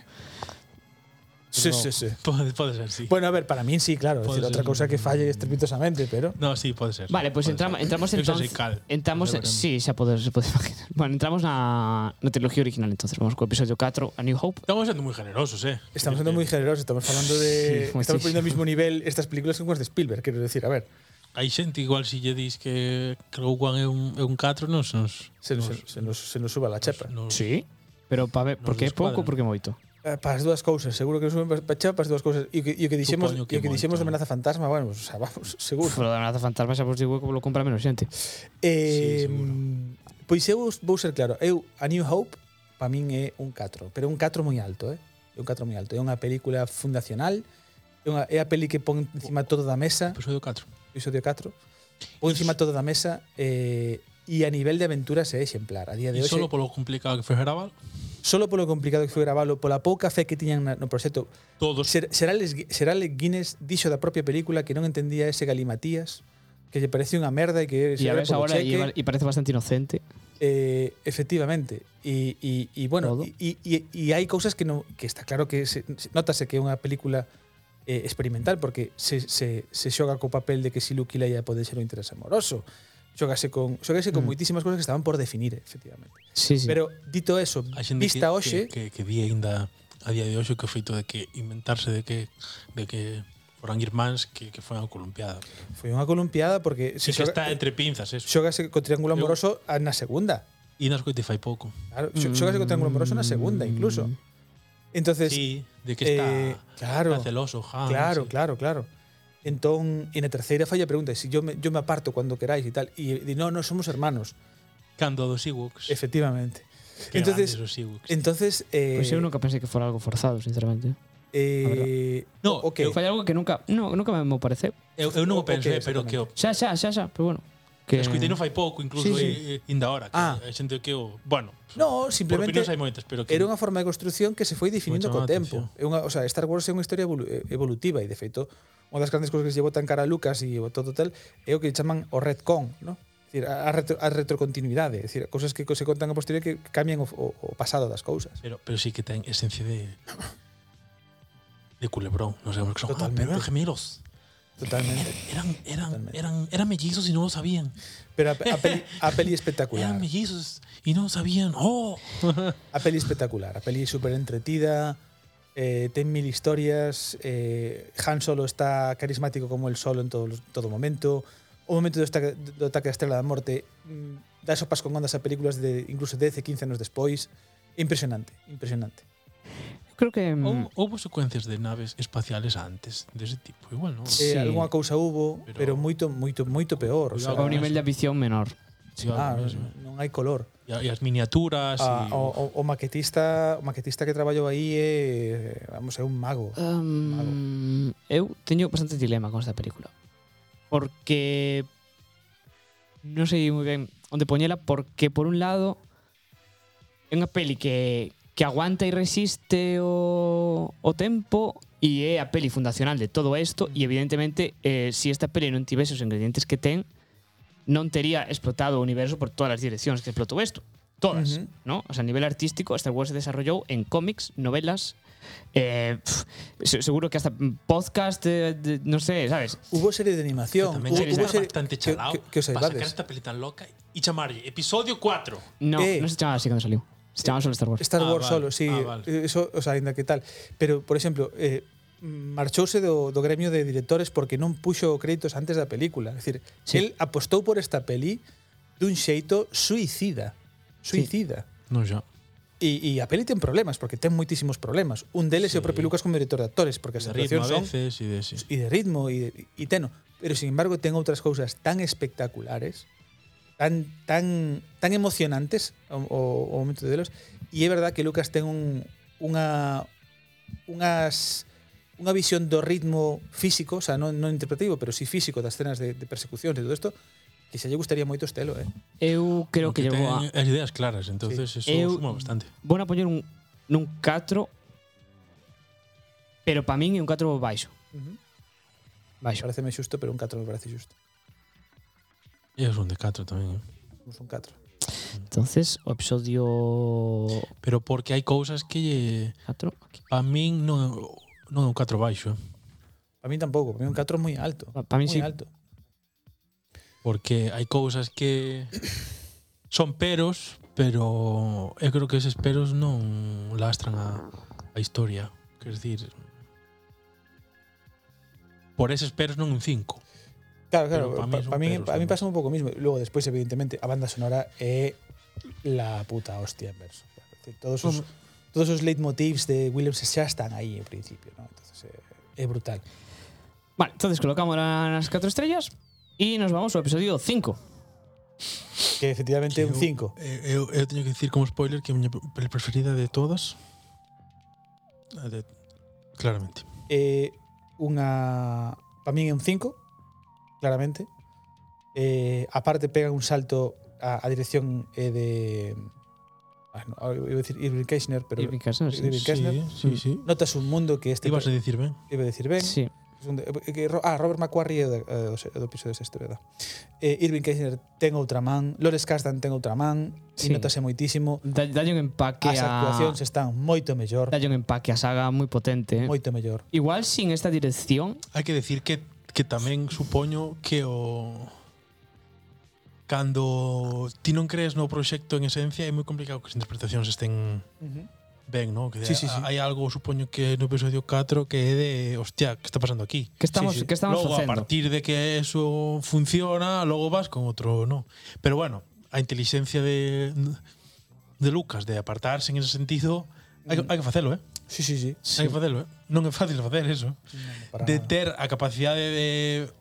[SPEAKER 1] Sí, sí, sí.
[SPEAKER 3] Pode, pode ser, sí.
[SPEAKER 1] Bueno, a ver, para min sí, claro. Es
[SPEAKER 3] Pode
[SPEAKER 1] decir,
[SPEAKER 3] ser
[SPEAKER 1] outra cousa que falle estrepitosamente, pero...
[SPEAKER 3] No, sí, pode ser.
[SPEAKER 4] Vale, pois pues entramos
[SPEAKER 3] Pode ser.
[SPEAKER 4] entramos
[SPEAKER 3] Eu xa sei
[SPEAKER 4] entonces
[SPEAKER 3] cal.
[SPEAKER 4] entramos
[SPEAKER 3] Xa
[SPEAKER 4] en,
[SPEAKER 3] veremos.
[SPEAKER 4] sí, xa podes, se pode imaginar. Bueno, entramos na na trilogía original entonces. Vamos co episodio 4, A New Hope.
[SPEAKER 3] Estamos sendo moi generosos, eh.
[SPEAKER 1] Estamos siendo muy generosos, estamos hablando de.
[SPEAKER 4] Sí, muchísimo.
[SPEAKER 1] estamos poniendo al mismo nivel estas películas que con las de Spielberg, quiero decir. A ver,
[SPEAKER 3] Hai xente igual se lle dis que que Rogue One é un é un 4, non se nos
[SPEAKER 1] se nos, se nos, se nos suba la chepa.
[SPEAKER 3] nos-
[SPEAKER 4] Sí. Pero pa ver,
[SPEAKER 3] Nos
[SPEAKER 4] porque é pouco,
[SPEAKER 3] descuadran.
[SPEAKER 4] porque é moito.
[SPEAKER 1] eh, para as dúas cousas, seguro que suben para Cheva para as dúas cousas. E o que, e o que dixemos,
[SPEAKER 3] Supoño
[SPEAKER 1] que e o
[SPEAKER 3] que
[SPEAKER 1] que dixemos de
[SPEAKER 3] moito.
[SPEAKER 1] amenaza fantasma, bueno, pues, o sea, vamos, <laughs> seguro.
[SPEAKER 4] Uf, lo da amenaza fantasma xa vos digo que lo compra menos xente.
[SPEAKER 1] Eh,
[SPEAKER 3] Sí, seguro.
[SPEAKER 1] pois eu os- vou ser claro, eu A New Hope para min é un 4, pero un 4 moi alto, eh? É un 4 moi alto, é unha película fundacional, é, unha, é a peli que pon encima todo da mesa,
[SPEAKER 3] Episodio 4.
[SPEAKER 1] episodio 4, pon encima todo da mesa eh, e a nivel de aventuras é exemplar. A día
[SPEAKER 3] E
[SPEAKER 1] de hoxe,
[SPEAKER 3] solo polo complicado que foi gravar,
[SPEAKER 1] solo polo complicado que foi gravalo, pola pouca fe que tiñan na- no proxecto,
[SPEAKER 3] todos
[SPEAKER 1] Ser, Serales, Serales Guinness dixo da propia película que non entendía ese galimatías, que lle parecía unha merda e que
[SPEAKER 4] E a
[SPEAKER 1] era
[SPEAKER 4] ves
[SPEAKER 1] polo
[SPEAKER 4] agora e
[SPEAKER 1] cheque.
[SPEAKER 4] e parece bastante inocente.
[SPEAKER 1] Eh, efectivamente. E, e, e bueno,
[SPEAKER 4] Todo.
[SPEAKER 1] e, e, e hai cousas que non que está claro que se, se- notase que é unha película eh, experimental porque se, se, se xoga co papel de que si Luke e Leia pode ser un interés amoroso. Xogase con xogase con
[SPEAKER 4] Mm.
[SPEAKER 1] moitísimas cousas que estaban por definir, efectivamente.
[SPEAKER 4] Sí, sí.
[SPEAKER 1] Pero dito eso,
[SPEAKER 3] a xente
[SPEAKER 1] vista
[SPEAKER 3] que,
[SPEAKER 1] hoxe,
[SPEAKER 3] que, que, que vi aínda a día de hoxe que o feito de que inventarse de que de que foran irmáns que, que foran columpiadas.
[SPEAKER 1] foi unha columpiada porque
[SPEAKER 3] Si
[SPEAKER 1] se
[SPEAKER 3] que está
[SPEAKER 1] xoga,
[SPEAKER 3] entre pinzas eso.
[SPEAKER 1] xogase co triángulo
[SPEAKER 3] Eu-
[SPEAKER 1] amoroso a- na segunda.
[SPEAKER 3] E nas Spotify pouco.
[SPEAKER 1] Claro, xo- xogase co triángulo amoroso na segunda
[SPEAKER 4] Mm.
[SPEAKER 1] incluso. Entonces,
[SPEAKER 3] Sí, de que está,
[SPEAKER 1] eh, claro.
[SPEAKER 3] está celoso, Han.
[SPEAKER 1] Claro,
[SPEAKER 3] Ah, sí.
[SPEAKER 1] claro, claro. Entón, en a terceira falla pregunta, se si yo me, yo me aparto cando queráis e tal, e di, no, no, somos hermanos.
[SPEAKER 3] Cando dos Ewoks.
[SPEAKER 1] Efectivamente.
[SPEAKER 3] que
[SPEAKER 1] entonces-
[SPEAKER 3] grandes os Ewoks.
[SPEAKER 1] Entonces, eh,
[SPEAKER 4] Pois eu nunca pensei que fora algo forzado, sinceramente.
[SPEAKER 1] eh,
[SPEAKER 3] Ah, No,
[SPEAKER 1] o que
[SPEAKER 3] eu
[SPEAKER 4] Foi algo que nunca, no, nunca me pareceu.
[SPEAKER 3] eu, eu
[SPEAKER 1] o-
[SPEAKER 3] non
[SPEAKER 1] o
[SPEAKER 3] o penso,
[SPEAKER 1] que
[SPEAKER 3] eh, pero que o
[SPEAKER 4] Xa, xa, xa, xa, pero bueno.
[SPEAKER 3] que
[SPEAKER 4] Que
[SPEAKER 3] escoitei non fai pouco,
[SPEAKER 4] Sí,
[SPEAKER 3] incluso sí,
[SPEAKER 4] sí.
[SPEAKER 3] sí. E, e, inda ahora, que
[SPEAKER 1] Ah.
[SPEAKER 3] ah. hai xente que o, bueno,
[SPEAKER 1] no,
[SPEAKER 3] por
[SPEAKER 1] simplemente
[SPEAKER 3] opinións hai moitas, pero que
[SPEAKER 1] era unha forma de construción que se foi definindo
[SPEAKER 3] Moito
[SPEAKER 1] co
[SPEAKER 3] chamaba a
[SPEAKER 1] tempo. É unha, o sea, Star Wars é unha historia evolu- eh, evolutiva e de feito unha das grandes cousas que se llevou tan cara a Lucas e o todo tal é o que chaman o retcon, ¿no? Decir, a, a, retro, a retrocontinuidade, decir, cousas que se contan a posteriori que cambian o, o, o pasado das cousas.
[SPEAKER 3] Pero, pero sí que ten esencia de de culebrón, no sabemos qué son. Ah,
[SPEAKER 1] Totalmente.
[SPEAKER 3] pero eran gemelos.
[SPEAKER 1] Totalmente.
[SPEAKER 3] Eran, eran,
[SPEAKER 1] Totalmente.
[SPEAKER 3] eran, eran mellizos y no lo sabían.
[SPEAKER 1] Pero a, a peli, a peli espectacular.
[SPEAKER 3] Eran mellizos y no lo sabían. ¡Oh!
[SPEAKER 1] A peli espectacular, a peli súper entretida, eh, ten mil historias, eh, Han Solo está carismático como el solo en todo, los- todo momento, o momento do, esta- do ataque da Estrela da Morte mm, dá sopas con ondas a películas de incluso 10 e 15 anos despois, impresionante, impresionante.
[SPEAKER 4] Creo que mm,
[SPEAKER 3] Hou- Houbo secuencias de naves espaciales antes de ese tipo. Igual, ¿no?
[SPEAKER 4] Sí.
[SPEAKER 1] Eh, algunha cousa hubo, pero, pero
[SPEAKER 3] Pero-
[SPEAKER 1] moito, moito, moito peor. O sea,
[SPEAKER 4] a un nivel de ambición menor.
[SPEAKER 1] ah,
[SPEAKER 3] Ah,
[SPEAKER 1] non hai color.
[SPEAKER 3] e, a- e as miniaturas.
[SPEAKER 1] Ah,
[SPEAKER 3] e,
[SPEAKER 1] o, o, o maquetista, o maquetista que traballou aí é, vamos, é un mago.
[SPEAKER 4] Um, eu teño bastante dilema con esta película. Porque non sei moi ben onde poñela porque por un lado é unha peli que que aguanta e resiste o, o tempo e é a peli fundacional de todo isto e evidentemente eh, si esta peli non tivese os ingredientes que ten non tería explotado o universo por todas as direccións que explotou isto. Todas,
[SPEAKER 1] Ujú.
[SPEAKER 4] ¿no? O sea, a nivel artístico, Star Wars se desarrollou en cómics, novelas, eh, pf, se- seguro que hasta podcast, eh, de- no sé, ¿sabes?
[SPEAKER 1] Hubo serie de animación,
[SPEAKER 3] tamén
[SPEAKER 1] hubo,
[SPEAKER 3] sí,
[SPEAKER 1] hubo
[SPEAKER 3] está
[SPEAKER 1] serie que,
[SPEAKER 3] bastante chalao
[SPEAKER 1] que, que os
[SPEAKER 3] para sacar
[SPEAKER 1] aibades.
[SPEAKER 3] esta peli tan loca y chamarlle episodio 4
[SPEAKER 4] No,
[SPEAKER 1] Eh.
[SPEAKER 4] no se llamaba así cuando salió. Se llamaba solo Star Wars.
[SPEAKER 1] Star
[SPEAKER 3] Ah,
[SPEAKER 1] Wars
[SPEAKER 3] vale.
[SPEAKER 1] solo, sí,
[SPEAKER 3] Ah, vale.
[SPEAKER 1] eso, o sea, ainda que tal. Pero, por exemplo, eh, marchouse do, do gremio de directores porque non puxo créditos antes da película. Es decir, sí.
[SPEAKER 4] Sí.
[SPEAKER 1] el apostou por esta peli dun xeito suicida. Suicida. Sí.
[SPEAKER 3] No, ya.
[SPEAKER 1] E, e a peli ten problemas, porque ten moitísimos problemas. Un deles é o
[SPEAKER 3] Sí.
[SPEAKER 1] propio Lucas como director de actores, porque as
[SPEAKER 3] De ritmo
[SPEAKER 1] actuacións son
[SPEAKER 3] a veces y de sí.
[SPEAKER 1] e de ritmo e, de- e teno. Pero, sin embargo, ten outras cousas tan espectaculares, tan tan tan emocionantes o, o, o momento de delos. E é verdad que Lucas ten un, unha unhas unha visión do ritmo físico, o sea, non, non interpretativo, pero sí físico das cenas de, de persecución e todo isto, que se lle gustaría moito estelo, eh?
[SPEAKER 4] Eu creo que
[SPEAKER 3] Porque
[SPEAKER 4] llevó a...
[SPEAKER 3] ten as ideas claras, entonces eso
[SPEAKER 4] Eu-
[SPEAKER 3] suma bastante.
[SPEAKER 4] Vou a poñer un, nun 4, pero para min é un 4 baixo.
[SPEAKER 1] Uh -huh.
[SPEAKER 4] Baixo.
[SPEAKER 1] Pareceme xusto, pero un 4 me parece xusto.
[SPEAKER 3] E é un de 4 tamén. eh.
[SPEAKER 1] Somos un 4.
[SPEAKER 4] Entonces, o episodio
[SPEAKER 3] Pero porque hai cousas que lle
[SPEAKER 4] 4 aquí.
[SPEAKER 3] a min non non é un 4 baixo, eh.
[SPEAKER 1] Para mí tampouco, para mí un 4 é moi alto.
[SPEAKER 4] Para min
[SPEAKER 1] moi
[SPEAKER 4] sí,
[SPEAKER 1] alto.
[SPEAKER 3] porque hai cousas que son peros, pero eu creo que eses peros non lastran a, a historia, quer dicir por eses peros non un 5.
[SPEAKER 1] Claro, claro,
[SPEAKER 3] Pero pa
[SPEAKER 1] para mí,
[SPEAKER 3] mí son
[SPEAKER 1] pa mí,
[SPEAKER 3] peros
[SPEAKER 1] pa mí
[SPEAKER 3] tamén.
[SPEAKER 1] pasa un pouco o mismo. Logo despois eh, evidentemente a banda sonora é la puta hostia en verso. Todos os todos esos leitmotivs de Williams ya están ahí en principio, ¿no? Entonces eh, es brutal.
[SPEAKER 4] Vale, entonces colocamos las cuatro estrellas y nos vamos al episodio 5.
[SPEAKER 1] Que efectivamente un
[SPEAKER 3] Eu-
[SPEAKER 1] 5.
[SPEAKER 3] eh, Eu, eu teño que dicir como spoiler que a miña pel- preferida de todas a de, claramente.
[SPEAKER 1] Eh, unha para min é un 5, claramente. Eh, aparte pega un salto a, a dirección eh, de ah, no, iba a decir Irving Kirchner, pero
[SPEAKER 4] Irving Kirchner, sí.
[SPEAKER 1] Irving Kirchner.
[SPEAKER 3] Sí, sí, sí.
[SPEAKER 1] Notas un mundo que este
[SPEAKER 3] Ibas a dicir ben.
[SPEAKER 1] iba a decir ben.
[SPEAKER 4] Sí.
[SPEAKER 1] Segundo, eh, que Ro- ah, Robert McQuarrie é o da- eh, do, se- do episodio sexto, verdad. Eh, Irving Kirchner ten outra man, Lores Kasdan ten outra man, sí.
[SPEAKER 4] Sí.
[SPEAKER 1] e notase moitísimo.
[SPEAKER 4] Da- Dalle un empaque
[SPEAKER 1] As
[SPEAKER 4] a...
[SPEAKER 1] actuacións están moito mellor,
[SPEAKER 4] Dalle un empaque a saga moi potente. eh.
[SPEAKER 1] moito mellor.
[SPEAKER 4] Igual sin esta dirección
[SPEAKER 3] Hai que decir que que tamén supoño que o cando ti non crees no proxecto en esencia é moi complicado que as interpretacións estén ben, ¿no? Que
[SPEAKER 1] Sí, sí, sí.
[SPEAKER 3] hai algo, supoño que no episodio 4 que é de, hostia, que está pasando aquí?
[SPEAKER 4] que estamos
[SPEAKER 1] Sí, sí.
[SPEAKER 4] que estamos
[SPEAKER 3] logo, a
[SPEAKER 4] facendo.
[SPEAKER 3] partir de que eso funciona, logo vas con otro, no. Pero bueno, a inteligencia de, de Lucas de apartarse en ese sentido, hai, que- hai que facelo, eh?
[SPEAKER 1] Sí, sí, sí.
[SPEAKER 3] Sí. Hai que facelo, eh? Non é fácil facer eso.
[SPEAKER 1] Para
[SPEAKER 3] De
[SPEAKER 1] nada.
[SPEAKER 3] ter a capacidade de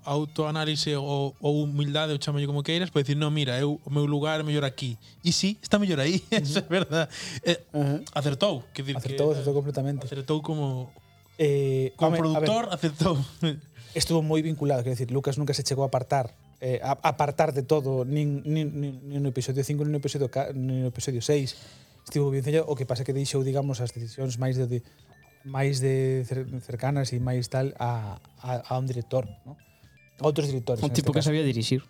[SPEAKER 3] autoanálise ou, ou humildade, ou chamalle como queiras, para dicir, non, mira, eu, o meu lugar é mellor aquí. E sí, está mellor aí, <laughs> eso é verdad. Eh,
[SPEAKER 1] Ajá.
[SPEAKER 3] acertou, que dir
[SPEAKER 1] Acertou,
[SPEAKER 3] que,
[SPEAKER 1] acertou completamente.
[SPEAKER 3] acertou como,
[SPEAKER 1] Eh, home, a
[SPEAKER 3] como
[SPEAKER 1] ver,
[SPEAKER 3] productor, acertou. <laughs>
[SPEAKER 1] estuvo moi vinculado, quero decir, Lucas nunca se chegou a apartar eh, a, a apartar de todo nin, nin, nin, nin no episodio 5 nin no episodio, ca- nin no episodio 6 estivo bien sellado, o que pasa que deixou digamos as decisións máis de, de máis de cer- cercanas e máis tal a, a, a un director ¿no? a outros directores
[SPEAKER 4] Un
[SPEAKER 1] en
[SPEAKER 4] tipo que
[SPEAKER 1] este caso.
[SPEAKER 4] sabía dirixir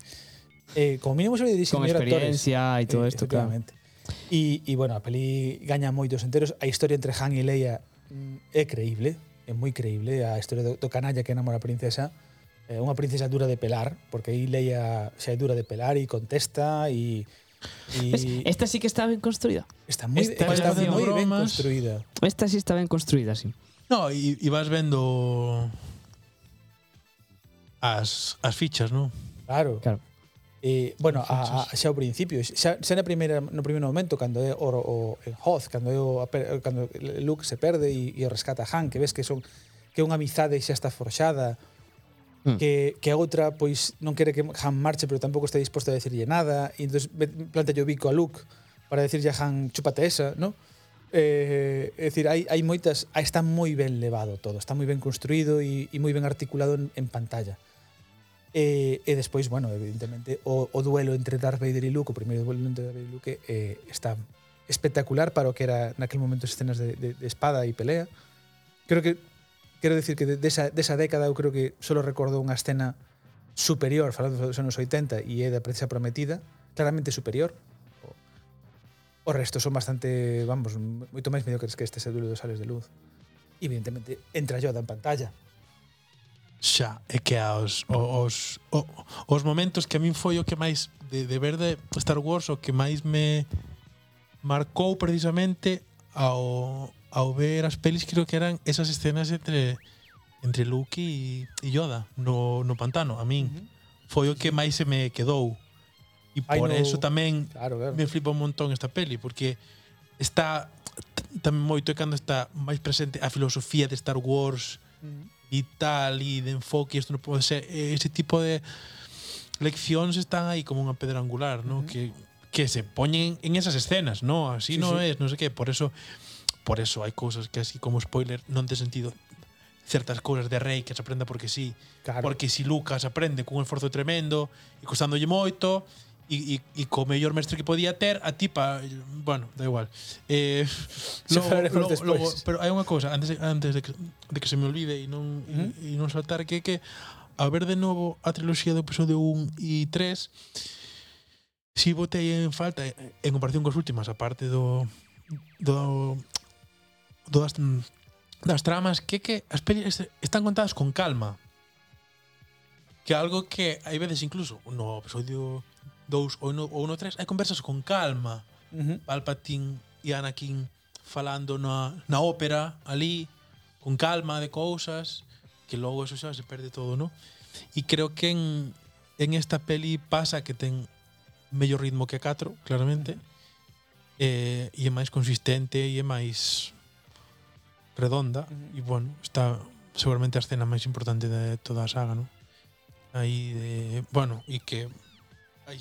[SPEAKER 1] eh, como mínimo sabía
[SPEAKER 4] con
[SPEAKER 1] diseñar actores
[SPEAKER 4] experiencia e todo
[SPEAKER 1] Eh,
[SPEAKER 4] isto, claro.
[SPEAKER 1] efectivamente. E, e bueno, a peli gaña moitos enteros. A historia entre Han e Leia mm, é creíble, é moi creíble. A historia do, do canalla que enamora a princesa é unha princesa dura de pelar, porque aí Leia xa é dura de pelar e contesta e,
[SPEAKER 4] Ves,
[SPEAKER 1] e
[SPEAKER 4] Esta sí que está ben construída.
[SPEAKER 1] está moi
[SPEAKER 4] esta
[SPEAKER 1] está, está
[SPEAKER 3] relación-
[SPEAKER 1] moi ben
[SPEAKER 3] bromas.
[SPEAKER 1] construída.
[SPEAKER 4] Esta sí está ben construída, sí.
[SPEAKER 3] No, e, e vas vendo as, as fichas, non?
[SPEAKER 1] Claro.
[SPEAKER 4] Claro.
[SPEAKER 1] Eh, bueno, a, a, xa ao principio, xa, xa na primeira, no primeiro momento cando é o, o en Hoth, cando é o, a per- cando Luke se perde e, e o rescata a Han, que ves que son que é unha amizade xa está forxada,
[SPEAKER 4] Mm.
[SPEAKER 1] que, que a outra pois non quere que Han marche, pero tampouco está disposta a decirlle nada, e entón planta o bico a Luke para decirlle a Han, chúpate esa, ¿no? Eh, é dicir, hai, hai moitas, ah, está moi ben levado todo, está moi ben construído e, e moi ben articulado en, en pantalla. E, e despois, bueno, evidentemente, o, o duelo entre Darth Vader e Luke, o primeiro duelo entre Darth Vader e Luke eh, está espectacular para o que era naquel momento as escenas de, de, de espada e pelea. Creo que quero decir que de- desa de desa década eu creo que solo recordo unha escena superior, falando dos anos 80 e é da princesa prometida, claramente superior. O, o resto son bastante, vamos, moito máis mediocres que este ese duelo dos sales de luz. E, Evidentemente entra Yoda en pantalla.
[SPEAKER 3] Xa, é que aos, os, os, os momentos que a min foi o que máis de, de ver de Star Wars o que máis me marcou precisamente ao, ao ver as pelis creo que eran esas escenas entre entre Luke e, e Yoda no, no pantano, a min foi o que máis se me quedou e
[SPEAKER 1] Ai,
[SPEAKER 3] por
[SPEAKER 1] no-
[SPEAKER 3] eso tamén
[SPEAKER 1] Claro, claro.
[SPEAKER 3] me flipa un montón esta peli porque está t- tamén moito é cando está máis presente a filosofía de Star Wars e tal e de enfoque isto non pode ser E ese tipo de leccións están aí como unha pedra angular, ¿no? que que se poñen en esas escenas, ¿no?
[SPEAKER 1] Sí,
[SPEAKER 3] Así no
[SPEAKER 1] sí.
[SPEAKER 3] es, no sé qué, por eso por eso hai cousas que así como spoiler non ten sentido certas cousas de Rey que se aprenda porque sí,
[SPEAKER 1] Claro.
[SPEAKER 3] porque si Lucas aprende cun esforzo tremendo e costándolle moito e, e, e co mellor mestre que podía ter a tipa, bueno, da igual eh,
[SPEAKER 1] Xa falaremos despois.
[SPEAKER 3] pero hai unha cousa antes, de, antes de, que, de que se me olvide e non, uh -huh. e, non saltar que é que a ver de novo a triloxía do episodio 1 e 3 si botei en falta eh, en comparación cos últimas a parte do do, do das, das tramas que é que as pelis están contadas con calma que algo que hai veces incluso no episodio 2 ou no ou no 3 hai conversas con calma
[SPEAKER 1] Ujú.
[SPEAKER 3] Palpatine e Anakin falando na, na ópera ali con calma de cousas que logo eso xa se perde todo, ¿no? E creo que en, en esta peli pasa que ten mellor ritmo que a 4, claramente. eh, e é máis consistente e é máis redonda e bueno, está seguramente a escena máis importante de toda a saga, non? Aí de, bueno, e que aí,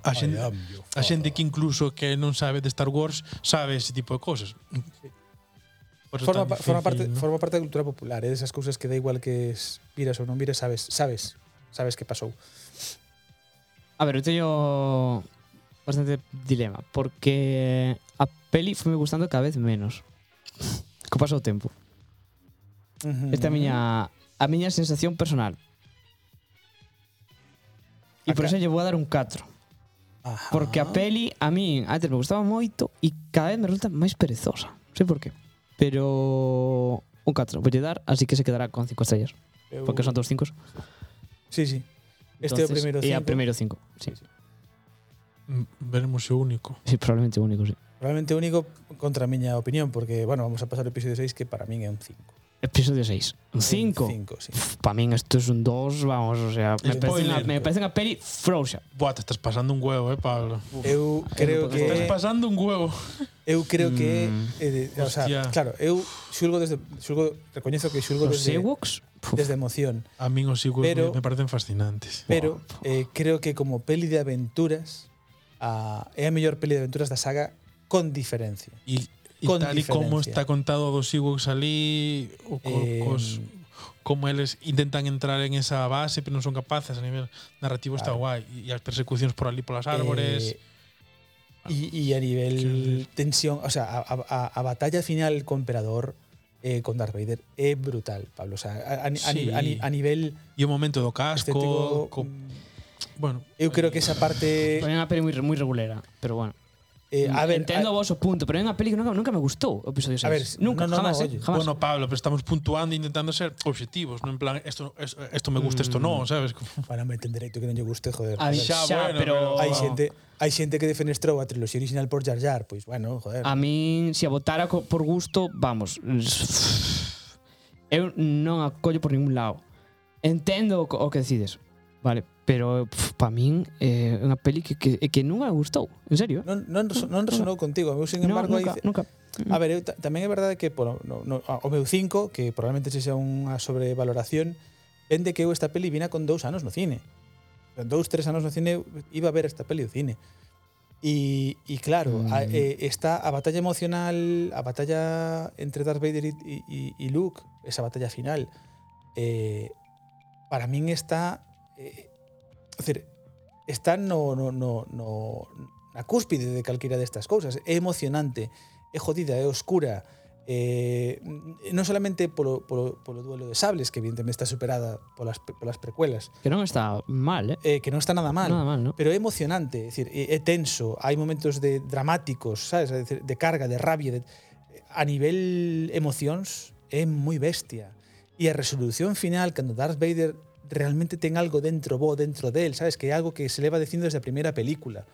[SPEAKER 3] a xente,
[SPEAKER 1] I am your
[SPEAKER 3] a xente
[SPEAKER 1] father.
[SPEAKER 3] que incluso que non sabe de Star Wars sabe ese tipo de cosas. Por eso
[SPEAKER 1] Forma,
[SPEAKER 3] tan
[SPEAKER 1] pa- forma, parte,
[SPEAKER 3] difícil, ¿no?
[SPEAKER 1] forma parte da cultura popular, é desas cousas que da igual que es, miras ou non miras, sabes, sabes, sabes que pasou.
[SPEAKER 4] A ver, eu teño bastante dilema, porque a peli foi me gustando cada vez menos. <laughs> Co paso do tempo.
[SPEAKER 1] Mm-hmm.
[SPEAKER 4] Esta é a miña a miña sensación personal. E por
[SPEAKER 1] Acá- Ah.
[SPEAKER 4] iso lle vou a dar un 4.
[SPEAKER 1] Ajá.
[SPEAKER 4] Porque a peli, a min, antes me gustaba moito e cada vez me resulta máis perezosa. Non sei por qué. Pero un 4 vou lle dar, así que se quedará con 5 estrellas.
[SPEAKER 1] Eu-
[SPEAKER 4] Porque son todos 5.
[SPEAKER 1] Sí, sí. Este é o primeiro
[SPEAKER 4] E a
[SPEAKER 1] cinco.
[SPEAKER 4] primeiro 5. Sí.
[SPEAKER 3] Mm, veremos o único.
[SPEAKER 4] sí, probablemente o único, sí.
[SPEAKER 1] Probablemente único contra a miña opinión, porque, bueno, vamos a pasar ao episodio 6, que para min é un 5.
[SPEAKER 4] Episodio 6.
[SPEAKER 1] Eh,
[SPEAKER 4] Un 5.
[SPEAKER 1] 5, sí.
[SPEAKER 4] Para min isto es un 2, vamos, o sea, me parece, una,
[SPEAKER 3] Spoiler.
[SPEAKER 4] me parece una peli frosa.
[SPEAKER 3] Buah, te estás pasando un huevo, eh, Pablo.
[SPEAKER 1] Eu creo
[SPEAKER 4] non
[SPEAKER 1] que
[SPEAKER 3] Estás pasando un huevo.
[SPEAKER 1] eu creo que
[SPEAKER 4] Mm.
[SPEAKER 1] é de, o sea,
[SPEAKER 3] Hostia.
[SPEAKER 1] claro, eu xulgo desde xulgo recoñezo que xulgo
[SPEAKER 4] Los
[SPEAKER 1] desde
[SPEAKER 4] Ewoks, puf,
[SPEAKER 1] desde emoción,
[SPEAKER 3] A mí os higos me-
[SPEAKER 1] Pero-
[SPEAKER 3] me parecen fascinantes.
[SPEAKER 1] pero eh, creo que como peli de aventuras a, é a mellor peli de aventuras da saga con diferencia.
[SPEAKER 3] Y, y
[SPEAKER 1] Con
[SPEAKER 3] tal y como
[SPEAKER 1] diferencia.
[SPEAKER 3] está contado dos Ewoks allí, o co-
[SPEAKER 1] Eh,
[SPEAKER 3] cos- como ellos intentan entrar en esa base, pero no son capaces a nivel narrativo, está
[SPEAKER 1] Claro.
[SPEAKER 3] guay. Y las persecuciones por allí, por las árboles.
[SPEAKER 1] Eh, y, y a
[SPEAKER 3] Quiero decir-
[SPEAKER 1] nivel tensión, o sea, a, a- a- a batalla final con Emperador, eh, con Darth Vader, es brutal, Pablo. O sea, a, a- a ni-
[SPEAKER 3] Sí.
[SPEAKER 1] a ni- a nivel
[SPEAKER 3] y un momento do casco.
[SPEAKER 1] estético,
[SPEAKER 3] co-
[SPEAKER 1] mm,
[SPEAKER 3] bueno,
[SPEAKER 1] yo creo que esa parte.
[SPEAKER 4] Pero é unha peli moi, moi regulera, pero bueno.
[SPEAKER 1] eh, a ver, a-
[SPEAKER 4] Entendo o vosso punto, pero é unha peli que nunca, nunca me gustou o episodio 6.
[SPEAKER 1] ver,
[SPEAKER 4] nunca,
[SPEAKER 1] no, no,
[SPEAKER 4] jamás,
[SPEAKER 1] no,
[SPEAKER 4] eh,
[SPEAKER 1] oye.
[SPEAKER 4] jamás.
[SPEAKER 3] Bueno, Pablo, pero estamos puntuando e intentando ser objetivos, no en plan, esto, es- esto me gusta, esto
[SPEAKER 1] Mm.
[SPEAKER 3] no, ¿sabes? Como-
[SPEAKER 1] bueno, me entenderé tú que no yo guste, joder.
[SPEAKER 4] a mí
[SPEAKER 1] joder.
[SPEAKER 4] xa,
[SPEAKER 3] xa, bueno,
[SPEAKER 4] pero...
[SPEAKER 3] pero-
[SPEAKER 1] Hay gente, hay gente que defenestró a trilogía original por Jar Jar, pues bueno, joder.
[SPEAKER 4] A min, se a votara co- por gusto, vamos. <sighs> Eu non a collo por ningún lado. Entendo o co- o que decides, vale? Pero para min é eh, unha peli que, que, que nunca me gustou, en serio. eh?
[SPEAKER 1] No non, reso- non resonou contigo, eu, sin
[SPEAKER 4] No,
[SPEAKER 1] embargo,
[SPEAKER 4] nunca,
[SPEAKER 1] hai-
[SPEAKER 4] nunca.
[SPEAKER 1] A ver, eu ta- tamén é verdade que por, no, no, a- o meu 5, que probablemente se sea unha sobrevaloración, vende que eu esta peli vina con dous anos no cine. Con Dous, tres anos no cine eu iba a ver esta peli no cine. E, e claro, a, eh, está a batalla emocional, a batalla entre Darth Vader e, e, e Luke, esa batalla final, eh, para min está... Eh, é dicir, está no, no, no, no, na cúspide de calquera destas cousas. É emocionante, é jodida, é oscura. Eh, non solamente polo, polo, polo duelo de sables, que evidentemente está superada polas, pe- polas precuelas,
[SPEAKER 4] Que non está mal, eh?
[SPEAKER 1] eh, que non está nada mal,
[SPEAKER 4] Nada mal, ¿no?
[SPEAKER 1] pero é emocionante, é, dicir, é, é tenso, hai momentos de dramáticos, sabes, é dicir, de carga, de rabia, de, a nivel emocións é moi bestia. E a resolución final cando Darth Vader realmente ten algo dentro vos, dentro del, sabes, que é algo que se leva dicindo desde a primeira película.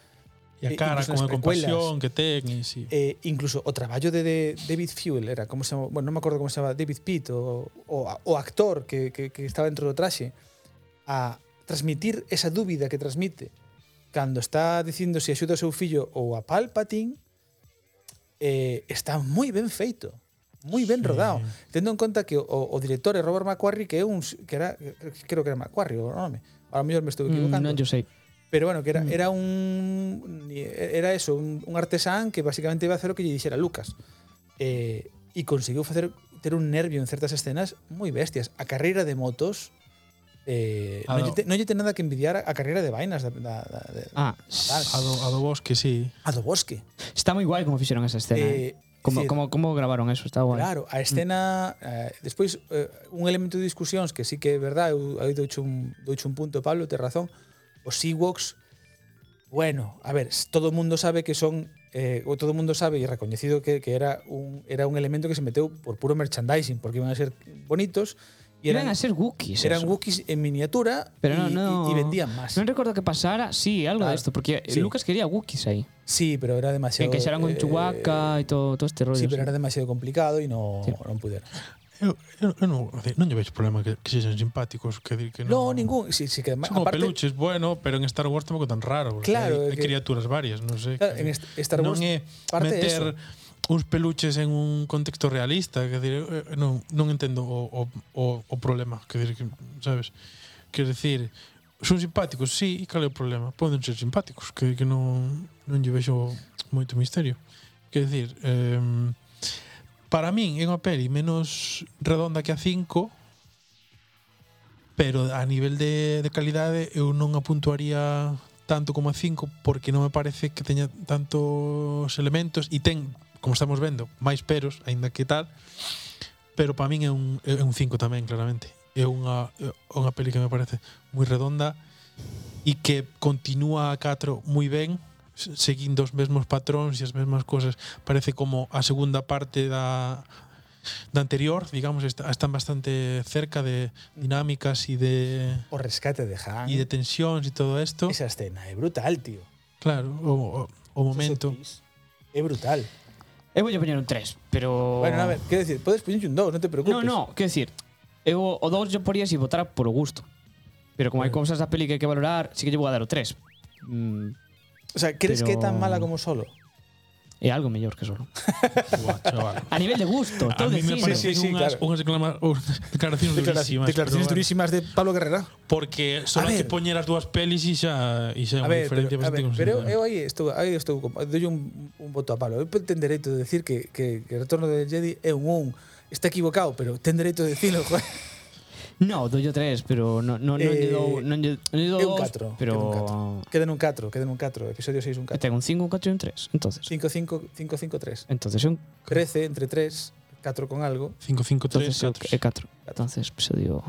[SPEAKER 3] y a
[SPEAKER 1] Eh,
[SPEAKER 3] cara,
[SPEAKER 1] incluso
[SPEAKER 3] con
[SPEAKER 1] nas
[SPEAKER 3] a compasión que ten, y sí.
[SPEAKER 1] Eh, incluso o traballo de, de David Fuel era como se chama, bueno, non me acordo como se chama, David Pitt o, o, o actor que, que, que estaba dentro do traxe a transmitir esa dúbida que transmite cando está dicindo se axuda o seu fillo ou a Palpatine eh, está moi ben feito moi ben
[SPEAKER 3] Sí.
[SPEAKER 1] rodado tendo en conta que o, o director é Robert McQuarrie que é un s- que era creo que era McQuarrie o nome a lo mellor me estou
[SPEAKER 4] Mm,
[SPEAKER 1] equivocando
[SPEAKER 4] non, yo sei.
[SPEAKER 1] Pero bueno, que
[SPEAKER 3] Mm.
[SPEAKER 1] era, era un. Era eso, un, un artesán que básicamente iba a hacer lo que lle dixera Lucas. Eh, e conseguiu facer ter un nervio en certas escenas moi bestias. A carreira de motos eh,
[SPEAKER 3] Ah,
[SPEAKER 1] non,
[SPEAKER 3] no.
[SPEAKER 1] lle te, non lle ten nada que envidiar a, a carreira de vainas da, da, da, de,
[SPEAKER 4] Ah,
[SPEAKER 3] A do, a do bosque, sí.
[SPEAKER 1] a do bosque.
[SPEAKER 4] está moi guai como fixeron esa escena, eh? Como,
[SPEAKER 1] decir,
[SPEAKER 4] como, como gravaron eso, está guai.
[SPEAKER 1] Claro, a escena eh, despois eh, un elemento de discusións que sí que é verdade, eu aí douche un douche un punto Pablo, tes razón. Os Ewoks bueno, a ver, s- todo o mundo sabe que son eh, o todo o mundo sabe e recoñecido que, que era un era un elemento que se meteu por puro merchandising, porque iban a ser bonitos e
[SPEAKER 4] Iban
[SPEAKER 1] eran
[SPEAKER 4] a ser Wookiees.
[SPEAKER 1] eran
[SPEAKER 4] eso.
[SPEAKER 1] Wookiees en miniatura
[SPEAKER 4] Pero no,
[SPEAKER 1] y,
[SPEAKER 4] no.
[SPEAKER 1] y- y vendían más.
[SPEAKER 4] Non recordo que pasara, sí, algo
[SPEAKER 1] Claro.
[SPEAKER 4] de esto, porque
[SPEAKER 1] Sí.
[SPEAKER 4] Lucas quería Wookiees aí.
[SPEAKER 1] Sí, pero era
[SPEAKER 4] Que
[SPEAKER 1] demasiado
[SPEAKER 4] encaixaran con
[SPEAKER 1] eh,
[SPEAKER 4] Chewbacca e todo, todo este rollo.
[SPEAKER 1] Sí, pero
[SPEAKER 4] sí.
[SPEAKER 1] era demasiado complicado e no
[SPEAKER 4] Sí.
[SPEAKER 1] non puderon.
[SPEAKER 3] Eu, eu, eu non, non lle veis problema que, que sexan simpáticos, que dir que
[SPEAKER 1] No,
[SPEAKER 3] non.
[SPEAKER 1] ningún. Sí, sí, que además,
[SPEAKER 3] Son como
[SPEAKER 1] aparte,
[SPEAKER 3] peluches, bueno, pero en Star Wars tampouco tan raro. porque
[SPEAKER 1] Claro,
[SPEAKER 3] hai, hai
[SPEAKER 1] que-
[SPEAKER 3] criaturas varias, non sei.
[SPEAKER 1] claro, en est- Star Wars
[SPEAKER 3] non é
[SPEAKER 1] parte de
[SPEAKER 3] meter
[SPEAKER 1] eso.
[SPEAKER 3] uns peluches en un contexto realista, que dire, eh, non, non entendo o, o, o, o problema, que dire, que, sabes? Quer decir, son simpáticos, sí, e cal é o problema? Poden ser simpáticos, que, que non, non lle vexo moito misterio. Quer decir, eh, para min é unha peli menos redonda que a 5, pero a nivel de, de calidade eu non a puntuaría tanto como a 5 porque non me parece que teña tantos elementos e ten, como estamos vendo, máis peros, aínda que tal, pero para min é un é un 5 tamén, claramente. É unha é unha peli que me parece moi redonda e que continúa a 4 moi ben, se- seguindo os mesmos patróns e as mesmas cousas. Parece como a segunda parte da da anterior, digamos, está, están bastante cerca de dinámicas e de
[SPEAKER 1] o rescate de Han.
[SPEAKER 3] e de tensións e todo isto.
[SPEAKER 1] Esa escena es brutal, tío.
[SPEAKER 3] Claro, o, o, o momento.
[SPEAKER 1] Es brutal.
[SPEAKER 4] Eu vou poñer un 3,
[SPEAKER 3] Oh.
[SPEAKER 4] pero...
[SPEAKER 1] Bueno, a ver, quiero decir, puedes poñer un 2, no te preocupes.
[SPEAKER 4] No, no, quero dicir, eu o 2 yo poría se votara por o gusto. Pero como hai cousas da peli que hai que valorar, sí que lle vou a dar o 3. Mm,
[SPEAKER 1] O sea, ¿crees
[SPEAKER 4] Pero-
[SPEAKER 1] que es tan mala como solo?
[SPEAKER 4] é algo mellor que solo.
[SPEAKER 3] <laughs> Buah, chaval.
[SPEAKER 4] A nivel de gusto,
[SPEAKER 3] A
[SPEAKER 4] todo
[SPEAKER 3] mí me
[SPEAKER 4] decir.
[SPEAKER 3] parecen
[SPEAKER 1] Sí, sí, sí,
[SPEAKER 3] unhas,
[SPEAKER 1] claro.
[SPEAKER 3] unhas declama- unhas declaracións durísimas.
[SPEAKER 1] declaraciones
[SPEAKER 3] pero bueno,
[SPEAKER 1] durísimas de Pablo Guerrero.
[SPEAKER 3] Porque só
[SPEAKER 1] A
[SPEAKER 3] hai que
[SPEAKER 1] ver.
[SPEAKER 3] poñer as dúas pelis e xa, e
[SPEAKER 1] A
[SPEAKER 3] xa é unha
[SPEAKER 1] ver, pero, a
[SPEAKER 3] diferencia
[SPEAKER 1] ver,
[SPEAKER 3] bastante
[SPEAKER 1] pero eu aí
[SPEAKER 3] considerable.
[SPEAKER 1] estou, aí estou, como- doy un, un voto a Pablo. Eu ten dereito de decir que, que, que Retorno de Jedi é un un. Está equivocado, pero ten dereito de decirlo, joder. <laughs>
[SPEAKER 4] No, doy o 3, pero no, no, non lle
[SPEAKER 1] Eh,
[SPEAKER 4] dou, non lle, non lle dou
[SPEAKER 1] É un
[SPEAKER 4] dous,
[SPEAKER 1] 4.
[SPEAKER 4] pero
[SPEAKER 1] Queden un 4, queden un 4. Episodio 6 un 4.
[SPEAKER 4] tengo un 5, un 4 e un 3. Entonces,
[SPEAKER 1] 5, 5, 5, 5, 3.
[SPEAKER 4] entonces é un
[SPEAKER 1] 13 entre 3, 4 con algo.
[SPEAKER 3] 5, 5,
[SPEAKER 4] entonces é
[SPEAKER 3] 3,
[SPEAKER 4] o que- é
[SPEAKER 3] 4.
[SPEAKER 4] 4. Entonces, episodio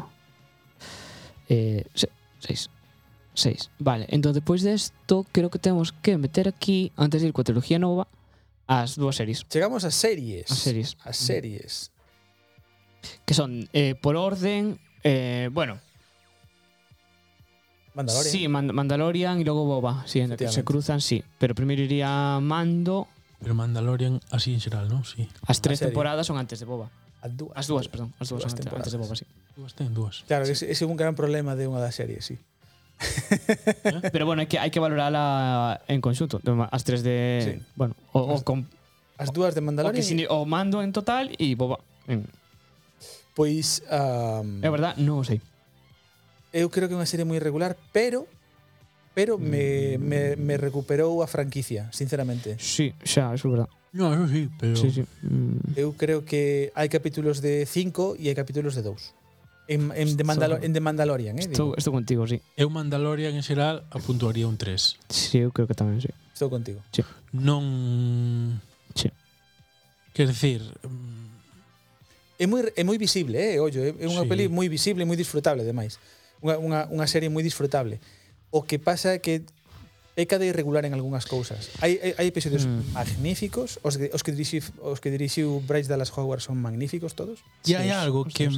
[SPEAKER 4] eh 6. 6. Vale, entonces despois de esto creo que tenemos que meter aquí antes de ir coa trilogía nova as dúas series.
[SPEAKER 1] Llegamos a series.
[SPEAKER 4] As series.
[SPEAKER 1] A series.
[SPEAKER 4] que son eh, por orden. eh, bueno,
[SPEAKER 1] Mandalorian.
[SPEAKER 4] sí, Mand- Mandalorian y luego Boba. Sí, en la que se
[SPEAKER 1] Efectivamente.
[SPEAKER 4] cruzan, sí. Pero primero iría Mando.
[SPEAKER 3] Pero Mandalorian así en xeral, non? Sí.
[SPEAKER 4] Las tres
[SPEAKER 1] serie.
[SPEAKER 4] temporadas son antes de Boba.
[SPEAKER 1] As dúas.
[SPEAKER 4] Las dúas, perdón. Las dúas
[SPEAKER 1] Dúas
[SPEAKER 4] son antes, antes de Boba, sí.
[SPEAKER 3] Dúas ten, dúas.
[SPEAKER 1] Claro, ese, ese é un gran problema de unha das series, sí.
[SPEAKER 4] Pero bueno, hay que, hay que valorarla en conjunto. Las tres
[SPEAKER 1] Sí.
[SPEAKER 4] de. Bueno, o, o
[SPEAKER 1] As-
[SPEAKER 4] con-
[SPEAKER 1] As dúas de
[SPEAKER 4] o, que
[SPEAKER 1] Mandalorian.
[SPEAKER 4] sin- o Mando en total y Boba. en-
[SPEAKER 1] Pois um,
[SPEAKER 4] Es verdad, no sé.
[SPEAKER 1] eu creo que é unha serie moi irregular, pero
[SPEAKER 4] Mm.
[SPEAKER 1] pero me, me, me recuperou a franquicia, sinceramente.
[SPEAKER 4] Sí, ya, eso es verdad.
[SPEAKER 3] No, eso sí, pero...
[SPEAKER 4] Sí, sí. Mm.
[SPEAKER 1] Eu creo que hai capítulos de 5 e hai capítulos de 2. En, en, The, Mandalo en The Mandalorian, eh?
[SPEAKER 4] Esto,
[SPEAKER 1] Estou,
[SPEAKER 4] esto contigo, sí.
[SPEAKER 3] Eu Mandalorian en xeral apuntuaría un 3.
[SPEAKER 4] Sí, yo creo que también, sí.
[SPEAKER 1] estou contigo.
[SPEAKER 3] Non...
[SPEAKER 4] Sí.
[SPEAKER 3] Quer decir... mm,
[SPEAKER 1] É moi, é moi visible, eh? Ollo, é é unha
[SPEAKER 3] Sí.
[SPEAKER 1] sí. peli moi visible e moi disfrutable, ademais. Unha, unha, unha serie moi disfrutable. O que pasa é que peca de irregular en algunhas cousas. Hai, hai, hai episodios
[SPEAKER 4] Mm.
[SPEAKER 1] mm. magníficos, os que, os que dirixiu, os que dirixiu Bryce Dallas Howard son magníficos todos.
[SPEAKER 3] E hai algo que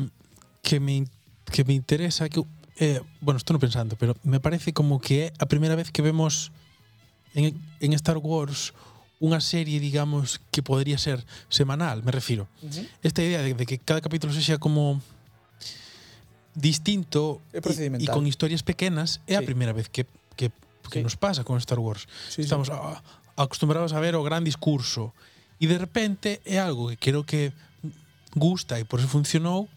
[SPEAKER 3] que me que me interesa que eh, bueno, estou non pensando, pero me parece como que é a primeira vez que vemos en, en Star Wars unha serie, digamos, que podría ser semanal, me refiro.
[SPEAKER 1] Uh -huh.
[SPEAKER 3] Esta idea de, de que cada capítulo sexa como distinto
[SPEAKER 1] É
[SPEAKER 3] e-
[SPEAKER 1] procedimental.
[SPEAKER 3] e con historias pequenas é a
[SPEAKER 1] Sí.
[SPEAKER 3] primeira vez que que,
[SPEAKER 1] Sí.
[SPEAKER 3] que nos pasa con Star Wars.
[SPEAKER 1] Sí,
[SPEAKER 3] Estamos a- acostumbrados a ver o gran discurso. Y de repente é algo que creo que gusta e por eso funcionou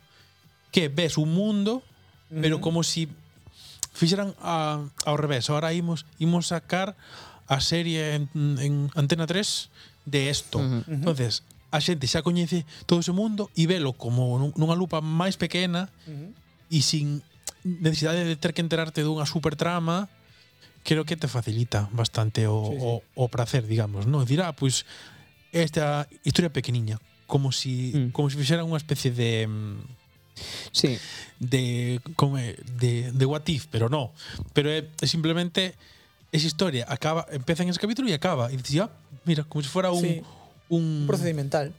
[SPEAKER 3] que ves un mundo, pero como si fixeran a, ao revés. Ahora imos, imos sacar a serie en, en Antena 3 de esto.
[SPEAKER 4] Ujú.
[SPEAKER 1] Ujú.
[SPEAKER 3] Entonces, a xente xa coñece todo ese mundo e velo como nun- nunha lupa máis pequena
[SPEAKER 1] Uh -huh.
[SPEAKER 3] e sin necesidade de ter que enterarte dunha super trama creo que te facilita bastante o,
[SPEAKER 1] Sí, sí.
[SPEAKER 3] o, o prazer, digamos, non? Dirá, ah, pois esta historia pequeniña, como si
[SPEAKER 4] Mm.
[SPEAKER 3] mm. como se si fixera unha especie de mm,
[SPEAKER 4] Sí.
[SPEAKER 3] de como é, de de what if, pero no, pero é, é simplemente esa historia acaba, empeza en ese capítulo e acaba e dices, ah, mira, como se si fuera un
[SPEAKER 1] Sí.
[SPEAKER 3] un,
[SPEAKER 1] Procedimental.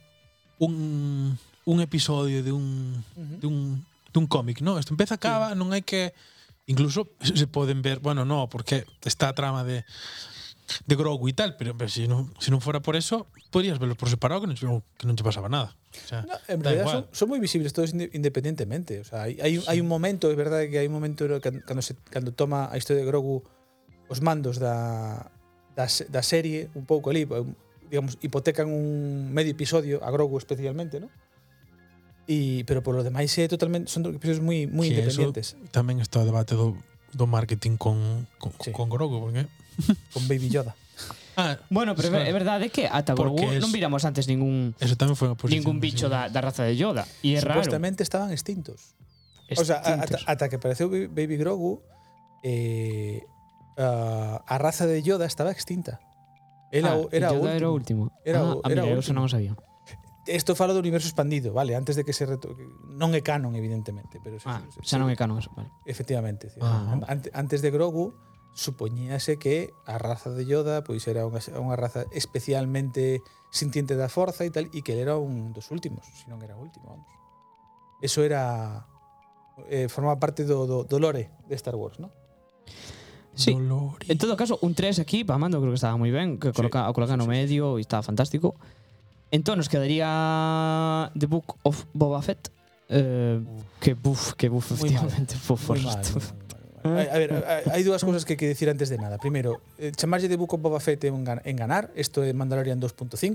[SPEAKER 3] un un episodio de un
[SPEAKER 1] Ujú.
[SPEAKER 3] de un, de un cómic, ¿no? Esto empieza, acaba, non hai que... Incluso se se poden ver, bueno, no, porque está a trama de de Grogu y tal, pero, pero si, non, si non fora por eso, podrías verlos por separado que non, che- que non te pasaba nada. O sea,
[SPEAKER 1] No, en
[SPEAKER 3] da
[SPEAKER 1] realidad
[SPEAKER 3] igual.
[SPEAKER 1] son, son muy visibles todos inde- independientemente. O sea, hay, hay, hay un momento, es verdad que hay un momento no, can- cando, se, cando toma a historia de Grogu os mandos da, da, se- da serie un pouco ali, pa- digamos, hipotecan un medio episodio a Grogu especialmente, ¿no? Y, pero por lo demás é totalmente son episodios muy muy
[SPEAKER 3] Sí, eso
[SPEAKER 1] independientes
[SPEAKER 3] Tamén está o debate do, do marketing con, con,
[SPEAKER 1] Sí.
[SPEAKER 3] con Grogu, porque...
[SPEAKER 1] con Baby Yoda.
[SPEAKER 3] Ah,
[SPEAKER 4] Bueno, pero é ver-
[SPEAKER 3] claro,
[SPEAKER 4] é verdade que ata Grogu
[SPEAKER 3] Porque es-
[SPEAKER 4] non viramos antes ningún
[SPEAKER 3] Eso tamén foi unha posición.
[SPEAKER 4] ningún bicho da, da raza de Yoda. E é raro.
[SPEAKER 1] Supuestamente estaban extintos. O sea, a- ata,
[SPEAKER 4] Extintos.
[SPEAKER 1] ata que apareceu Ba- Baby Grogu, eh, ah, a raza de Yoda estaba extinta. Era, o-
[SPEAKER 4] Ah,
[SPEAKER 1] era,
[SPEAKER 4] Yoda
[SPEAKER 1] o
[SPEAKER 4] era o
[SPEAKER 1] último.
[SPEAKER 4] último.
[SPEAKER 1] Era
[SPEAKER 4] ah,
[SPEAKER 1] o-
[SPEAKER 4] ah,
[SPEAKER 1] era o
[SPEAKER 4] mira, eu eso non o sabía.
[SPEAKER 1] Esto falo do universo expandido, vale, antes de que se reto... non é canon evidentemente, pero sí,
[SPEAKER 4] Ah,
[SPEAKER 1] sí,
[SPEAKER 4] xa non é canon eso, vale.
[SPEAKER 1] efectivamente. sí.
[SPEAKER 3] Ah,
[SPEAKER 1] An- ante- antes de Grogu supoñíase que a raza de Yoda pois era unha, unha raza especialmente sintiente da forza e tal e que ele era un dos últimos, se non era o último, vamos. Eso era eh, forma parte do, do, do lore de Star Wars, ¿no?
[SPEAKER 4] Sí.
[SPEAKER 3] Dolores.
[SPEAKER 4] En todo caso, un 3 aquí, para Mando, creo que estaba moi ben, que coloca, o coloca no medio e estaba fantástico. Entón, nos quedaría The Book of Boba Fett. Eh, que buf, que buf,
[SPEAKER 1] Muy mal.
[SPEAKER 4] efectivamente,
[SPEAKER 1] Moi
[SPEAKER 4] fue
[SPEAKER 1] mal,
[SPEAKER 4] forresto. <laughs>
[SPEAKER 1] moi mal, moi mal. A, a ver, a- hai dúas cousas que hai que dicir antes de nada. Primeiro, eh, chamarlle de Book of Boba Fett é un gan- enganar, isto é Mandalorian 2.5. Es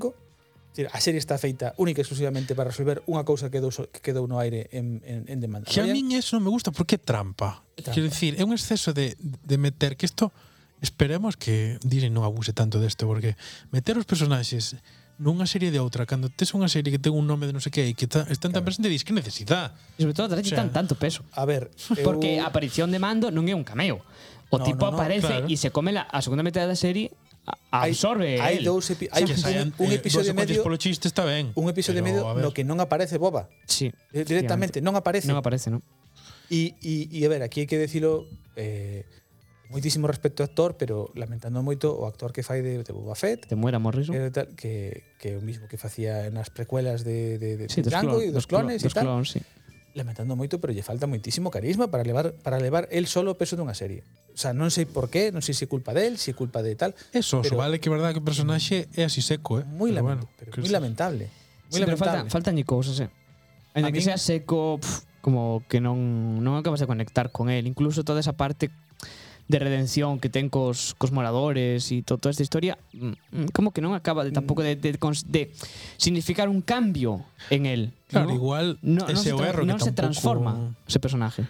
[SPEAKER 1] decir, A serie está feita única e exclusivamente para resolver unha cousa que quedou, so- que quedou no aire en, en, en The
[SPEAKER 3] Que a
[SPEAKER 1] Mandalorian.
[SPEAKER 3] min eso non me gusta porque é trampa.
[SPEAKER 1] Trampa.
[SPEAKER 3] Quero dicir, é un exceso de, de meter que isto esperemos que Disney non abuse tanto desto porque meter os personaxes nunha serie de outra cando tes unha serie que ten un nome de non sei que e que ta, están tan presentes dis que necesidade.
[SPEAKER 4] E sobre todo, traxe
[SPEAKER 3] O sea,
[SPEAKER 4] tan tanto peso.
[SPEAKER 1] A ver, eu,
[SPEAKER 4] Porque a aparición de Mando non é un cameo.
[SPEAKER 1] No,
[SPEAKER 4] O tipo
[SPEAKER 1] no, no,
[SPEAKER 4] aparece
[SPEAKER 3] claro.
[SPEAKER 4] e se come la, a segunda metade da serie, a-
[SPEAKER 1] hai-
[SPEAKER 4] absorbe
[SPEAKER 1] hai
[SPEAKER 4] el.
[SPEAKER 1] dous epi hai
[SPEAKER 3] que
[SPEAKER 1] un, un
[SPEAKER 4] Eh,
[SPEAKER 1] episodio medio,
[SPEAKER 3] eh, polo chiste está ben.
[SPEAKER 1] un episodio
[SPEAKER 3] pero,
[SPEAKER 1] medio
[SPEAKER 3] a ver,
[SPEAKER 1] no que non aparece Boba.
[SPEAKER 4] Sí,
[SPEAKER 1] Eh, Directamente, non aparece.
[SPEAKER 4] non aparece, non?
[SPEAKER 1] Y, y, y a ver, aquí hai que decilo eh, moitísimo respecto ao actor, pero lamentando moito o actor que fai de, de Boba Fett,
[SPEAKER 4] Te muera Morrison.
[SPEAKER 1] que, era tal, que, que é o mismo que facía nas precuelas de, de, de
[SPEAKER 4] Sí, dos
[SPEAKER 1] Django e
[SPEAKER 4] clon-
[SPEAKER 1] dos
[SPEAKER 4] clon-
[SPEAKER 1] clones e
[SPEAKER 4] dos
[SPEAKER 1] tal.
[SPEAKER 4] clones, sí.
[SPEAKER 1] Lamentando moito, pero lle falta moitísimo carisma para levar para levar el solo o peso dunha serie. O sea, non sei por qué, non sei se é culpa del, se é culpa de tal.
[SPEAKER 3] É soso,
[SPEAKER 1] pero-
[SPEAKER 3] vale que é verdade que o personaxe é así seco, eh.
[SPEAKER 1] Moi
[SPEAKER 3] Pero
[SPEAKER 1] lamentable,
[SPEAKER 3] bueno,
[SPEAKER 1] pero
[SPEAKER 3] que
[SPEAKER 1] moi lamentable. Moi
[SPEAKER 4] Sí, pero faltan,
[SPEAKER 1] lamentable.
[SPEAKER 4] faltanlle cousas, eh.
[SPEAKER 1] A
[SPEAKER 4] Ainda que
[SPEAKER 1] min-
[SPEAKER 4] sea seco, pf, como que non, non acabas de conectar con él. Incluso toda esa parte de redención que ten cos, cos moradores e to, toda esta historia, mm, mm, como que non acaba de, tampouco de, de, cons- de significar un cambio en él.
[SPEAKER 3] Claro,
[SPEAKER 4] ¿no?
[SPEAKER 3] igual
[SPEAKER 4] No, non se,
[SPEAKER 3] ese é o
[SPEAKER 4] tra-
[SPEAKER 3] erro que
[SPEAKER 4] non se
[SPEAKER 3] tampouco-
[SPEAKER 4] transforma ese personaje.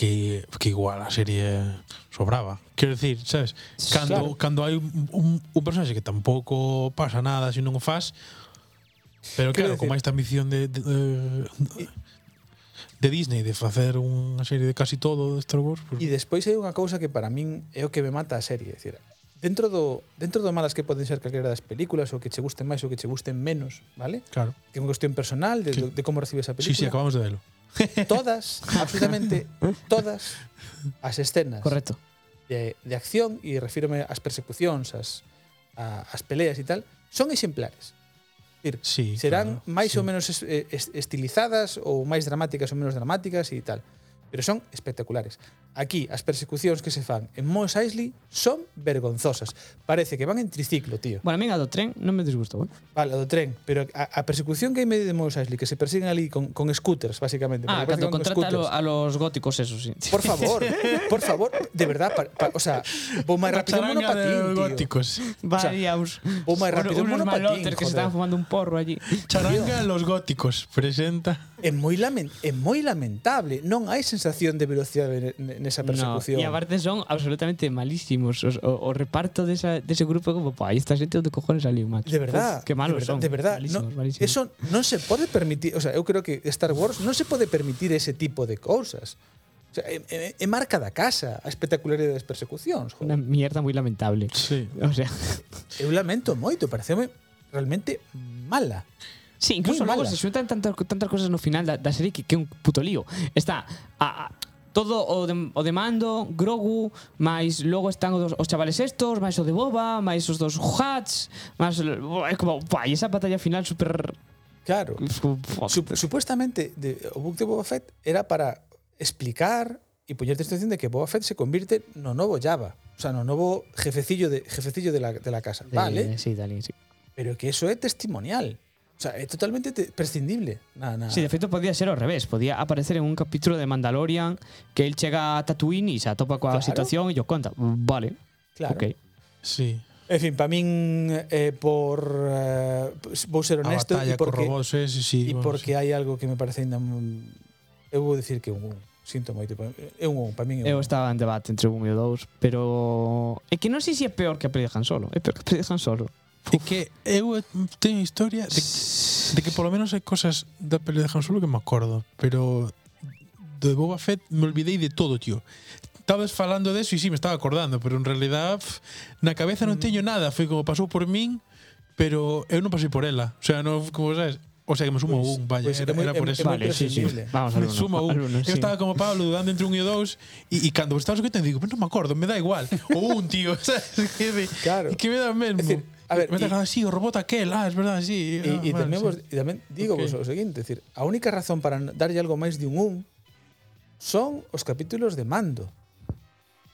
[SPEAKER 3] que, que igual a serie sobraba. Quero decir, sabes, cando,
[SPEAKER 1] Claro.
[SPEAKER 3] claro. cando hai un, un, un personaxe que tampouco pasa nada se non o faz, pero
[SPEAKER 1] Quero
[SPEAKER 3] claro, como
[SPEAKER 1] decir-
[SPEAKER 3] hai esta ambición de, de, de, de Disney de facer unha serie de casi todo de Star Wars,
[SPEAKER 1] E
[SPEAKER 3] pues,
[SPEAKER 1] despois hai unha cousa que para min é o que me mata a serie, é dicir, dentro do dentro do malas que poden ser calquera das películas ou que che gusten máis ou que che gusten menos, vale?
[SPEAKER 3] claro.
[SPEAKER 1] Que é unha cuestión personal de,
[SPEAKER 3] Que-
[SPEAKER 1] de como recibes a
[SPEAKER 3] Sí, sí,
[SPEAKER 1] película.
[SPEAKER 3] acabamos de verlo.
[SPEAKER 1] todas, absolutamente todas as escenas
[SPEAKER 4] Correcto.
[SPEAKER 1] de, de acción e refírome ás persecucións, as a, as peleas e tal, son exemplares. É dicir,
[SPEAKER 3] Sí,
[SPEAKER 1] serán
[SPEAKER 3] claro,
[SPEAKER 1] máis
[SPEAKER 3] sí.
[SPEAKER 1] ou menos es- eh, es- estilizadas ou máis dramáticas ou menos dramáticas e tal, pero son espectaculares. Aquí as persecucións que se fan en Mos Eisley son vergonzosas. Parece que van en triciclo, tío.
[SPEAKER 4] Bueno, a mí a do tren non me disgustou, eh.
[SPEAKER 1] Vale, o do tren, pero a, a persecución que hai en medio de Mos Eisley que se persiguen ali con, con scooters, basicamente.
[SPEAKER 4] Ah,
[SPEAKER 3] pues
[SPEAKER 1] porque parece que
[SPEAKER 4] cando
[SPEAKER 1] van con
[SPEAKER 4] contrata a, lo,
[SPEAKER 1] scooters.
[SPEAKER 4] a los góticos eso, sí. <laughs>
[SPEAKER 1] Por favor, por favor, de verdad, pa- pa- o sea, vou máis rápido en
[SPEAKER 3] Charanga de
[SPEAKER 1] monopatín, tío.
[SPEAKER 3] góticos.
[SPEAKER 4] Variaus.
[SPEAKER 1] Vou máis rápido en
[SPEAKER 4] unos
[SPEAKER 1] monopatín,
[SPEAKER 4] malotes que se
[SPEAKER 1] joder.
[SPEAKER 4] estaban fumando un porro allí.
[SPEAKER 3] Charanga los góticos presenta
[SPEAKER 1] É moi lamen é moi lamentable, non hai sensación de velocidade ne- nesa persecución.
[SPEAKER 4] No, e aparte son absolutamente malísimos os, o, o reparto desa, dese grupo como, pá, esta xente onde cojones saliu, macho.
[SPEAKER 1] De verdad,
[SPEAKER 4] Uf, que malos
[SPEAKER 1] de verdad,
[SPEAKER 4] son.
[SPEAKER 1] de verdad,
[SPEAKER 4] malísimos,
[SPEAKER 1] no,
[SPEAKER 4] malísimos.
[SPEAKER 1] eso non se pode permitir, o sea, eu creo que Star Wars non se pode permitir ese tipo de cousas. O sea, é, é, é marca da casa a espectacularidade das persecucións,
[SPEAKER 4] Una
[SPEAKER 1] joder.
[SPEAKER 4] mierda muy lamentable.
[SPEAKER 3] Sí.
[SPEAKER 4] O sea, <laughs>
[SPEAKER 1] Eu lamento moito, pareceume realmente mala.
[SPEAKER 4] sí, incluso
[SPEAKER 1] Muy
[SPEAKER 4] luego
[SPEAKER 1] mala.
[SPEAKER 4] se xuntan tantas, tantas cosas no final da, da serie que que é un puto lío. Está a, a, todo o de, o de Mando, Grogu, máis logo están os, os chavales estos, máis o de Boba, máis os dos Hats, máis o- é como, pá, e esa batalla final super
[SPEAKER 1] Claro. Sup- supuestamente de, o book de Boba Fett era para explicar e poñerte a situación de que Boba Fett se convirte no novo Java. O sea, no, novo jefecillo de jefecillo de la, de la casa. vale,
[SPEAKER 4] Eh, sí, de alguén, sí.
[SPEAKER 1] pero que eso é testimonial. O sea, é totalmente te- prescindible. Na, na,
[SPEAKER 4] Sí, de feito podía ser ao revés, podía aparecer en un capítulo de Mandalorian que el chega a Tatooine e se atopa coa
[SPEAKER 1] Claro.
[SPEAKER 4] situación e yo conta, vale,
[SPEAKER 1] claro.
[SPEAKER 4] ok.
[SPEAKER 3] Sí.
[SPEAKER 1] En fin, para min eh, por eh, vou ser
[SPEAKER 3] A
[SPEAKER 1] honesto
[SPEAKER 3] batalla
[SPEAKER 1] e
[SPEAKER 3] con
[SPEAKER 1] porque
[SPEAKER 3] robots, sí, sí, sí.
[SPEAKER 1] e
[SPEAKER 3] vamos,
[SPEAKER 1] porque hai algo que me parece ainda un- eu vou dicir que é un un. sinto moito, pero é un un, para min é
[SPEAKER 4] Eu
[SPEAKER 1] un.
[SPEAKER 4] estaba en debate entre un e o dous, pero é que non sei se é peor que a peli de Han Solo, é peor que a peli de Han Solo.
[SPEAKER 3] É que eu teño historia de, de que polo menos hai cosas da peli de Han Solo que me acordo, pero de Boba Fett me olvidei de todo, tío. Estabas falando de eso e sí, me estaba acordando, pero en realidad pf, na cabeza
[SPEAKER 1] Mm.
[SPEAKER 3] non teño nada, foi como pasou por min, pero eu non pasei por ela. O sea, non, como sabes, o sea, que me sumo
[SPEAKER 1] Pues,
[SPEAKER 3] un, vaya,
[SPEAKER 1] pois,
[SPEAKER 3] era,
[SPEAKER 1] é moi-
[SPEAKER 3] era por
[SPEAKER 1] é- é
[SPEAKER 3] eso.
[SPEAKER 1] moi prescindible.
[SPEAKER 4] Vamos,
[SPEAKER 3] Me
[SPEAKER 4] alumno.
[SPEAKER 3] suma un.
[SPEAKER 4] alumno,
[SPEAKER 3] eu
[SPEAKER 4] sí.
[SPEAKER 3] estaba como Pablo dudando entre un e o dous e, e cando estaba escutando digo, pero non me acordo, me dá igual. O un, tío, <laughs> sabes? Que, de,
[SPEAKER 1] Claro.
[SPEAKER 4] <laughs>
[SPEAKER 3] que me dá mesmo.
[SPEAKER 1] Es decir, a ver,
[SPEAKER 3] me dá
[SPEAKER 1] y-
[SPEAKER 3] nada, sí, o robot aquel, ah, es verdad, sí.
[SPEAKER 1] E, e tamén, vos, e tamén digo
[SPEAKER 3] Ok.
[SPEAKER 1] vos o seguinte, decir, a única razón para n- darlle algo máis de un un son os capítulos de mando.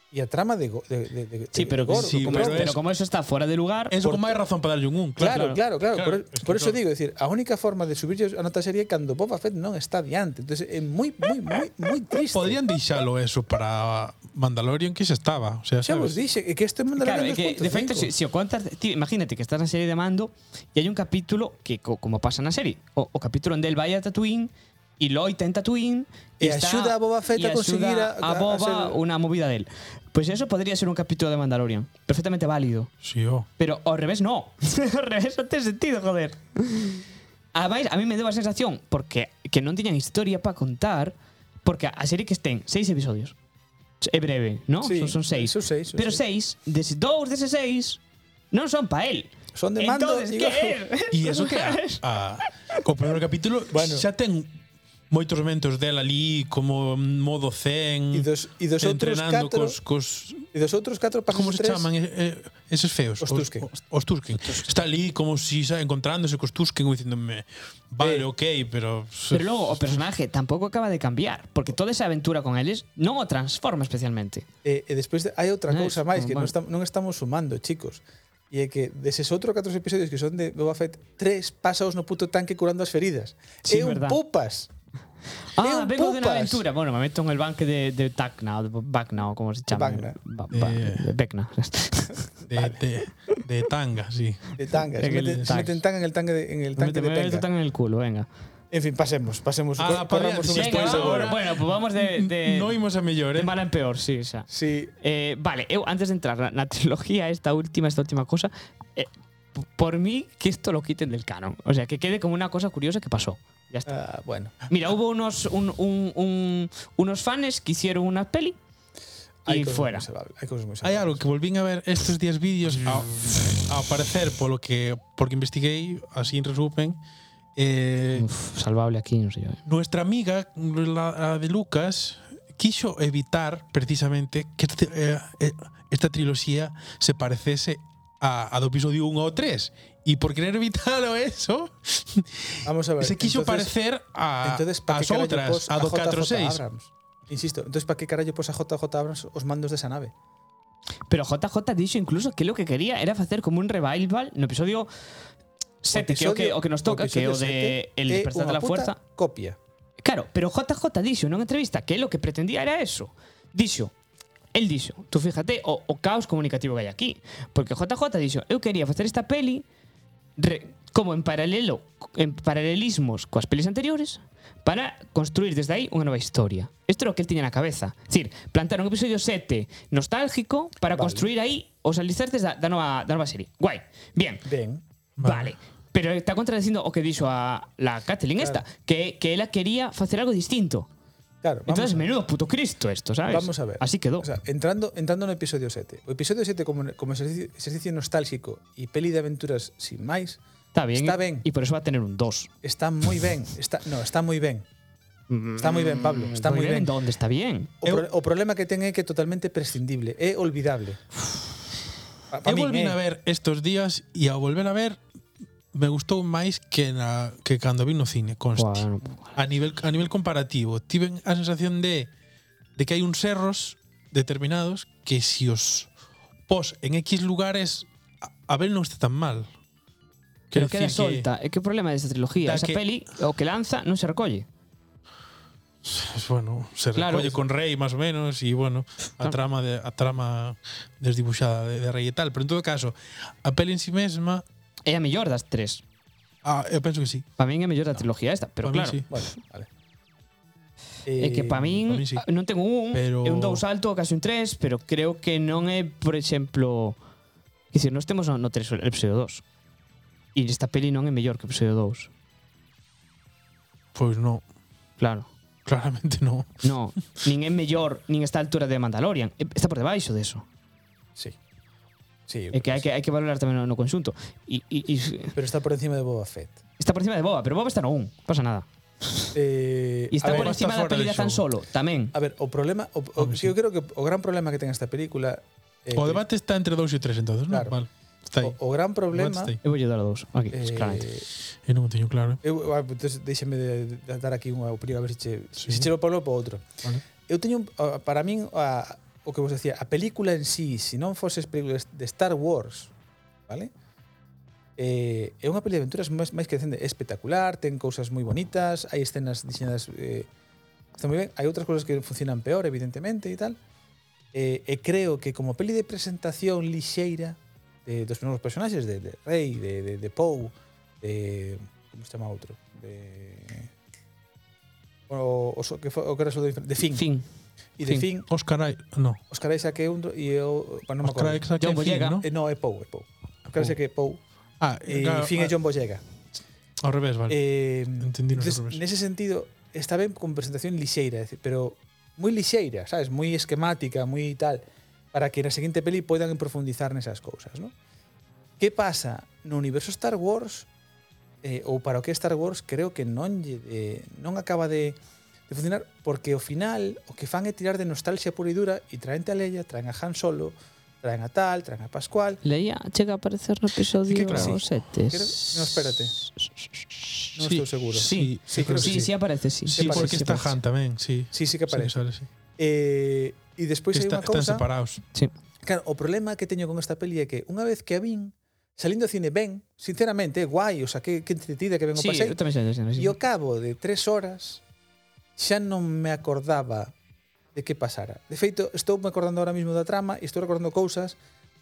[SPEAKER 1] E a trama de, go- de, de, de de
[SPEAKER 4] Sí, pero,
[SPEAKER 1] Gordo,
[SPEAKER 3] sí,
[SPEAKER 1] como
[SPEAKER 4] como,
[SPEAKER 3] pero
[SPEAKER 1] este.
[SPEAKER 4] pero
[SPEAKER 3] es-
[SPEAKER 4] como eso está fuera de lugar,
[SPEAKER 3] Eso con máis razón para darlle un un, claro.
[SPEAKER 1] Claro, claro, claro.
[SPEAKER 3] Claro,
[SPEAKER 1] Por,
[SPEAKER 3] es que
[SPEAKER 1] por eso
[SPEAKER 3] claro.
[SPEAKER 1] digo, decir, a única forma de subirlle a nota sería cando Boba Fett non está diante. Entonces é moi, moi, moi, moi triste.
[SPEAKER 3] Podrían deixalo eso para Mandalorian que xa estaba, o sea,
[SPEAKER 1] Xa vos dixe
[SPEAKER 3] sabes?
[SPEAKER 1] que este mundo
[SPEAKER 4] Claro, é que, de feito, se, se o contas, ti, imagínate que estás na serie de mando e hai un capítulo que, co, como pasa na serie, o, o capítulo onde el vai a Tatooine e loita en Tatooine
[SPEAKER 1] E axuda a Boba Fett
[SPEAKER 4] e
[SPEAKER 1] a conseguir
[SPEAKER 4] axuda
[SPEAKER 1] a-
[SPEAKER 4] a,
[SPEAKER 1] a
[SPEAKER 4] Boba
[SPEAKER 1] ser-
[SPEAKER 4] unha movida del. Pois pues eso podría ser un capítulo de Mandalorian, perfectamente válido.
[SPEAKER 3] Sí, oh.
[SPEAKER 4] Pero ao revés no. <laughs> ao revés non ten sentido, joder. Ademais, a mí me deu a sensación porque que non tiñan historia para contar porque a serie que estén seis episodios. É breve, ¿no?
[SPEAKER 1] Sí,
[SPEAKER 4] son, son seis.
[SPEAKER 1] son seis, son
[SPEAKER 4] Pero
[SPEAKER 1] seis.
[SPEAKER 4] seis, des, dous deses seis non son para él.
[SPEAKER 1] Son de mando,
[SPEAKER 4] Entonces,
[SPEAKER 1] digo.
[SPEAKER 4] que é?
[SPEAKER 3] E eso que a, a, o primeiro capítulo
[SPEAKER 1] Bueno.
[SPEAKER 3] bueno. xa ten moitos momentos dela ali como modo zen
[SPEAKER 1] E dos- e dos outros
[SPEAKER 3] entrenando
[SPEAKER 1] catro-
[SPEAKER 3] cos, cos
[SPEAKER 1] E dos outros catro pasos
[SPEAKER 3] como se
[SPEAKER 1] tres,
[SPEAKER 3] chaman eh, eh, esos feos?
[SPEAKER 1] Os Tusken.
[SPEAKER 3] Os, os Tusken. Está ali como si xa encontrándose cos Tusken como dicéndome, vale, ok, pero...
[SPEAKER 4] <laughs> Pero logo o personaje tampouco acaba de cambiar, porque toda esa aventura con eles non o transforma especialmente.
[SPEAKER 1] E, e despois de- hai outra
[SPEAKER 4] Ah,
[SPEAKER 1] cousa
[SPEAKER 4] es
[SPEAKER 1] máis que non,
[SPEAKER 4] normal.
[SPEAKER 1] estam, non estamos sumando, chicos. E é que deses outros catros episodios que son de Boba Fett, tres pasaos no puto tanque curando as feridas.
[SPEAKER 4] Sí,
[SPEAKER 1] é un
[SPEAKER 4] verdad.
[SPEAKER 1] pupas. É un
[SPEAKER 4] Ah, vengo de una
[SPEAKER 1] pupas.
[SPEAKER 4] aventura. Bueno, me meto en el banque de, de Tacna, o de Bacna, o como se llama.
[SPEAKER 1] Bacna.
[SPEAKER 4] Ba- ba-
[SPEAKER 3] Eh.
[SPEAKER 4] de Becna.
[SPEAKER 3] De, de, de tanga, sí.
[SPEAKER 1] De tanga. Se
[SPEAKER 4] <laughs> En el
[SPEAKER 1] meten, se
[SPEAKER 4] tanque.
[SPEAKER 1] meten tanga en el tanque de, en el
[SPEAKER 4] <laughs> Me
[SPEAKER 1] tanque
[SPEAKER 4] meto-
[SPEAKER 1] de
[SPEAKER 4] me meto
[SPEAKER 1] tenga.
[SPEAKER 4] tan en el culo, venga.
[SPEAKER 1] En fin, pasemos, pasemos.
[SPEAKER 3] Ah,
[SPEAKER 1] Cor- corramos un
[SPEAKER 3] podría-
[SPEAKER 4] Venga,
[SPEAKER 3] sí, Despois
[SPEAKER 4] vamos,
[SPEAKER 1] spoiler.
[SPEAKER 3] agora.
[SPEAKER 4] Bueno, pues vamos
[SPEAKER 3] <laughs>
[SPEAKER 4] de, de,
[SPEAKER 3] no imos a mellor,
[SPEAKER 4] de
[SPEAKER 3] eh?
[SPEAKER 4] mal en peor, sí, xa.
[SPEAKER 1] Sí,
[SPEAKER 4] Eh, vale, eu antes de entrar na, na trilogía esta última, esta última cosa, eh, p- por mí que esto lo quiten del canon. O sea, que quede como una cosa curiosa que pasó. Ya está.
[SPEAKER 1] ah, bueno.
[SPEAKER 4] Mira, hubo unos, un- un- un- unos fans que hicieron una peli
[SPEAKER 1] Hay
[SPEAKER 4] y
[SPEAKER 1] cosas
[SPEAKER 4] fuera.
[SPEAKER 1] muy salvables, Hay cosas muy
[SPEAKER 3] Hai
[SPEAKER 1] salvables.
[SPEAKER 3] algo que volvín a ver estes días vídeos ao, ao parecer polo que porque investiguei, así en resumen, eh,
[SPEAKER 4] Uf, salvable aquí, no sé yo. eh.
[SPEAKER 3] nuestra amiga, la, la de Lucas, quiso evitar precisamente que este- eh, eh, esta trilogía se parecese a, a do episodio 1 o 3. Y por querer evitar eso,
[SPEAKER 1] Vamos a ver.
[SPEAKER 3] se quiso
[SPEAKER 1] Pues entonces-
[SPEAKER 3] parecer a,
[SPEAKER 1] Entonces, ¿para
[SPEAKER 3] as
[SPEAKER 1] qué carallo
[SPEAKER 3] outras,
[SPEAKER 1] pos
[SPEAKER 3] a do
[SPEAKER 1] JJ
[SPEAKER 3] 4 6.
[SPEAKER 1] Abrams? Insisto, entonces, ¿para qué carallo pos a JJ Abrams os mandos desa nave?
[SPEAKER 4] Pero JJ dixo incluso que lo que quería era facer como un revival no episodio 7, que é o que, o que nos toca, que é o de
[SPEAKER 1] Eh,
[SPEAKER 4] El despertar de la fuerza.
[SPEAKER 1] Copia.
[SPEAKER 4] Claro, pero JJ dixo nunha entrevista que lo que pretendía era eso. Dixo, el dixo, tú fíjate o, o caos comunicativo que hai aquí, porque JJ dixo, eu quería facer esta peli re, como en paralelo, en paralelismos coas pelis anteriores para construir desde aí unha nova historia. Isto era o que el tiña na cabeza. Es decir, plantar un episodio 7 nostálgico para
[SPEAKER 1] Vale.
[SPEAKER 4] construir aí os alicerces da, da, nova, da nova serie. Guai. Bien.
[SPEAKER 1] Ben.
[SPEAKER 4] Vale. Pero está contradiciendo o que dixo a la Kathleen esta, que, que ela quería facer algo distinto.
[SPEAKER 1] Claro, vamos
[SPEAKER 4] Entonces,
[SPEAKER 1] a ver.
[SPEAKER 4] menudo puto Cristo esto, ¿sabes?
[SPEAKER 1] Vamos a ver.
[SPEAKER 4] Así quedó.
[SPEAKER 1] O sea, entrando, entrando no episodio 7. O episodio 7 como, como exercicio, exercicio nostálgico y peli de aventuras sin máis,
[SPEAKER 4] está bien.
[SPEAKER 1] está
[SPEAKER 4] y-
[SPEAKER 1] ben.
[SPEAKER 4] Y por eso va a tener un 2.
[SPEAKER 1] está moi ben. Está, no, está moi ben. Está moi ben,
[SPEAKER 4] Mm,
[SPEAKER 1] Pablo. Está moi ben.
[SPEAKER 4] ¿Dónde está bien?
[SPEAKER 1] O, pro, o problema que ten é que é totalmente prescindible. É olvidable. Pa, pa
[SPEAKER 3] Eu
[SPEAKER 1] min,
[SPEAKER 3] volvín
[SPEAKER 1] eh.
[SPEAKER 3] a ver estos días e ao volver a ver me gustou máis que na que cando vi no cine, conste.
[SPEAKER 4] Bueno,
[SPEAKER 3] a nivel a nivel comparativo, tiven a sensación de de que hai uns erros determinados que si os pos en X lugares, a, a ver non está tan mal.
[SPEAKER 4] Pero
[SPEAKER 3] Quero
[SPEAKER 4] queda
[SPEAKER 3] dicir que-
[SPEAKER 4] solta. É que o problema desta trilogía,
[SPEAKER 3] Da
[SPEAKER 4] esa
[SPEAKER 3] que-
[SPEAKER 4] peli, o que lanza non se recolle.
[SPEAKER 3] Pues bueno, se
[SPEAKER 4] Claro.
[SPEAKER 3] recolle con Rey más o menos y bueno,
[SPEAKER 4] Claro.
[SPEAKER 3] a trama de, a trama desdibuxada de, de Rey e tal, pero en todo caso, a peli en sí mesma,
[SPEAKER 4] É a mellor das tres.
[SPEAKER 3] ah, eu penso que sí.
[SPEAKER 4] Para min é a mellor da trilogía esta, pero
[SPEAKER 3] pa min
[SPEAKER 4] claro.
[SPEAKER 3] sí.
[SPEAKER 1] Vale, vale. Eh,
[SPEAKER 4] É que para min,
[SPEAKER 3] pa min sí.
[SPEAKER 4] ah, non tengo un,
[SPEAKER 3] Pero-
[SPEAKER 4] é un dous alto, casi un tres, pero creo que non é, por exemplo, que dicir, nós temos no, no tres o episodio 2. E esta peli non é mellor que o episodio 2.
[SPEAKER 3] Pois no,
[SPEAKER 4] Claro.
[SPEAKER 3] claramente no.
[SPEAKER 4] No, nin é mellor, nin está a altura de Mandalorian. É- Está por debaixo deso.
[SPEAKER 1] Sí. Sí, eu
[SPEAKER 4] É que
[SPEAKER 1] creo
[SPEAKER 4] hai que, hai que valorar tamén no, no conxunto. E, e, e
[SPEAKER 1] sí. Pero está por encima de Boba Fett.
[SPEAKER 4] está por encima de Boba, pero Boba está no un, pasa nada.
[SPEAKER 1] Eh,
[SPEAKER 4] E está
[SPEAKER 1] a ver,
[SPEAKER 4] por encima
[SPEAKER 3] está
[SPEAKER 4] da
[SPEAKER 3] fora
[SPEAKER 4] peli
[SPEAKER 3] de
[SPEAKER 4] de Han
[SPEAKER 3] xogo.
[SPEAKER 4] Solo, tamén.
[SPEAKER 1] A ver, o problema, o, o,
[SPEAKER 3] Home, sí.
[SPEAKER 1] eu creo que o gran problema que ten esta película eh,
[SPEAKER 3] O debate está entre 2 e 3 entonces,
[SPEAKER 1] Claro.
[SPEAKER 3] no? Vale. Está aí.
[SPEAKER 1] o, o gran problema
[SPEAKER 3] Debate está aí.
[SPEAKER 4] Eu vou dar a dous, aquí,
[SPEAKER 1] eh,
[SPEAKER 4] claramente.
[SPEAKER 3] Eu non o teño claro. eh.
[SPEAKER 1] Eu, ah, entonces, déixeme de, de dar aquí unha opinión a ver se che,
[SPEAKER 3] Sí.
[SPEAKER 1] sí. se che o Pablo para outro.
[SPEAKER 3] Vale.
[SPEAKER 1] Eu teño un, ah, para min a, o que vos decía, a película en sí, se non foses películas de Star Wars, vale? Eh, é unha peli de aventuras máis, máis que decente, é espectacular, ten cousas moi bonitas, hai escenas diseñadas eh, está moi ben, hai outras cousas que funcionan peor, evidentemente, e tal. Eh, e creo que como peli de presentación lixeira de, dos primeiros personaxes, de, de Rey, de, de, de Poe, de... Como se chama outro? De... O, o, so- que foi, o que era o de, de Finn.
[SPEAKER 4] Fin.
[SPEAKER 1] E de Finn,
[SPEAKER 4] Finn.
[SPEAKER 3] Oscar Ai, no.
[SPEAKER 1] Oscar Isaac é un... dro- E eu... Bueno, non me
[SPEAKER 3] Oscar
[SPEAKER 1] acordo.
[SPEAKER 3] Isaac é
[SPEAKER 4] John
[SPEAKER 3] Finn,
[SPEAKER 4] Boyega.
[SPEAKER 3] ¿no?
[SPEAKER 1] Eh, no, é Poe, é Poe. Oscar Isaac é Poe.
[SPEAKER 3] Ah,
[SPEAKER 1] E
[SPEAKER 3] claro,
[SPEAKER 1] Finn é
[SPEAKER 3] ah,
[SPEAKER 1] John Boyega.
[SPEAKER 3] Ao revés, vale.
[SPEAKER 1] Eh,
[SPEAKER 3] Entendí, no
[SPEAKER 1] entonces,
[SPEAKER 3] sé por qué.
[SPEAKER 1] nese sentido, está ben con presentación lixeira, é dicir, pero moi lixeira, sabes, moi esquemática, moi tal, para que na seguinte peli poidan profundizar nesas cousas, ¿no? Que pasa no universo Star Wars eh, ou para o que é Star Wars creo que non lle eh, de, non acaba de, de funcionar porque ao final o que fan é tirar de nostalgia pura e dura e traente a Leia, traen a Han Solo, traen a tal, traen a Pascual.
[SPEAKER 5] Leia chega a aparecer no episodio
[SPEAKER 1] que claro.
[SPEAKER 5] 7.
[SPEAKER 1] Creo- no, espérate. Non
[SPEAKER 3] Sí,
[SPEAKER 1] estou seguro. sí,
[SPEAKER 3] Sí, sí,
[SPEAKER 1] creo
[SPEAKER 3] creo
[SPEAKER 1] que
[SPEAKER 3] que
[SPEAKER 4] Sí, sí aparece, sí.
[SPEAKER 1] Sí,
[SPEAKER 3] Sí, porque
[SPEAKER 1] parece,
[SPEAKER 3] está
[SPEAKER 4] sí,
[SPEAKER 3] Han tamén, sí.
[SPEAKER 1] Sí, sí que
[SPEAKER 3] Sí que
[SPEAKER 1] aparece.
[SPEAKER 3] sale, sí.
[SPEAKER 1] Eh, e despois hai
[SPEAKER 3] Está,
[SPEAKER 1] unha
[SPEAKER 3] están
[SPEAKER 1] cousa
[SPEAKER 3] separados.
[SPEAKER 1] Claro, o problema que teño con esta peli é que unha vez que a vin, salindo do cine ben, sinceramente, é guai, o sea, que, que entretida que ben o
[SPEAKER 4] Sí,
[SPEAKER 1] pasei.
[SPEAKER 4] eu tamén xa, xa, xa,
[SPEAKER 1] E
[SPEAKER 4] xa.
[SPEAKER 1] ao cabo de tres horas xa non me acordaba de que pasara. De feito, estou me acordando ahora mismo da trama e estou recordando cousas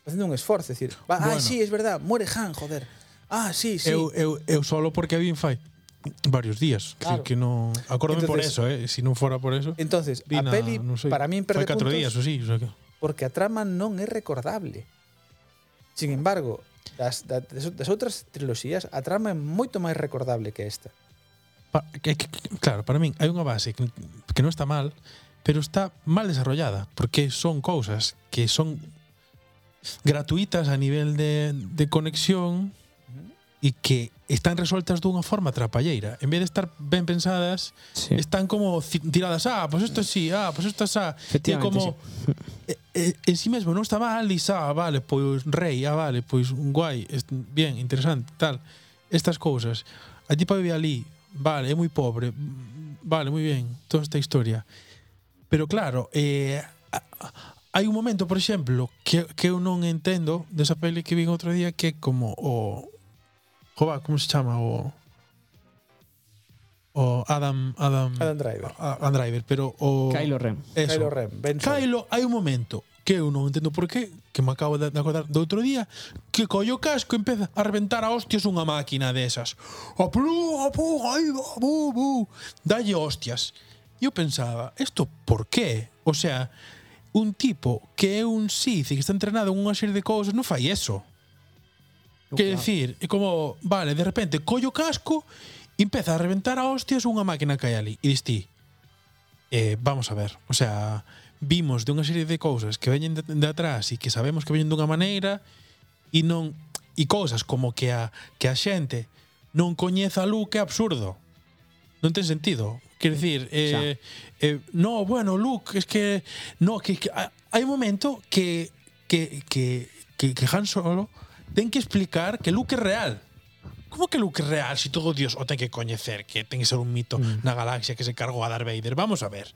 [SPEAKER 1] facendo un esforzo, decir, va, ah,
[SPEAKER 3] Bueno.
[SPEAKER 1] sí, es verdad, muere Han, joder. Ah, sí, sí.
[SPEAKER 3] Eu, eu, eu solo porque a vin fai varios días.
[SPEAKER 1] Claro.
[SPEAKER 3] Claro. Que non... Acórdome por
[SPEAKER 1] Entonces-
[SPEAKER 3] eso, eh. Si non fora por eso...
[SPEAKER 1] Entonces, a
[SPEAKER 3] Vina,
[SPEAKER 1] peli,
[SPEAKER 3] non sei,
[SPEAKER 1] para min,
[SPEAKER 3] Fai
[SPEAKER 1] perde
[SPEAKER 3] catro
[SPEAKER 1] puntos
[SPEAKER 3] días, o sí. O sea que...
[SPEAKER 1] porque a trama non é recordable. Sin embargo, das, das, das outras triloxías, a trama é moito máis recordable que esta.
[SPEAKER 3] Pa, que, que, que- claro, para min hai unha base que, que non está mal, pero está mal desarrollada, porque son cousas que son gratuitas a nivel de, de conexión e que están resueltas dunha forma trapalleira. En vez de estar ben pensadas,
[SPEAKER 4] Sí.
[SPEAKER 3] están como ci- tiradas, ah, pois pues isto sí, ah, pois pues isto xa. E
[SPEAKER 4] Efectivamente,
[SPEAKER 3] como <laughs> eh, eh, en sí mesmo non está mal, e xa, ah, vale, pois rei, ah, vale, pois guai, est- bien, interesante, tal. Estas cousas. A tipa vive ali, vale, é moi pobre, mm, vale, moi ben, toda esta historia. Pero claro, eh, a- a- hai un momento, por exemplo, que, que eu non entendo desa peli que vin outro día que é como o Jova, como se chama o o Adam Adam
[SPEAKER 1] Adam Driver.
[SPEAKER 3] a- Adam Driver, pero o
[SPEAKER 4] Kylo Ren.
[SPEAKER 3] eso.
[SPEAKER 1] Kylo Ren, Ben Solo.
[SPEAKER 3] Kylo, hai un momento que eu non entendo por qué, que me acabo de de acordar do outro día, que collo o casco e empeza a reventar a hostias unha máquina desas. A plu, a pu, ai, va, bu, bu. Dalle hostias. E Eu pensaba, isto por qué? O sea, un tipo que é un Sith e que está entrenado en unha serie de cousas non fai eso. Que decir, é como, vale, de repente collo o casco e empeza a reventar a hostias unha máquina que hai ali. E dis ti, eh, vamos a ver, o sea, vimos de unha serie de cousas que veñen de, de atrás e que sabemos que veñen dunha maneira e non e cousas como que a que a xente non coñeza a Luke é absurdo. Non ten sentido. Quer dicir, eh, eh, no, bueno, Luke, es que no, que, que ha- hai un momento que que que que, que Han Solo ten que explicar que Luke é real. como que Luke real si todo Dios o ten que coñecer que ten que ser un mito na galaxia que se cargou a Darth Vader? Vamos a ver.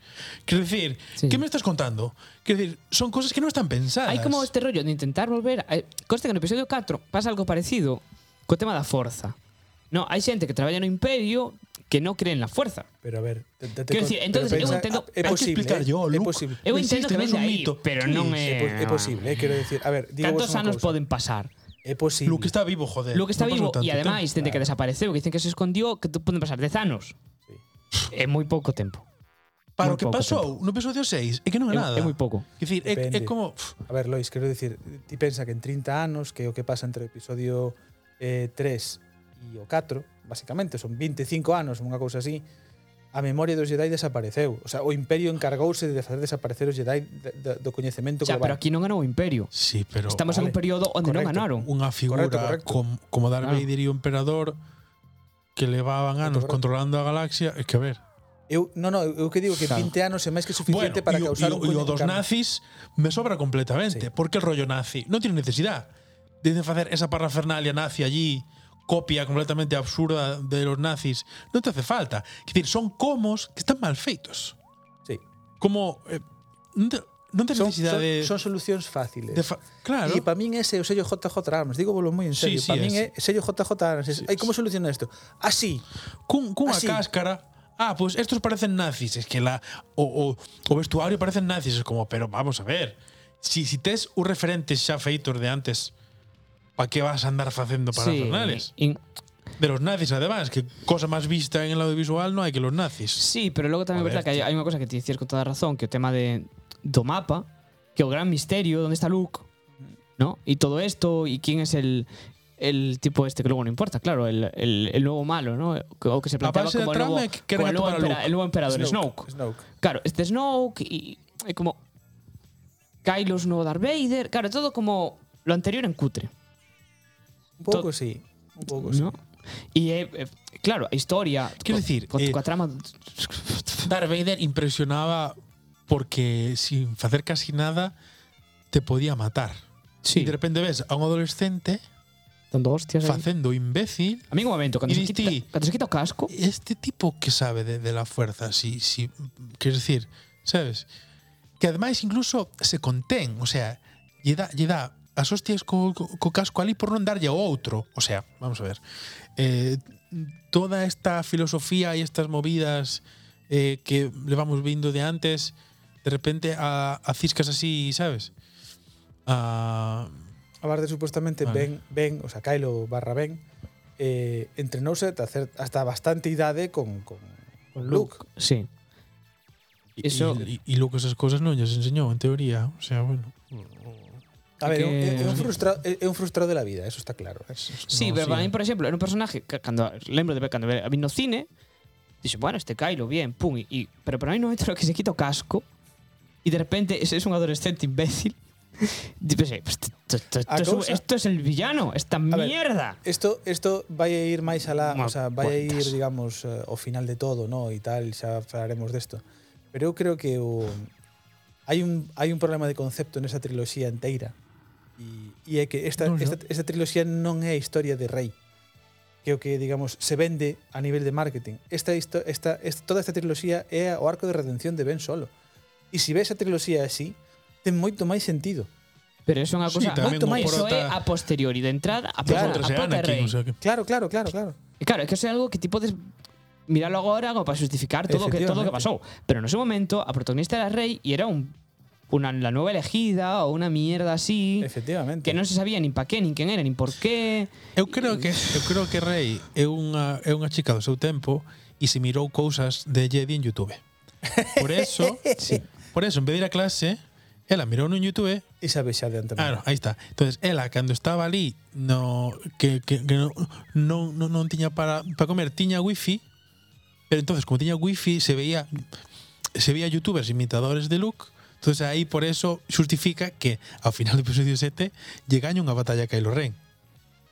[SPEAKER 3] Quer decir,
[SPEAKER 4] Sí.
[SPEAKER 3] que me estás contando? Quer decir, son cosas que non están pensadas.
[SPEAKER 4] Hai como este rollo de intentar volver a... Costa que no episodio 4 pasa algo parecido co tema da forza. No, hai xente que traballa no imperio que non cree en la forza.
[SPEAKER 1] Pero a ver, te- te- te
[SPEAKER 4] Quero
[SPEAKER 1] con-
[SPEAKER 4] dicir, entonces,
[SPEAKER 1] pero
[SPEAKER 4] eu entendo-
[SPEAKER 1] é
[SPEAKER 4] Hai que
[SPEAKER 1] posible,
[SPEAKER 3] explicar
[SPEAKER 1] eh,
[SPEAKER 3] yo,
[SPEAKER 1] é
[SPEAKER 3] Luke.
[SPEAKER 1] posible.
[SPEAKER 4] Eu
[SPEAKER 3] Non
[SPEAKER 4] entendo
[SPEAKER 3] existe,
[SPEAKER 4] que
[SPEAKER 3] non é
[SPEAKER 4] vende
[SPEAKER 3] un
[SPEAKER 4] aí,
[SPEAKER 3] mito.
[SPEAKER 4] pero
[SPEAKER 3] Sí,
[SPEAKER 4] non
[SPEAKER 1] É,
[SPEAKER 4] é...
[SPEAKER 1] po- é posible, eh, quero decir, a ver, digo
[SPEAKER 4] Cantos anos poden pasar?
[SPEAKER 1] É posible.
[SPEAKER 3] Luke está vivo, joder.
[SPEAKER 4] Lo que está
[SPEAKER 3] Non
[SPEAKER 4] vivo
[SPEAKER 3] pasou tanto
[SPEAKER 4] e ademais
[SPEAKER 3] tempo.
[SPEAKER 4] dende que desapareceu, que dicen que se escondió, que te poden pasar 10 anos. É moi pouco tempo.
[SPEAKER 3] Para
[SPEAKER 4] moi
[SPEAKER 3] o que
[SPEAKER 4] pouco
[SPEAKER 3] pasou no episodio 6 é que non é
[SPEAKER 4] É,
[SPEAKER 3] nada.
[SPEAKER 4] é moi pouco.
[SPEAKER 3] Quer decir, é, é
[SPEAKER 1] Depende.
[SPEAKER 3] como... pff,
[SPEAKER 1] A ver, Lois, quero dicir, ti pensa que en 30 anos que é o que pasa entre o episodio eh, 3 e o 4, basicamente, son 25 anos, unha cousa así, a memoria dos Jedi desapareceu. O sea, o Imperio encargouse de facer desaparecer os Jedi de, de, do coñecemento
[SPEAKER 4] Xa,
[SPEAKER 1] global.
[SPEAKER 4] pero aquí non ganou o Imperio.
[SPEAKER 3] Sí, pero
[SPEAKER 4] Estamos en
[SPEAKER 1] vale.
[SPEAKER 4] un período onde non
[SPEAKER 1] Correcto.
[SPEAKER 4] ganaron.
[SPEAKER 3] unha figura
[SPEAKER 1] Correcto, correcto.
[SPEAKER 3] Com, como Darth
[SPEAKER 4] Claro.
[SPEAKER 3] Vader e o Emperador que levaban
[SPEAKER 1] correcto.
[SPEAKER 3] anos controlando a galaxia, é que a ver.
[SPEAKER 1] Eu, no, no, eu que digo que
[SPEAKER 3] Claro.
[SPEAKER 1] 20 anos é máis que suficiente para
[SPEAKER 3] e o-
[SPEAKER 1] causar
[SPEAKER 3] e
[SPEAKER 1] un
[SPEAKER 3] o- e o
[SPEAKER 1] coño
[SPEAKER 3] dos
[SPEAKER 1] cambio.
[SPEAKER 3] nazis me sobra completamente,
[SPEAKER 1] Sí.
[SPEAKER 3] porque el rollo nazi non tiene necesidad de facer esa parrafernalia nazi allí, copia completamente absurda de los nazis, non te hace falta. Es decir, son comos que están mal feitos.
[SPEAKER 1] Sí.
[SPEAKER 3] Como eh, non, te, non tens
[SPEAKER 1] Son, son,
[SPEAKER 3] necesidad de,
[SPEAKER 1] son solucións fáciles.
[SPEAKER 3] de fa- claro.
[SPEAKER 1] Y para mí ese es o sello JJ Arms, digo volo moi en serio,
[SPEAKER 3] Sí, sí,
[SPEAKER 1] para mí
[SPEAKER 3] es.
[SPEAKER 1] é sello JJ Arms. Es, "Ai, como soluciona isto? "Ah, Así.
[SPEAKER 3] cun, cunha
[SPEAKER 1] Así.
[SPEAKER 3] cáscara. Ah, pues estos parecen nazis. Es que la o, o, o vestuario parecen nazis. Es como, pero vamos a ver. Si, si tes un referente xa feitos de antes, pa que vas a andar facendo para sí.
[SPEAKER 4] in-
[SPEAKER 3] De los nazis, además, que cosa más vista en el audiovisual no hay que los nazis.
[SPEAKER 4] Sí, pero logo tamén é
[SPEAKER 3] A ver,
[SPEAKER 4] verdad que hai, hai unha cosa que te dicías con toda razón, que o tema de do mapa, que o gran misterio, onde está Luke, ¿no? Y todo esto y quién es el el tipo este que luego no importa, claro, el, el, el nuevo malo, ¿no? O que se planteaba
[SPEAKER 3] base de
[SPEAKER 4] como el nuevo,
[SPEAKER 3] trama é que queren
[SPEAKER 4] como el, nuevo
[SPEAKER 3] atrapar a
[SPEAKER 4] empera-
[SPEAKER 3] Luke.
[SPEAKER 4] el nuevo emperador Snoke.
[SPEAKER 1] Snoke.
[SPEAKER 4] Claro, este Snoke y, y como Kylo es nuevo Darth Vader, claro, todo como lo anterior en cutre.
[SPEAKER 1] Un pouco
[SPEAKER 4] To-
[SPEAKER 1] sí, un pouco sí.
[SPEAKER 4] ¿no? Y eh, eh, claro, a historia,
[SPEAKER 3] Quero dicir,
[SPEAKER 4] con,
[SPEAKER 3] eh,
[SPEAKER 4] coa trama
[SPEAKER 3] Darth Vader impresionaba porque sin hacer casi nada te podía matar. Y
[SPEAKER 4] sí,
[SPEAKER 3] de repente ves a un adolescente
[SPEAKER 4] dando hostias ahí.
[SPEAKER 3] facendo imbécil
[SPEAKER 4] A mí en un momento, cando
[SPEAKER 3] Y
[SPEAKER 4] se, quita,
[SPEAKER 3] diste-
[SPEAKER 4] cando se quita o casco,
[SPEAKER 3] este tipo que sabe de, de la fuerza, si, si, quiero decir, ¿sabes? Que ademais incluso se contén, o sea, lle dá, lle dá as hostias co, co, co casco ali por non darlle ao outro. O sea, vamos a ver, eh, toda esta filosofía e estas movidas eh, que le vamos vindo de antes, de repente a, a ciscas así, ¿sabes? Ah, A,
[SPEAKER 1] Aparte, supuestamente,
[SPEAKER 3] Vale.
[SPEAKER 1] Ben, ben, o sea, Kylo barra Ben, eh, entrenouse ata, cer- hasta bastante idade con, con, con Luke.
[SPEAKER 4] sí. Eso-
[SPEAKER 3] y, y, y logo esas cosas non lles enseñou, en teoría. O sea, bueno.
[SPEAKER 1] A ver, é un-
[SPEAKER 4] Que-
[SPEAKER 1] é un, frustrado, é é un frustrado de la vida, eso está claro. eh.
[SPEAKER 4] Sí,
[SPEAKER 3] No,
[SPEAKER 4] pero para
[SPEAKER 3] sí.
[SPEAKER 4] mí, por ejemplo, era un personaje que cuando lembro de ver cuando vino cine, dice, bueno, este Kylo, bien, pum, y, y- pero para mí <laughs> no entra lo que se quita o casco y de repente es, es un adolescente imbécil. <laughs> Y pensé, "Pues, t- t- t-
[SPEAKER 3] Ah,
[SPEAKER 1] A
[SPEAKER 4] esto, es,
[SPEAKER 1] causa-
[SPEAKER 4] esto es el villano, esta
[SPEAKER 1] ver,
[SPEAKER 4] mierda.
[SPEAKER 1] Esto esto vai a ir máis alá,
[SPEAKER 4] Unha
[SPEAKER 1] o sea, vai a ir,
[SPEAKER 4] cuantas.
[SPEAKER 1] digamos, eh, ao final de todo, no, e tal, xa falaremos desto. Pero eu creo que o hai un hai un problema de concepto nesa triloxía enteira. E, e é que esta,
[SPEAKER 3] Non, non.
[SPEAKER 1] esta, esta triloxía non é a historia de Rey que é o que, digamos, se vende a nivel de marketing. Esta, histo- esta, esta, toda esta triloxía é o arco de redención de Ben Solo. E se ves a triloxía así, ten moito máis sentido.
[SPEAKER 4] Pero eso es una
[SPEAKER 3] Sí,
[SPEAKER 4] cosa...
[SPEAKER 3] tamén
[SPEAKER 1] moito máis,
[SPEAKER 4] eso
[SPEAKER 3] otra-
[SPEAKER 4] é a posteriori, de entrada, a,
[SPEAKER 1] Claro,
[SPEAKER 4] claro,
[SPEAKER 3] Outras
[SPEAKER 4] a,
[SPEAKER 3] é
[SPEAKER 4] pata de
[SPEAKER 3] Anakin,
[SPEAKER 4] rei.
[SPEAKER 3] o sea que...
[SPEAKER 1] Claro, claro, claro, claro.
[SPEAKER 4] E Claro, es que eso es algo que tipo puedes mirarlo ahora como para justificar todo lo que, todo lo que pasó. Pero en ese momento, a protagonista era Rey y era un, una, la nueva elegida o una mierda así.
[SPEAKER 1] Efectivamente.
[SPEAKER 4] Que no se sabía ni para qué, ni quién era, ni por qué.
[SPEAKER 3] Eu creo que eu creo que Rey é unha é unha chica do seu tempo e se mirou cousas de Jedi en YouTube.
[SPEAKER 4] <laughs>
[SPEAKER 3] Por eso, sí. por eso en vez de ir a clase, ela mirou no YouTube.
[SPEAKER 1] E sabe xa de antemano.
[SPEAKER 3] Claro, aí está. Entonces, ela cando estaba ali, no que que, que non, non non non tiña para para comer, tiña wifi. Pero entonces, como tiña wifi, se veía se veía youtubers imitadores de Luke. Entonces aí por eso justifica que ao final do episodio 7 llegaña unha batalla a Kylo Ren.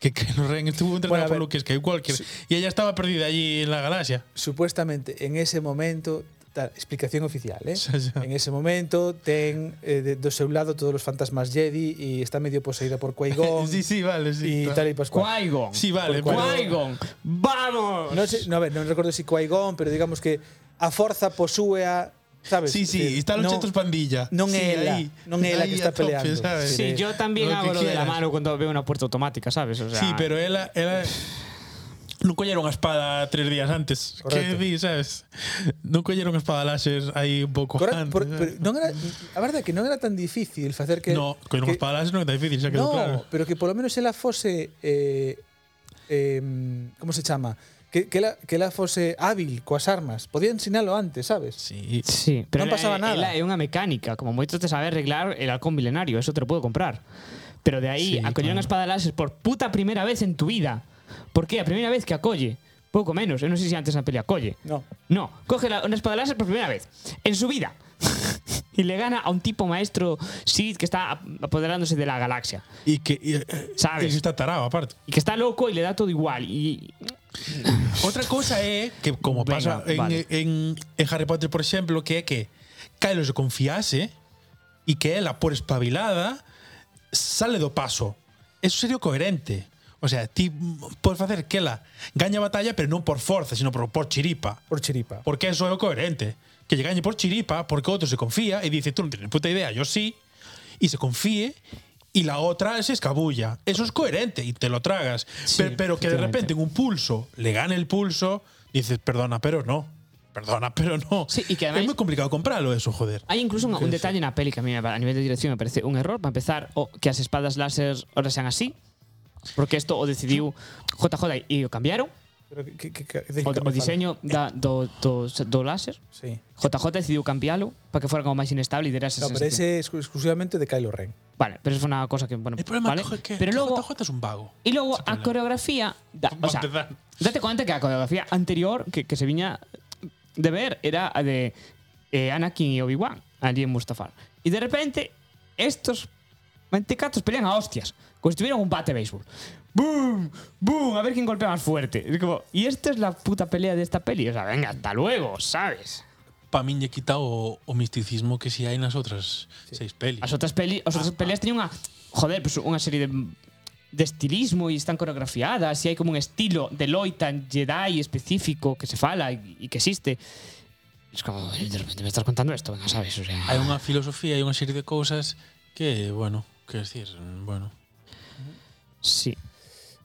[SPEAKER 3] Que Kylo Ren estuvo
[SPEAKER 1] Bueno,
[SPEAKER 3] entrenado
[SPEAKER 1] a
[SPEAKER 3] por
[SPEAKER 1] ver,
[SPEAKER 3] Luke Skywalker y ella estaba perdida allí en la galaxia.
[SPEAKER 1] supuestamente en ese momento tal, explicación oficial, eh?
[SPEAKER 3] <laughs> Xa, xa.
[SPEAKER 1] En ese momento ten eh, de, do seu lado todos os fantasmas Jedi e está medio poseída por Qui-Gon
[SPEAKER 3] <laughs> Sí, sí, vale,
[SPEAKER 1] e
[SPEAKER 3] sí.
[SPEAKER 1] tal e pascual.
[SPEAKER 4] Qui-Gon.
[SPEAKER 3] Sí, vale, pero-
[SPEAKER 4] Qui-Gon. ¡Vamos!
[SPEAKER 1] Non sei, no, a ver, non recordo se si Qui-Gon, pero digamos que a forza posúe a, sabes?
[SPEAKER 3] Sí, sí,
[SPEAKER 1] Eh,
[SPEAKER 3] están los
[SPEAKER 1] non-
[SPEAKER 3] chetos pandilla.
[SPEAKER 1] non
[SPEAKER 3] sí,
[SPEAKER 1] é ela, non é ela que
[SPEAKER 3] ahí
[SPEAKER 1] está
[SPEAKER 3] a tope,
[SPEAKER 1] peleando.
[SPEAKER 3] ¿sabes?
[SPEAKER 1] Sí,
[SPEAKER 4] Sí, yo también
[SPEAKER 3] Lo que
[SPEAKER 4] hago lo de la
[SPEAKER 3] quieras.
[SPEAKER 4] mano cuando veo una puerta automática, ¿sabes? O sea,
[SPEAKER 3] Sí, pero ela, ela non colleron a espada tres días antes. Que
[SPEAKER 1] Correcto.
[SPEAKER 3] di, sabes? Non colleron a espada láser aí un pouco
[SPEAKER 1] Corre,
[SPEAKER 3] antes.
[SPEAKER 1] por,
[SPEAKER 3] sabes?
[SPEAKER 1] pero non era, a verdade é que non era tan difícil facer que
[SPEAKER 3] no,
[SPEAKER 1] que,
[SPEAKER 3] colleron a espada láser non é tan difícil, xa quedou
[SPEAKER 1] no,
[SPEAKER 3] claro.
[SPEAKER 1] pero que polo menos ela fose eh, eh, como se chama? Que, que, ela, que ela fose hábil coas armas. Podía ensinalo antes, sabes?
[SPEAKER 3] Sí.
[SPEAKER 4] Sí,
[SPEAKER 1] Non
[SPEAKER 4] pero
[SPEAKER 1] pasaba nada.
[SPEAKER 4] É unha mecánica, como moito te sabe arreglar el halcón milenario, eso te lo puedo comprar. Pero de aí sí,
[SPEAKER 3] Sí,
[SPEAKER 4] a coller
[SPEAKER 3] claro.
[SPEAKER 4] unha espada láser por puta primeira vez en tu vida. Por que a primeira vez que a colle, pouco menos, eh, eu non sei se antes na peli a colle.
[SPEAKER 1] No.
[SPEAKER 4] No, coge la- una espada láser por primera vez en su vida. <laughs> y le gana a un tipo maestro Sith que está ap- apoderándose de la galaxia.
[SPEAKER 3] E que e,
[SPEAKER 4] Sabes.
[SPEAKER 3] E que está tarado aparte.
[SPEAKER 4] Y que está loco y le da todo igual. Y
[SPEAKER 3] Outra cousa é que como
[SPEAKER 4] Venga,
[SPEAKER 3] pasa en,
[SPEAKER 4] vale.
[SPEAKER 3] en, en Harry Potter, por exemplo, que é que Kylo se confiase e que ela, por espabilada, sale do paso. Eso sería o coherente. O sea, ti mm, podes facer que ela gaña a batalla, pero non por forza, sino por, por chiripa.
[SPEAKER 1] Por chiripa.
[SPEAKER 3] Porque eso é o coherente. Que lle gañe por chiripa porque outro se confía e dice, tú non tienes puta idea, yo sí. E se confíe y la otra se escabulla. Eso es coherente y te lo tragas. Pe- pero, que de
[SPEAKER 4] efectivamente.
[SPEAKER 3] repente en un pulso le gane el pulso, dices, perdona, pero no. Perdona, pero no.
[SPEAKER 4] Sí, y que además-
[SPEAKER 3] es muy complicado comprarlo eso, joder.
[SPEAKER 4] hay incluso un, un
[SPEAKER 3] Sí,
[SPEAKER 4] detalle en la peli que a mí me- a nivel de dirección me parece un error. Para empezar, o que las espadas láser ahora sean así. Porque esto o decidiu JJ y o cambiaron.
[SPEAKER 1] Pero que, que, que,
[SPEAKER 4] O, o diseño da, do, do, do láser.
[SPEAKER 1] Sí.
[SPEAKER 4] JJ decidiu cambiálo para que fuera como máis inestable e derase
[SPEAKER 1] No, pero ese es exclusivamente de Kylo Ren.
[SPEAKER 4] Vale, pero eso fue una cosa que bueno,
[SPEAKER 3] El problema
[SPEAKER 4] vale.
[SPEAKER 3] cojo, es que
[SPEAKER 4] pero luego
[SPEAKER 3] JJ es un vago.
[SPEAKER 4] Y luego
[SPEAKER 3] Ese
[SPEAKER 4] a
[SPEAKER 3] problema.
[SPEAKER 4] coreografía. da- o
[SPEAKER 3] Vamos a
[SPEAKER 4] sea,
[SPEAKER 3] empezar.
[SPEAKER 4] date cuenta que la coreografía anterior que, que se viña de ver era a de eh, Anakin y Obi-Wan allí en Mustafar. Y de repente, estos mentecatos pelean a hostias, como si tuvieran un bate de béisbol. ¡Bum! ¡Bum! A ver quién golpea más fuerte. Y, como, y esta es la puta pelea de esta peli. O sea, venga, hasta luego, ¿sabes?
[SPEAKER 3] <laughs> Pa min lle quita o, o misticismo que si hai nas outras seis pelis.
[SPEAKER 4] As outras, peli, as
[SPEAKER 3] Ah,
[SPEAKER 4] outras peleas teñen unha, joder, pues unha serie de de estilismo e están coreografiadas e hai como un estilo de loita en Jedi específico que se fala e e que existe. Es como, de repente me estás contando esto, venga, sabes, o sea...
[SPEAKER 3] hai unha filosofía, hai unha serie de cousas que, bueno, que decir, bueno.
[SPEAKER 4] Sí,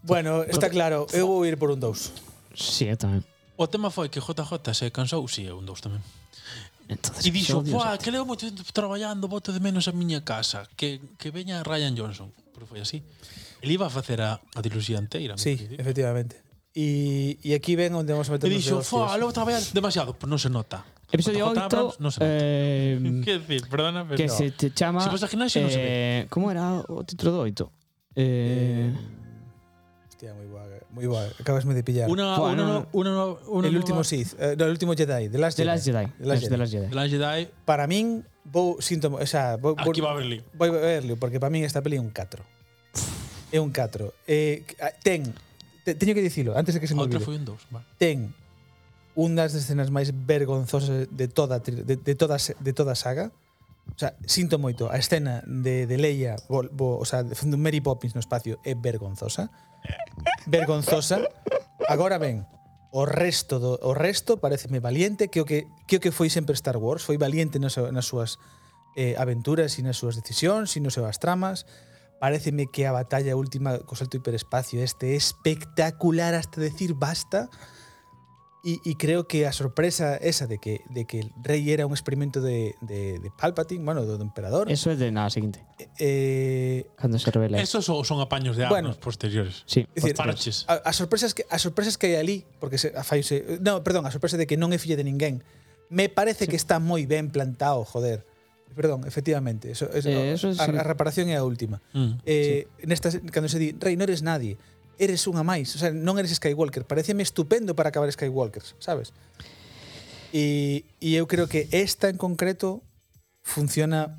[SPEAKER 1] Bueno, está claro, eu vou ir por un 2.
[SPEAKER 4] sí, eu tamén.
[SPEAKER 3] O tema foi que JJ se cansou, si, sí, é un dos tamén.
[SPEAKER 4] Entonces,
[SPEAKER 3] E dixo,
[SPEAKER 4] episodios-
[SPEAKER 3] "Buah, que levo moito tempo traballando, boto de menos a miña casa, que que veña Ryan Johnson." Pero foi así. El iba a facer a, a diluxía inteira.
[SPEAKER 1] Sí,
[SPEAKER 3] E
[SPEAKER 1] efectivamente. E, e aquí ven onde vamos a meter
[SPEAKER 3] dixo,
[SPEAKER 1] os
[SPEAKER 3] "Fua, levo traballar demasiado." Pois non se nota.
[SPEAKER 4] Episodio 8,
[SPEAKER 3] JJ Abrams non se nota.
[SPEAKER 4] eh,
[SPEAKER 3] Que decir, Mm. perdona, <laughs> pero
[SPEAKER 4] que
[SPEAKER 3] no.
[SPEAKER 4] se te chama...
[SPEAKER 3] Se vas ao gimnasio, non se ve.
[SPEAKER 4] eh, Como era o título do 8? Eh,
[SPEAKER 1] Hostia, moi boa, moi boa. Acabasme de pillar.
[SPEAKER 3] Una,
[SPEAKER 4] Fua,
[SPEAKER 3] una,
[SPEAKER 4] no,
[SPEAKER 3] no- una, no- una
[SPEAKER 1] el último
[SPEAKER 3] nova-
[SPEAKER 1] Sith, eh, no, el último Jedi, The Last Jedi.
[SPEAKER 4] The Last Jedi.
[SPEAKER 1] The Last
[SPEAKER 4] es
[SPEAKER 1] Jedi.
[SPEAKER 4] The Last Jedi.
[SPEAKER 3] The Last Jedi,
[SPEAKER 1] Para min vou síntoma, o sea, vou,
[SPEAKER 3] aquí
[SPEAKER 1] vou,
[SPEAKER 3] va a haber lío.
[SPEAKER 1] Voy a verlo, porque para mí esta peli é un 4. É un 4. Eh, que- ah, ten, te, teño que dicilo, antes de que se
[SPEAKER 3] A
[SPEAKER 1] me
[SPEAKER 3] Outra
[SPEAKER 1] olvide.
[SPEAKER 3] foi un dos, vale.
[SPEAKER 1] Ten unhas das escenas máis vergonzosas de toda a tri- de, de toda a se- de toda a saga. O sea, sinto moito, a escena de, de Leia, bo, bo, o sea, de facendo Mary Poppins no espacio é vergonzosa. Vergonzosa. Agora ben, o resto do, o resto pareceme valiente, creo que creo que foi sempre Star Wars, foi valiente nas, nas súas eh, aventuras e nas súas decisións e nas súas tramas. Pareceme que a batalla última co salto hiperespacio este é espectacular hasta decir basta. E, e creo que a sorpresa esa de que de que el rei era un experimento de, de, de Palpatine, bueno, do, do emperador,
[SPEAKER 4] Eso es de nada, siguiente.
[SPEAKER 1] eh,
[SPEAKER 4] Cando se revela.
[SPEAKER 3] Esos son, son apaños de
[SPEAKER 1] Bueno.
[SPEAKER 3] armas posteriores.
[SPEAKER 4] Sí.
[SPEAKER 1] Es decir,
[SPEAKER 3] Parches.
[SPEAKER 1] A, as sorpresas que as sorpresas que hai ali, porque se, a fallo se, no, perdón, a sorpresa de que non é filla de ninguén. Me parece sí. que está moi ben plantado, joder. Perdón, efectivamente, eso, eso, eh,
[SPEAKER 4] Eh, eso
[SPEAKER 1] eso
[SPEAKER 4] es-
[SPEAKER 1] a, a reparación é a última.
[SPEAKER 3] Mm.
[SPEAKER 1] Eh, sí. nestas cando se di, "Rei, non eres nadie, eres unha máis", o sea, non eres Skywalker. Pareceme estupendo para acabar Skywalkers, sabes? E e eu creo que esta en concreto funciona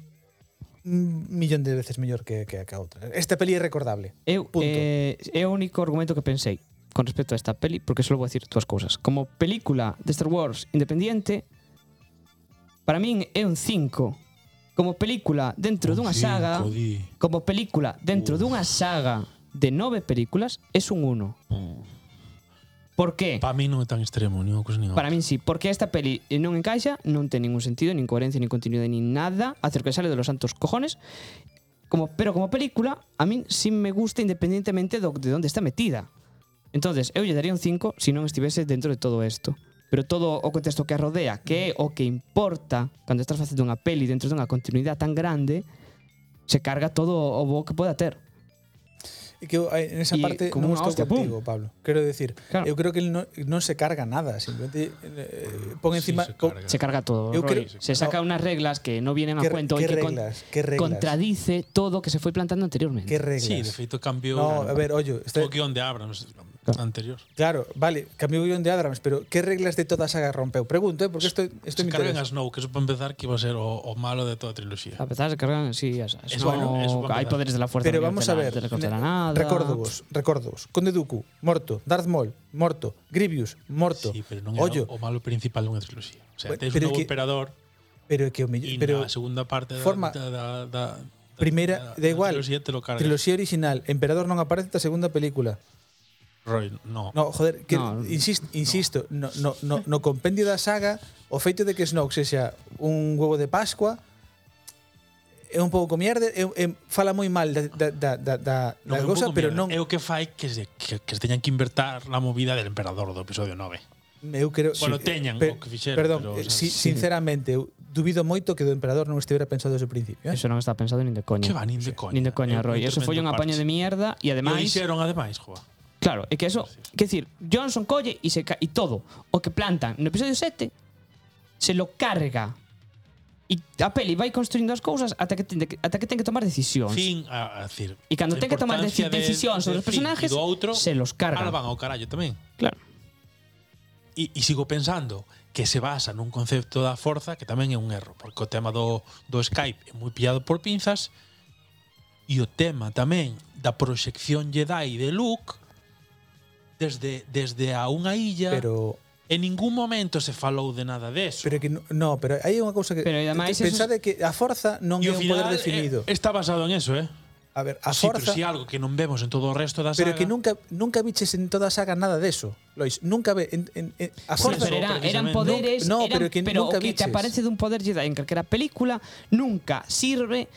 [SPEAKER 1] un millón de veces mellor que, que a que a outra. Esta peli é recordable.
[SPEAKER 4] Eu,
[SPEAKER 1] Punto.
[SPEAKER 4] eh, é o único argumento que pensei con respecto a esta peli, porque solo vou dicir dúas cousas. Como película de Star Wars independiente, Para min é un 5. Como película dentro dunha saga, como película dentro dunha saga de nove películas, é un 1. Por que?
[SPEAKER 3] Para mí non é tan extremo, nin unha cousa nin
[SPEAKER 4] Para min sí, porque esta peli non encaixa, non ten ningún sentido, nin coherencia, nin continuidade, nin nada, a que sale de los santos cojones. Como, pero como película, a min sí me gusta independientemente do, de onde está metida. Entonces, eu lle daría un 5 se non estivese dentro de todo isto. Pero todo o contexto que a rodea, que é o que importa cando estás facendo unha peli dentro dunha continuidade tan grande, se carga todo o bo que poda ter.
[SPEAKER 1] E que eu, eh, en esa
[SPEAKER 4] Y
[SPEAKER 1] parte
[SPEAKER 4] como
[SPEAKER 1] non
[SPEAKER 4] unha
[SPEAKER 1] estou
[SPEAKER 4] hostia, pum.
[SPEAKER 1] contigo, Pablo. Quero decir,
[SPEAKER 4] Claro.
[SPEAKER 1] eu creo que el non, non se carga nada, simplemente eh, pon encima
[SPEAKER 3] se
[SPEAKER 1] pon-
[SPEAKER 3] carga.
[SPEAKER 4] Se carga todo.
[SPEAKER 1] Eu
[SPEAKER 4] Rory.
[SPEAKER 1] creo-
[SPEAKER 4] se saca unas reglas que non vienen a
[SPEAKER 1] que,
[SPEAKER 4] cuento
[SPEAKER 1] que
[SPEAKER 4] e que con-
[SPEAKER 1] reglas, que reglas,
[SPEAKER 4] contradice todo o que se foi plantando anteriormente.
[SPEAKER 1] que reglas.
[SPEAKER 3] Sí, de feito cambiou
[SPEAKER 1] no, a ver, ollo, está,
[SPEAKER 3] o guión de Abrams anterior.
[SPEAKER 1] Claro, vale, cambiou o guión de Adrams, pero que reglas de toda a saga rompeu? Pregunto, eh, porque isto isto
[SPEAKER 3] Se
[SPEAKER 1] me
[SPEAKER 3] cargan
[SPEAKER 1] interesa.
[SPEAKER 3] a Snow, que eso para empezar que iba a ser o, o malo de toda a triloxía.
[SPEAKER 4] A pesar de que cargan, sí, as, as-
[SPEAKER 3] Eso,
[SPEAKER 4] no-
[SPEAKER 3] bueno, eso va a
[SPEAKER 4] hai
[SPEAKER 3] quedar.
[SPEAKER 4] poderes de la fuerza.
[SPEAKER 1] Pero
[SPEAKER 4] no
[SPEAKER 1] vamos
[SPEAKER 4] te
[SPEAKER 1] a
[SPEAKER 4] la-
[SPEAKER 1] ver.
[SPEAKER 4] te recortará nada.
[SPEAKER 1] Recórdovos, recórdovos. Conde Dooku, morto. Darth Maul, morto. Grievous, morto.
[SPEAKER 3] Sí, pero non era
[SPEAKER 1] Ollo,
[SPEAKER 3] o malo principal dunha triloxía. O sea,
[SPEAKER 1] Bueno,
[SPEAKER 3] tes
[SPEAKER 1] pero
[SPEAKER 3] un novo
[SPEAKER 1] que-
[SPEAKER 3] emperador
[SPEAKER 1] pero é que o
[SPEAKER 3] e
[SPEAKER 1] mellor, pero
[SPEAKER 3] na segunda parte da-
[SPEAKER 1] forma-
[SPEAKER 3] da, da, da, da
[SPEAKER 1] primeira, da igual.
[SPEAKER 3] Triloxía te lo cargas.
[SPEAKER 1] Triloxía original, Emperador non aparece ta segunda película.
[SPEAKER 3] Roy, no.
[SPEAKER 1] No, joder, que
[SPEAKER 4] No,
[SPEAKER 1] insisto, insisto no. No, no, no compendio da saga o feito de que Snoke sexa un huevo de Pascua é un pouco mierda, é, é, fala moi mal da, da, da, da, da
[SPEAKER 3] Non, é un
[SPEAKER 1] cosa,
[SPEAKER 3] pouco
[SPEAKER 1] pero
[SPEAKER 3] mierda.
[SPEAKER 1] non
[SPEAKER 3] É o que fai que se, que, que se teñan que invertar la movida del emperador do episodio 9.
[SPEAKER 1] eu creo
[SPEAKER 3] Bueno,
[SPEAKER 1] sí,
[SPEAKER 3] teñan
[SPEAKER 1] pe-
[SPEAKER 3] o que fixeron,
[SPEAKER 1] Perdón,
[SPEAKER 3] pero,
[SPEAKER 1] pero,
[SPEAKER 3] o sea,
[SPEAKER 1] si,
[SPEAKER 3] sí.
[SPEAKER 1] sinceramente, eu dubido moito que do emperador non estivera pensado desde o principio, eh?
[SPEAKER 4] Eso non está pensado nin de coña.
[SPEAKER 3] Que va, nin de coña.
[SPEAKER 4] Nin de coña,
[SPEAKER 3] É un
[SPEAKER 4] Roy. Eso foi un
[SPEAKER 3] tremendo
[SPEAKER 4] apaño de
[SPEAKER 3] parche.
[SPEAKER 4] mierda e
[SPEAKER 3] E o
[SPEAKER 4] ademais...
[SPEAKER 3] hixeron ademais, joa.
[SPEAKER 4] Claro, é que eso... Que decir, Johnson colle e se ca- e todo o que plantan no episodio 7 se lo carga. E a peli vai construindo as cousas ata que ten, que- ata que ten que tomar decisións.
[SPEAKER 3] Fin, a, a ah, decir,
[SPEAKER 4] E cando
[SPEAKER 3] a
[SPEAKER 4] ten que tomar deci-
[SPEAKER 3] importancia de-
[SPEAKER 4] decisións sobre os
[SPEAKER 3] de Finn
[SPEAKER 4] personajes,
[SPEAKER 3] e do outro,
[SPEAKER 4] se los carga.
[SPEAKER 3] Ahora van ao carallo tamén.
[SPEAKER 4] Claro.
[SPEAKER 3] E, e sigo pensando que se basa nun concepto da forza que tamén é un erro, porque o tema do, do Skype é moi pillado por pinzas e o tema tamén da proxección Jedi de Luke desde desde a unha illa
[SPEAKER 1] Pero
[SPEAKER 3] en ningún momento se falou de nada deso.
[SPEAKER 1] pero é que no, no pero hai unha cousa que
[SPEAKER 4] Pero, e ademais, eso
[SPEAKER 1] pensade que a forza non é
[SPEAKER 3] E o
[SPEAKER 1] un poder
[SPEAKER 3] final
[SPEAKER 1] definido.
[SPEAKER 3] eh, está basado en eso, eh?
[SPEAKER 1] a ver, a
[SPEAKER 3] sí, pero
[SPEAKER 1] forza
[SPEAKER 3] si algo que non vemos en todo o resto da saga.
[SPEAKER 1] Pero que nunca nunca viches en toda a saga nada de eso, Lois. Nunca ve en, en, en- a Forza.
[SPEAKER 4] Sí,
[SPEAKER 3] Por eso,
[SPEAKER 4] pero era- eran
[SPEAKER 3] precisamente.
[SPEAKER 4] poderes,
[SPEAKER 1] No,
[SPEAKER 4] eran-
[SPEAKER 1] pero que
[SPEAKER 4] pero
[SPEAKER 1] nunca
[SPEAKER 4] o que
[SPEAKER 1] biches.
[SPEAKER 4] te aparece de un poder Jedi en calquera película nunca sirve.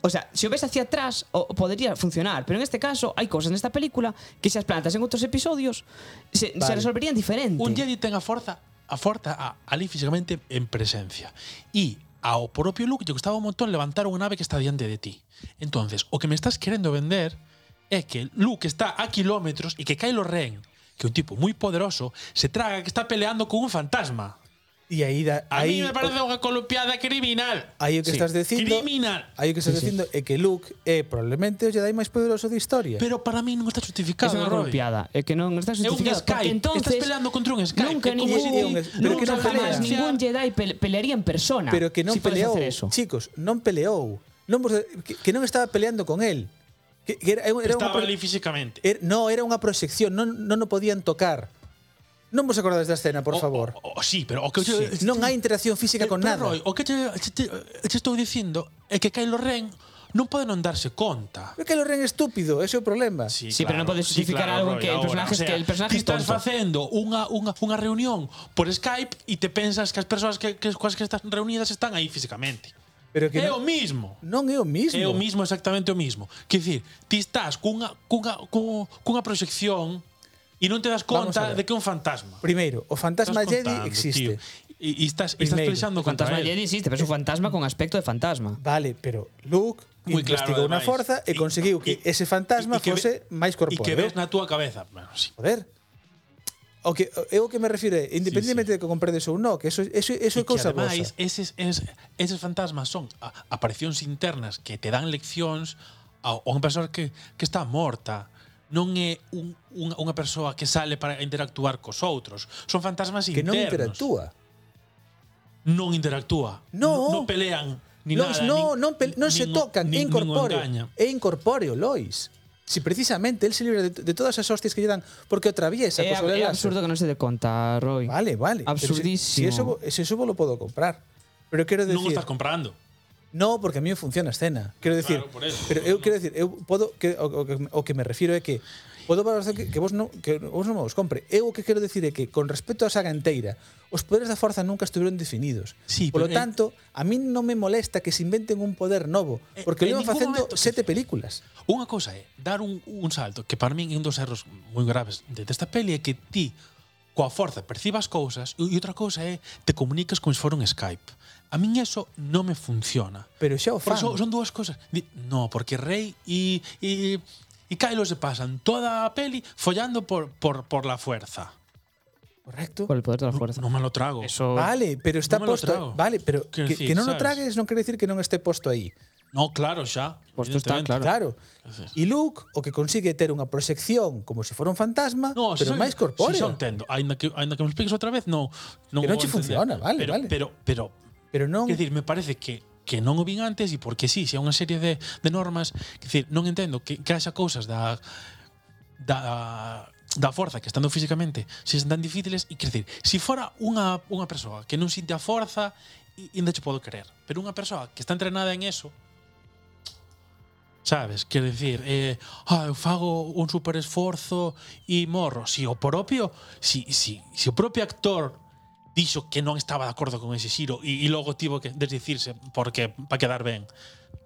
[SPEAKER 4] O sea, si o ves hacia atrás, o o podría funcionar. Pero en este caso, hay cosas en esta película que si las plantas en otros episodios, se, se
[SPEAKER 1] Vale.
[SPEAKER 4] resolverían diferente.
[SPEAKER 3] Un Jedi ten a forza, a forza a, ali físicamente en presencia. E ao propio Luke lle gustaba un montón levantar unha nave que está diante de ti. Entonces, o que me estás querendo vender é que Luke está a kilómetros e que Kylo Ren, que é un tipo moi poderoso, se traga que está peleando con un fantasma.
[SPEAKER 1] Y ahí da,
[SPEAKER 3] A
[SPEAKER 1] ahí,
[SPEAKER 3] mí me parece unha columpiada criminal.
[SPEAKER 1] aí o que estás dicindo,
[SPEAKER 3] Criminal.
[SPEAKER 1] aí o que estás dicindo é que Luke é probablemente o Jedi máis poderoso da historia.
[SPEAKER 3] Pero para mí non está
[SPEAKER 4] es
[SPEAKER 3] justificado,
[SPEAKER 4] una
[SPEAKER 3] Roy.
[SPEAKER 4] golpeada. Es que no no está
[SPEAKER 3] É un
[SPEAKER 4] justificado. porque
[SPEAKER 3] Skype.
[SPEAKER 4] entonces,
[SPEAKER 3] Estás peleando contra un Skype.
[SPEAKER 4] Nunca
[SPEAKER 3] É como
[SPEAKER 4] ningún,
[SPEAKER 1] si- É un- pero que
[SPEAKER 4] nunca
[SPEAKER 1] non
[SPEAKER 4] jamás
[SPEAKER 1] pelea.
[SPEAKER 4] ningún Jedi pe- pelearía en persona.
[SPEAKER 1] Pero que non
[SPEAKER 4] si puedes
[SPEAKER 1] peleou,
[SPEAKER 4] hacer eso.
[SPEAKER 1] chicos, non peleou. Non vos- que, que non estaba peleando con él. Que, que era, era unha
[SPEAKER 3] Estaba
[SPEAKER 1] pro- Eh,
[SPEAKER 3] ali físicamente.
[SPEAKER 1] era- no, era unha proxección, non non o podían tocar. Non vos acordades da escena, por
[SPEAKER 3] O-
[SPEAKER 1] favor.
[SPEAKER 3] O, o, sí, pero o oh, que
[SPEAKER 1] Sí. Non hai interacción física
[SPEAKER 3] Pero,
[SPEAKER 1] con
[SPEAKER 3] pero,
[SPEAKER 1] nada.
[SPEAKER 3] Roy, o que te, te, te, te estou dicindo é que Kylo Ren non pode non darse conta.
[SPEAKER 1] É que lo ren estúpido, ese é o problema.
[SPEAKER 4] Sí, pero non podes justificar algo que el personaje es que el personaje es
[SPEAKER 3] ti estás
[SPEAKER 4] tonto.
[SPEAKER 3] facendo unha, unha, unha reunión por Skype e te pensas que as persoas que, que, coas que estás reunidas están aí físicamente.
[SPEAKER 1] Pero que
[SPEAKER 3] é o
[SPEAKER 1] non,
[SPEAKER 3] mismo.
[SPEAKER 1] non é o mismo.
[SPEAKER 3] É o mismo, exactamente o mismo. Quer dicir, ti estás cunha, cunha, cunha, cunha proxección e non te das
[SPEAKER 1] Vamos a
[SPEAKER 3] conta
[SPEAKER 1] ver.
[SPEAKER 3] de que é un fantasma.
[SPEAKER 1] Primeiro, o fantasma
[SPEAKER 3] Estás
[SPEAKER 1] Jedi
[SPEAKER 3] contando,
[SPEAKER 1] existe.
[SPEAKER 3] tío. E, e estás, e estás
[SPEAKER 1] Primeiro,
[SPEAKER 3] pensando
[SPEAKER 4] El
[SPEAKER 3] contra
[SPEAKER 4] fantasma
[SPEAKER 3] él.
[SPEAKER 4] Jedi existe, pero es un fantasma con aspecto de fantasma.
[SPEAKER 1] Vale, pero Luke
[SPEAKER 3] Moi
[SPEAKER 1] investigou
[SPEAKER 3] claro,
[SPEAKER 1] na
[SPEAKER 3] ademais.
[SPEAKER 1] forza e
[SPEAKER 3] E-
[SPEAKER 1] conseguiu que
[SPEAKER 3] e-
[SPEAKER 1] ese fantasma
[SPEAKER 3] e que ve-
[SPEAKER 1] fose máis
[SPEAKER 3] E que
[SPEAKER 1] corpóreo.
[SPEAKER 3] ves na túa cabeza. Bueno, sí.
[SPEAKER 1] Joder. O que eu o que me refiro é, independentemente de
[SPEAKER 3] Sí,
[SPEAKER 1] que comprendes ou non, que eso eso eso é
[SPEAKER 3] E que
[SPEAKER 1] cousa
[SPEAKER 3] ademais,
[SPEAKER 1] vosa.
[SPEAKER 3] eses, eses, eses fantasmas son a- aparicións internas que te dan leccións a, a unha persoa que, que está morta. Non é un, unha, unha persoa que sale para interactuar cos outros. Son fantasmas
[SPEAKER 1] Que
[SPEAKER 3] internos.
[SPEAKER 1] non interactúa.
[SPEAKER 3] Non interactúa.
[SPEAKER 1] No.
[SPEAKER 3] Non pelean. Ni
[SPEAKER 1] Lois,
[SPEAKER 3] nada,
[SPEAKER 1] no,
[SPEAKER 3] nin-
[SPEAKER 1] non, pel- non se
[SPEAKER 3] nin-
[SPEAKER 1] tocan, é
[SPEAKER 3] nin- nin
[SPEAKER 1] incorpóreo.
[SPEAKER 3] engaña.
[SPEAKER 1] É incorpóreo, Lois. Si precisamente él se libra de, de todas as hostias que lle dan porque o atraviesa
[SPEAKER 4] Es
[SPEAKER 1] co sobre
[SPEAKER 4] Eh, es
[SPEAKER 1] lazo.
[SPEAKER 4] absurdo que no se dé cuenta, Roy.
[SPEAKER 1] Vale, vale. Pero si-
[SPEAKER 4] Absurdísimo.
[SPEAKER 1] Si, eso, vo- si eso vos lo puedo comprar. Pero quero
[SPEAKER 3] non o
[SPEAKER 1] decir,
[SPEAKER 3] estás comprando.
[SPEAKER 1] No, porque a mí me funciona a escena. Quero dicir,
[SPEAKER 3] Claro, por eso.
[SPEAKER 1] pero eu quero dicir, eu podo que o, o, que- o que me refiro é que podo valorar que, que vos non que vos non os compre. Eu o que quero decir é que con respecto á saga inteira, os poderes da forza nunca estiveron definidos.
[SPEAKER 3] Sí,
[SPEAKER 1] Por lo
[SPEAKER 3] pero en-
[SPEAKER 1] tanto, a mí non me molesta que se inventen un poder novo,
[SPEAKER 3] En-
[SPEAKER 1] porque
[SPEAKER 3] Eh, en
[SPEAKER 1] lo iban
[SPEAKER 3] ningún
[SPEAKER 1] facendo
[SPEAKER 3] momento que-
[SPEAKER 1] sete películas.
[SPEAKER 3] Unha cousa é dar un, un salto que para min é un dos erros moi graves de- desta peli é que ti coa forza percibas cousas e e outra cousa é te comunicas como se fora un Skype. A min eso non me funciona.
[SPEAKER 1] Pero xa o
[SPEAKER 3] Por
[SPEAKER 1] fan.
[SPEAKER 3] eso son dúas cousas. Di, no, porque Rey e, e, e Kylo se pasan toda a peli follando por, por, por la fuerza.
[SPEAKER 1] Correcto.
[SPEAKER 4] Por el poder de la fuerza.
[SPEAKER 3] Non me lo trago.
[SPEAKER 4] Eso.
[SPEAKER 1] Vale, pero está
[SPEAKER 3] Non me lo
[SPEAKER 1] posto.
[SPEAKER 3] trago.
[SPEAKER 1] Vale, pero que,
[SPEAKER 3] Quiero decir,
[SPEAKER 1] que non o
[SPEAKER 3] ¿sabes?
[SPEAKER 1] tragues non quere decir que non este posto aí.
[SPEAKER 3] No, claro, xa.
[SPEAKER 4] Posto está,
[SPEAKER 3] evidentemente.
[SPEAKER 1] Claro. E Luke o que consigue é ter unha proxección como se fora un fantasma,
[SPEAKER 3] No,
[SPEAKER 1] pero
[SPEAKER 3] son-
[SPEAKER 1] máis corpóreo.
[SPEAKER 3] Si, xa o entendo. Ainda que, ainda que me expliques outra vez, non. non
[SPEAKER 1] Que non
[SPEAKER 3] o
[SPEAKER 1] che
[SPEAKER 3] entender.
[SPEAKER 1] funciona, vale,
[SPEAKER 3] pero,
[SPEAKER 1] vale.
[SPEAKER 3] Pero, pero,
[SPEAKER 1] pero non
[SPEAKER 3] quer dicir, me parece que que non o vin antes e porque sí, se é unha serie de, de normas, quer dicir, non entendo que, que haxa cousas da da da forza que estando físicamente se tan difíciles e quer dicir, se fora unha, unha persoa que non sinte a forza i- ainda che podo querer, pero unha persoa que está entrenada en eso Sabes, quer dicir, eh, ah, eu fago un super esforzo e morro. Si o propio, si, si, si o propio actor dixo que non estaba de acordo con ese xiro e, e logo tivo que desdicirse porque para quedar ben.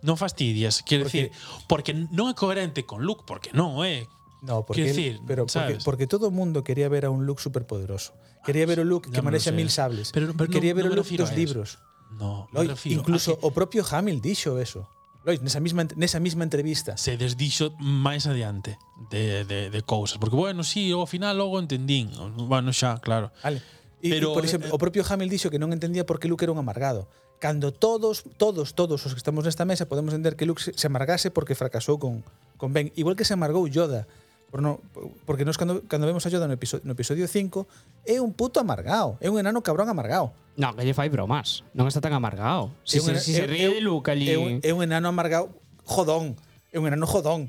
[SPEAKER 3] Non fastidies, quer
[SPEAKER 1] Porque-
[SPEAKER 3] dicir, porque non é coherente con Luke, porque non o é.
[SPEAKER 1] No, porque,
[SPEAKER 3] Quiero
[SPEAKER 1] él-
[SPEAKER 3] decir,
[SPEAKER 1] pero porque,
[SPEAKER 3] ¿sabes?
[SPEAKER 1] porque todo el mundo quería ver a un Luke superpoderoso. Quería ver a un Luke que
[SPEAKER 3] ya me lo
[SPEAKER 1] maneja
[SPEAKER 3] sé.
[SPEAKER 1] mil sables.
[SPEAKER 3] Pero- pero
[SPEAKER 1] Y quería
[SPEAKER 3] no-
[SPEAKER 1] ver a
[SPEAKER 3] no me
[SPEAKER 1] Luke
[SPEAKER 3] refiero
[SPEAKER 1] dos
[SPEAKER 3] a eso.
[SPEAKER 1] libros.
[SPEAKER 3] No,
[SPEAKER 1] Loi,
[SPEAKER 3] me refiro
[SPEAKER 1] incluso
[SPEAKER 3] a
[SPEAKER 1] o propio Hamill dicho eso. Loi, nesa misma ent- nesa misma entrevista.
[SPEAKER 3] que se desdixo máis adiante de, de, de cousas. Porque, bueno, sí, eu ao final logo entendín. Bueno, xa, claro.
[SPEAKER 1] Vale. Y,
[SPEAKER 3] Pero,
[SPEAKER 1] por exemplo,
[SPEAKER 3] eh,
[SPEAKER 1] o propio Hamill dixo que non entendía por que Luke era un amargado. Cando todos, todos, todos os que estamos nesta mesa podemos entender que Luke se se amargase porque fracasou con, con Ben. Igual que se amargou Yoda. Por no, porque nos cando, cando vemos a Yoda no episodio, no episodio 5 é un puto amargado. É un enano cabrón amargado.
[SPEAKER 4] No, que lle fai bromas. Non está tan amargado.
[SPEAKER 1] É
[SPEAKER 4] Si,
[SPEAKER 1] un-
[SPEAKER 4] se, si
[SPEAKER 1] é-
[SPEAKER 4] se ríe
[SPEAKER 1] é-
[SPEAKER 4] de Luke ali.
[SPEAKER 1] É un, é un enano amargado jodón. É un enano jodón.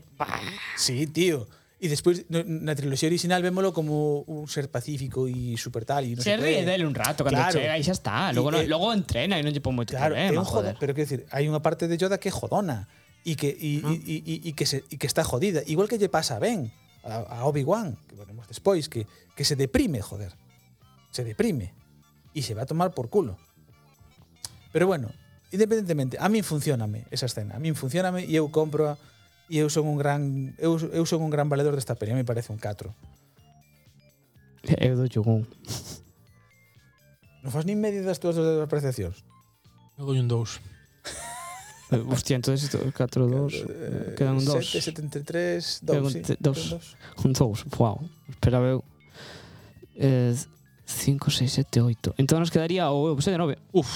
[SPEAKER 1] Sí, tío. E despois no- na triloxía original vémolo como un ser pacífico e super tal e non
[SPEAKER 4] se
[SPEAKER 1] sei
[SPEAKER 4] ríe
[SPEAKER 1] qué.
[SPEAKER 4] dele un rato cando
[SPEAKER 1] Claro.
[SPEAKER 4] chega e xa está. Logo,
[SPEAKER 1] E-
[SPEAKER 4] no, logo entrena e non lle pon moito
[SPEAKER 1] Claro, é
[SPEAKER 4] problema,
[SPEAKER 1] un jodón,
[SPEAKER 4] joder.
[SPEAKER 1] pero quero dicir, hai unha parte de Yoda que é jodona e que e, e, e, e, e que se e que está jodida, igual que lle pasa a Ben, a, a Obi-Wan, que veremos despois que que se deprime, joder. Se deprime e se va a tomar por culo. Pero bueno, independentemente, a min funcioname esa escena, a min funcioname e eu compro e eu son un gran eu, eu son un gran valedor desta peli, a mí me parece un 4.
[SPEAKER 4] Eu do chugún.
[SPEAKER 1] Non fas nin medio das túas apreciacións.
[SPEAKER 3] Eu doi un dous.
[SPEAKER 4] Eh, Hostia, entonces isto 4
[SPEAKER 1] eh,
[SPEAKER 4] 2 quedan un 2.
[SPEAKER 1] 73,
[SPEAKER 4] Quedan
[SPEAKER 1] 2, sí.
[SPEAKER 4] te- dos.
[SPEAKER 1] quedan dos.
[SPEAKER 4] Un 2, wow. Esperaba eu. Eh, 5, 6, 7, 8. Entón nos quedaría o eu, 7, 9.
[SPEAKER 3] Uf.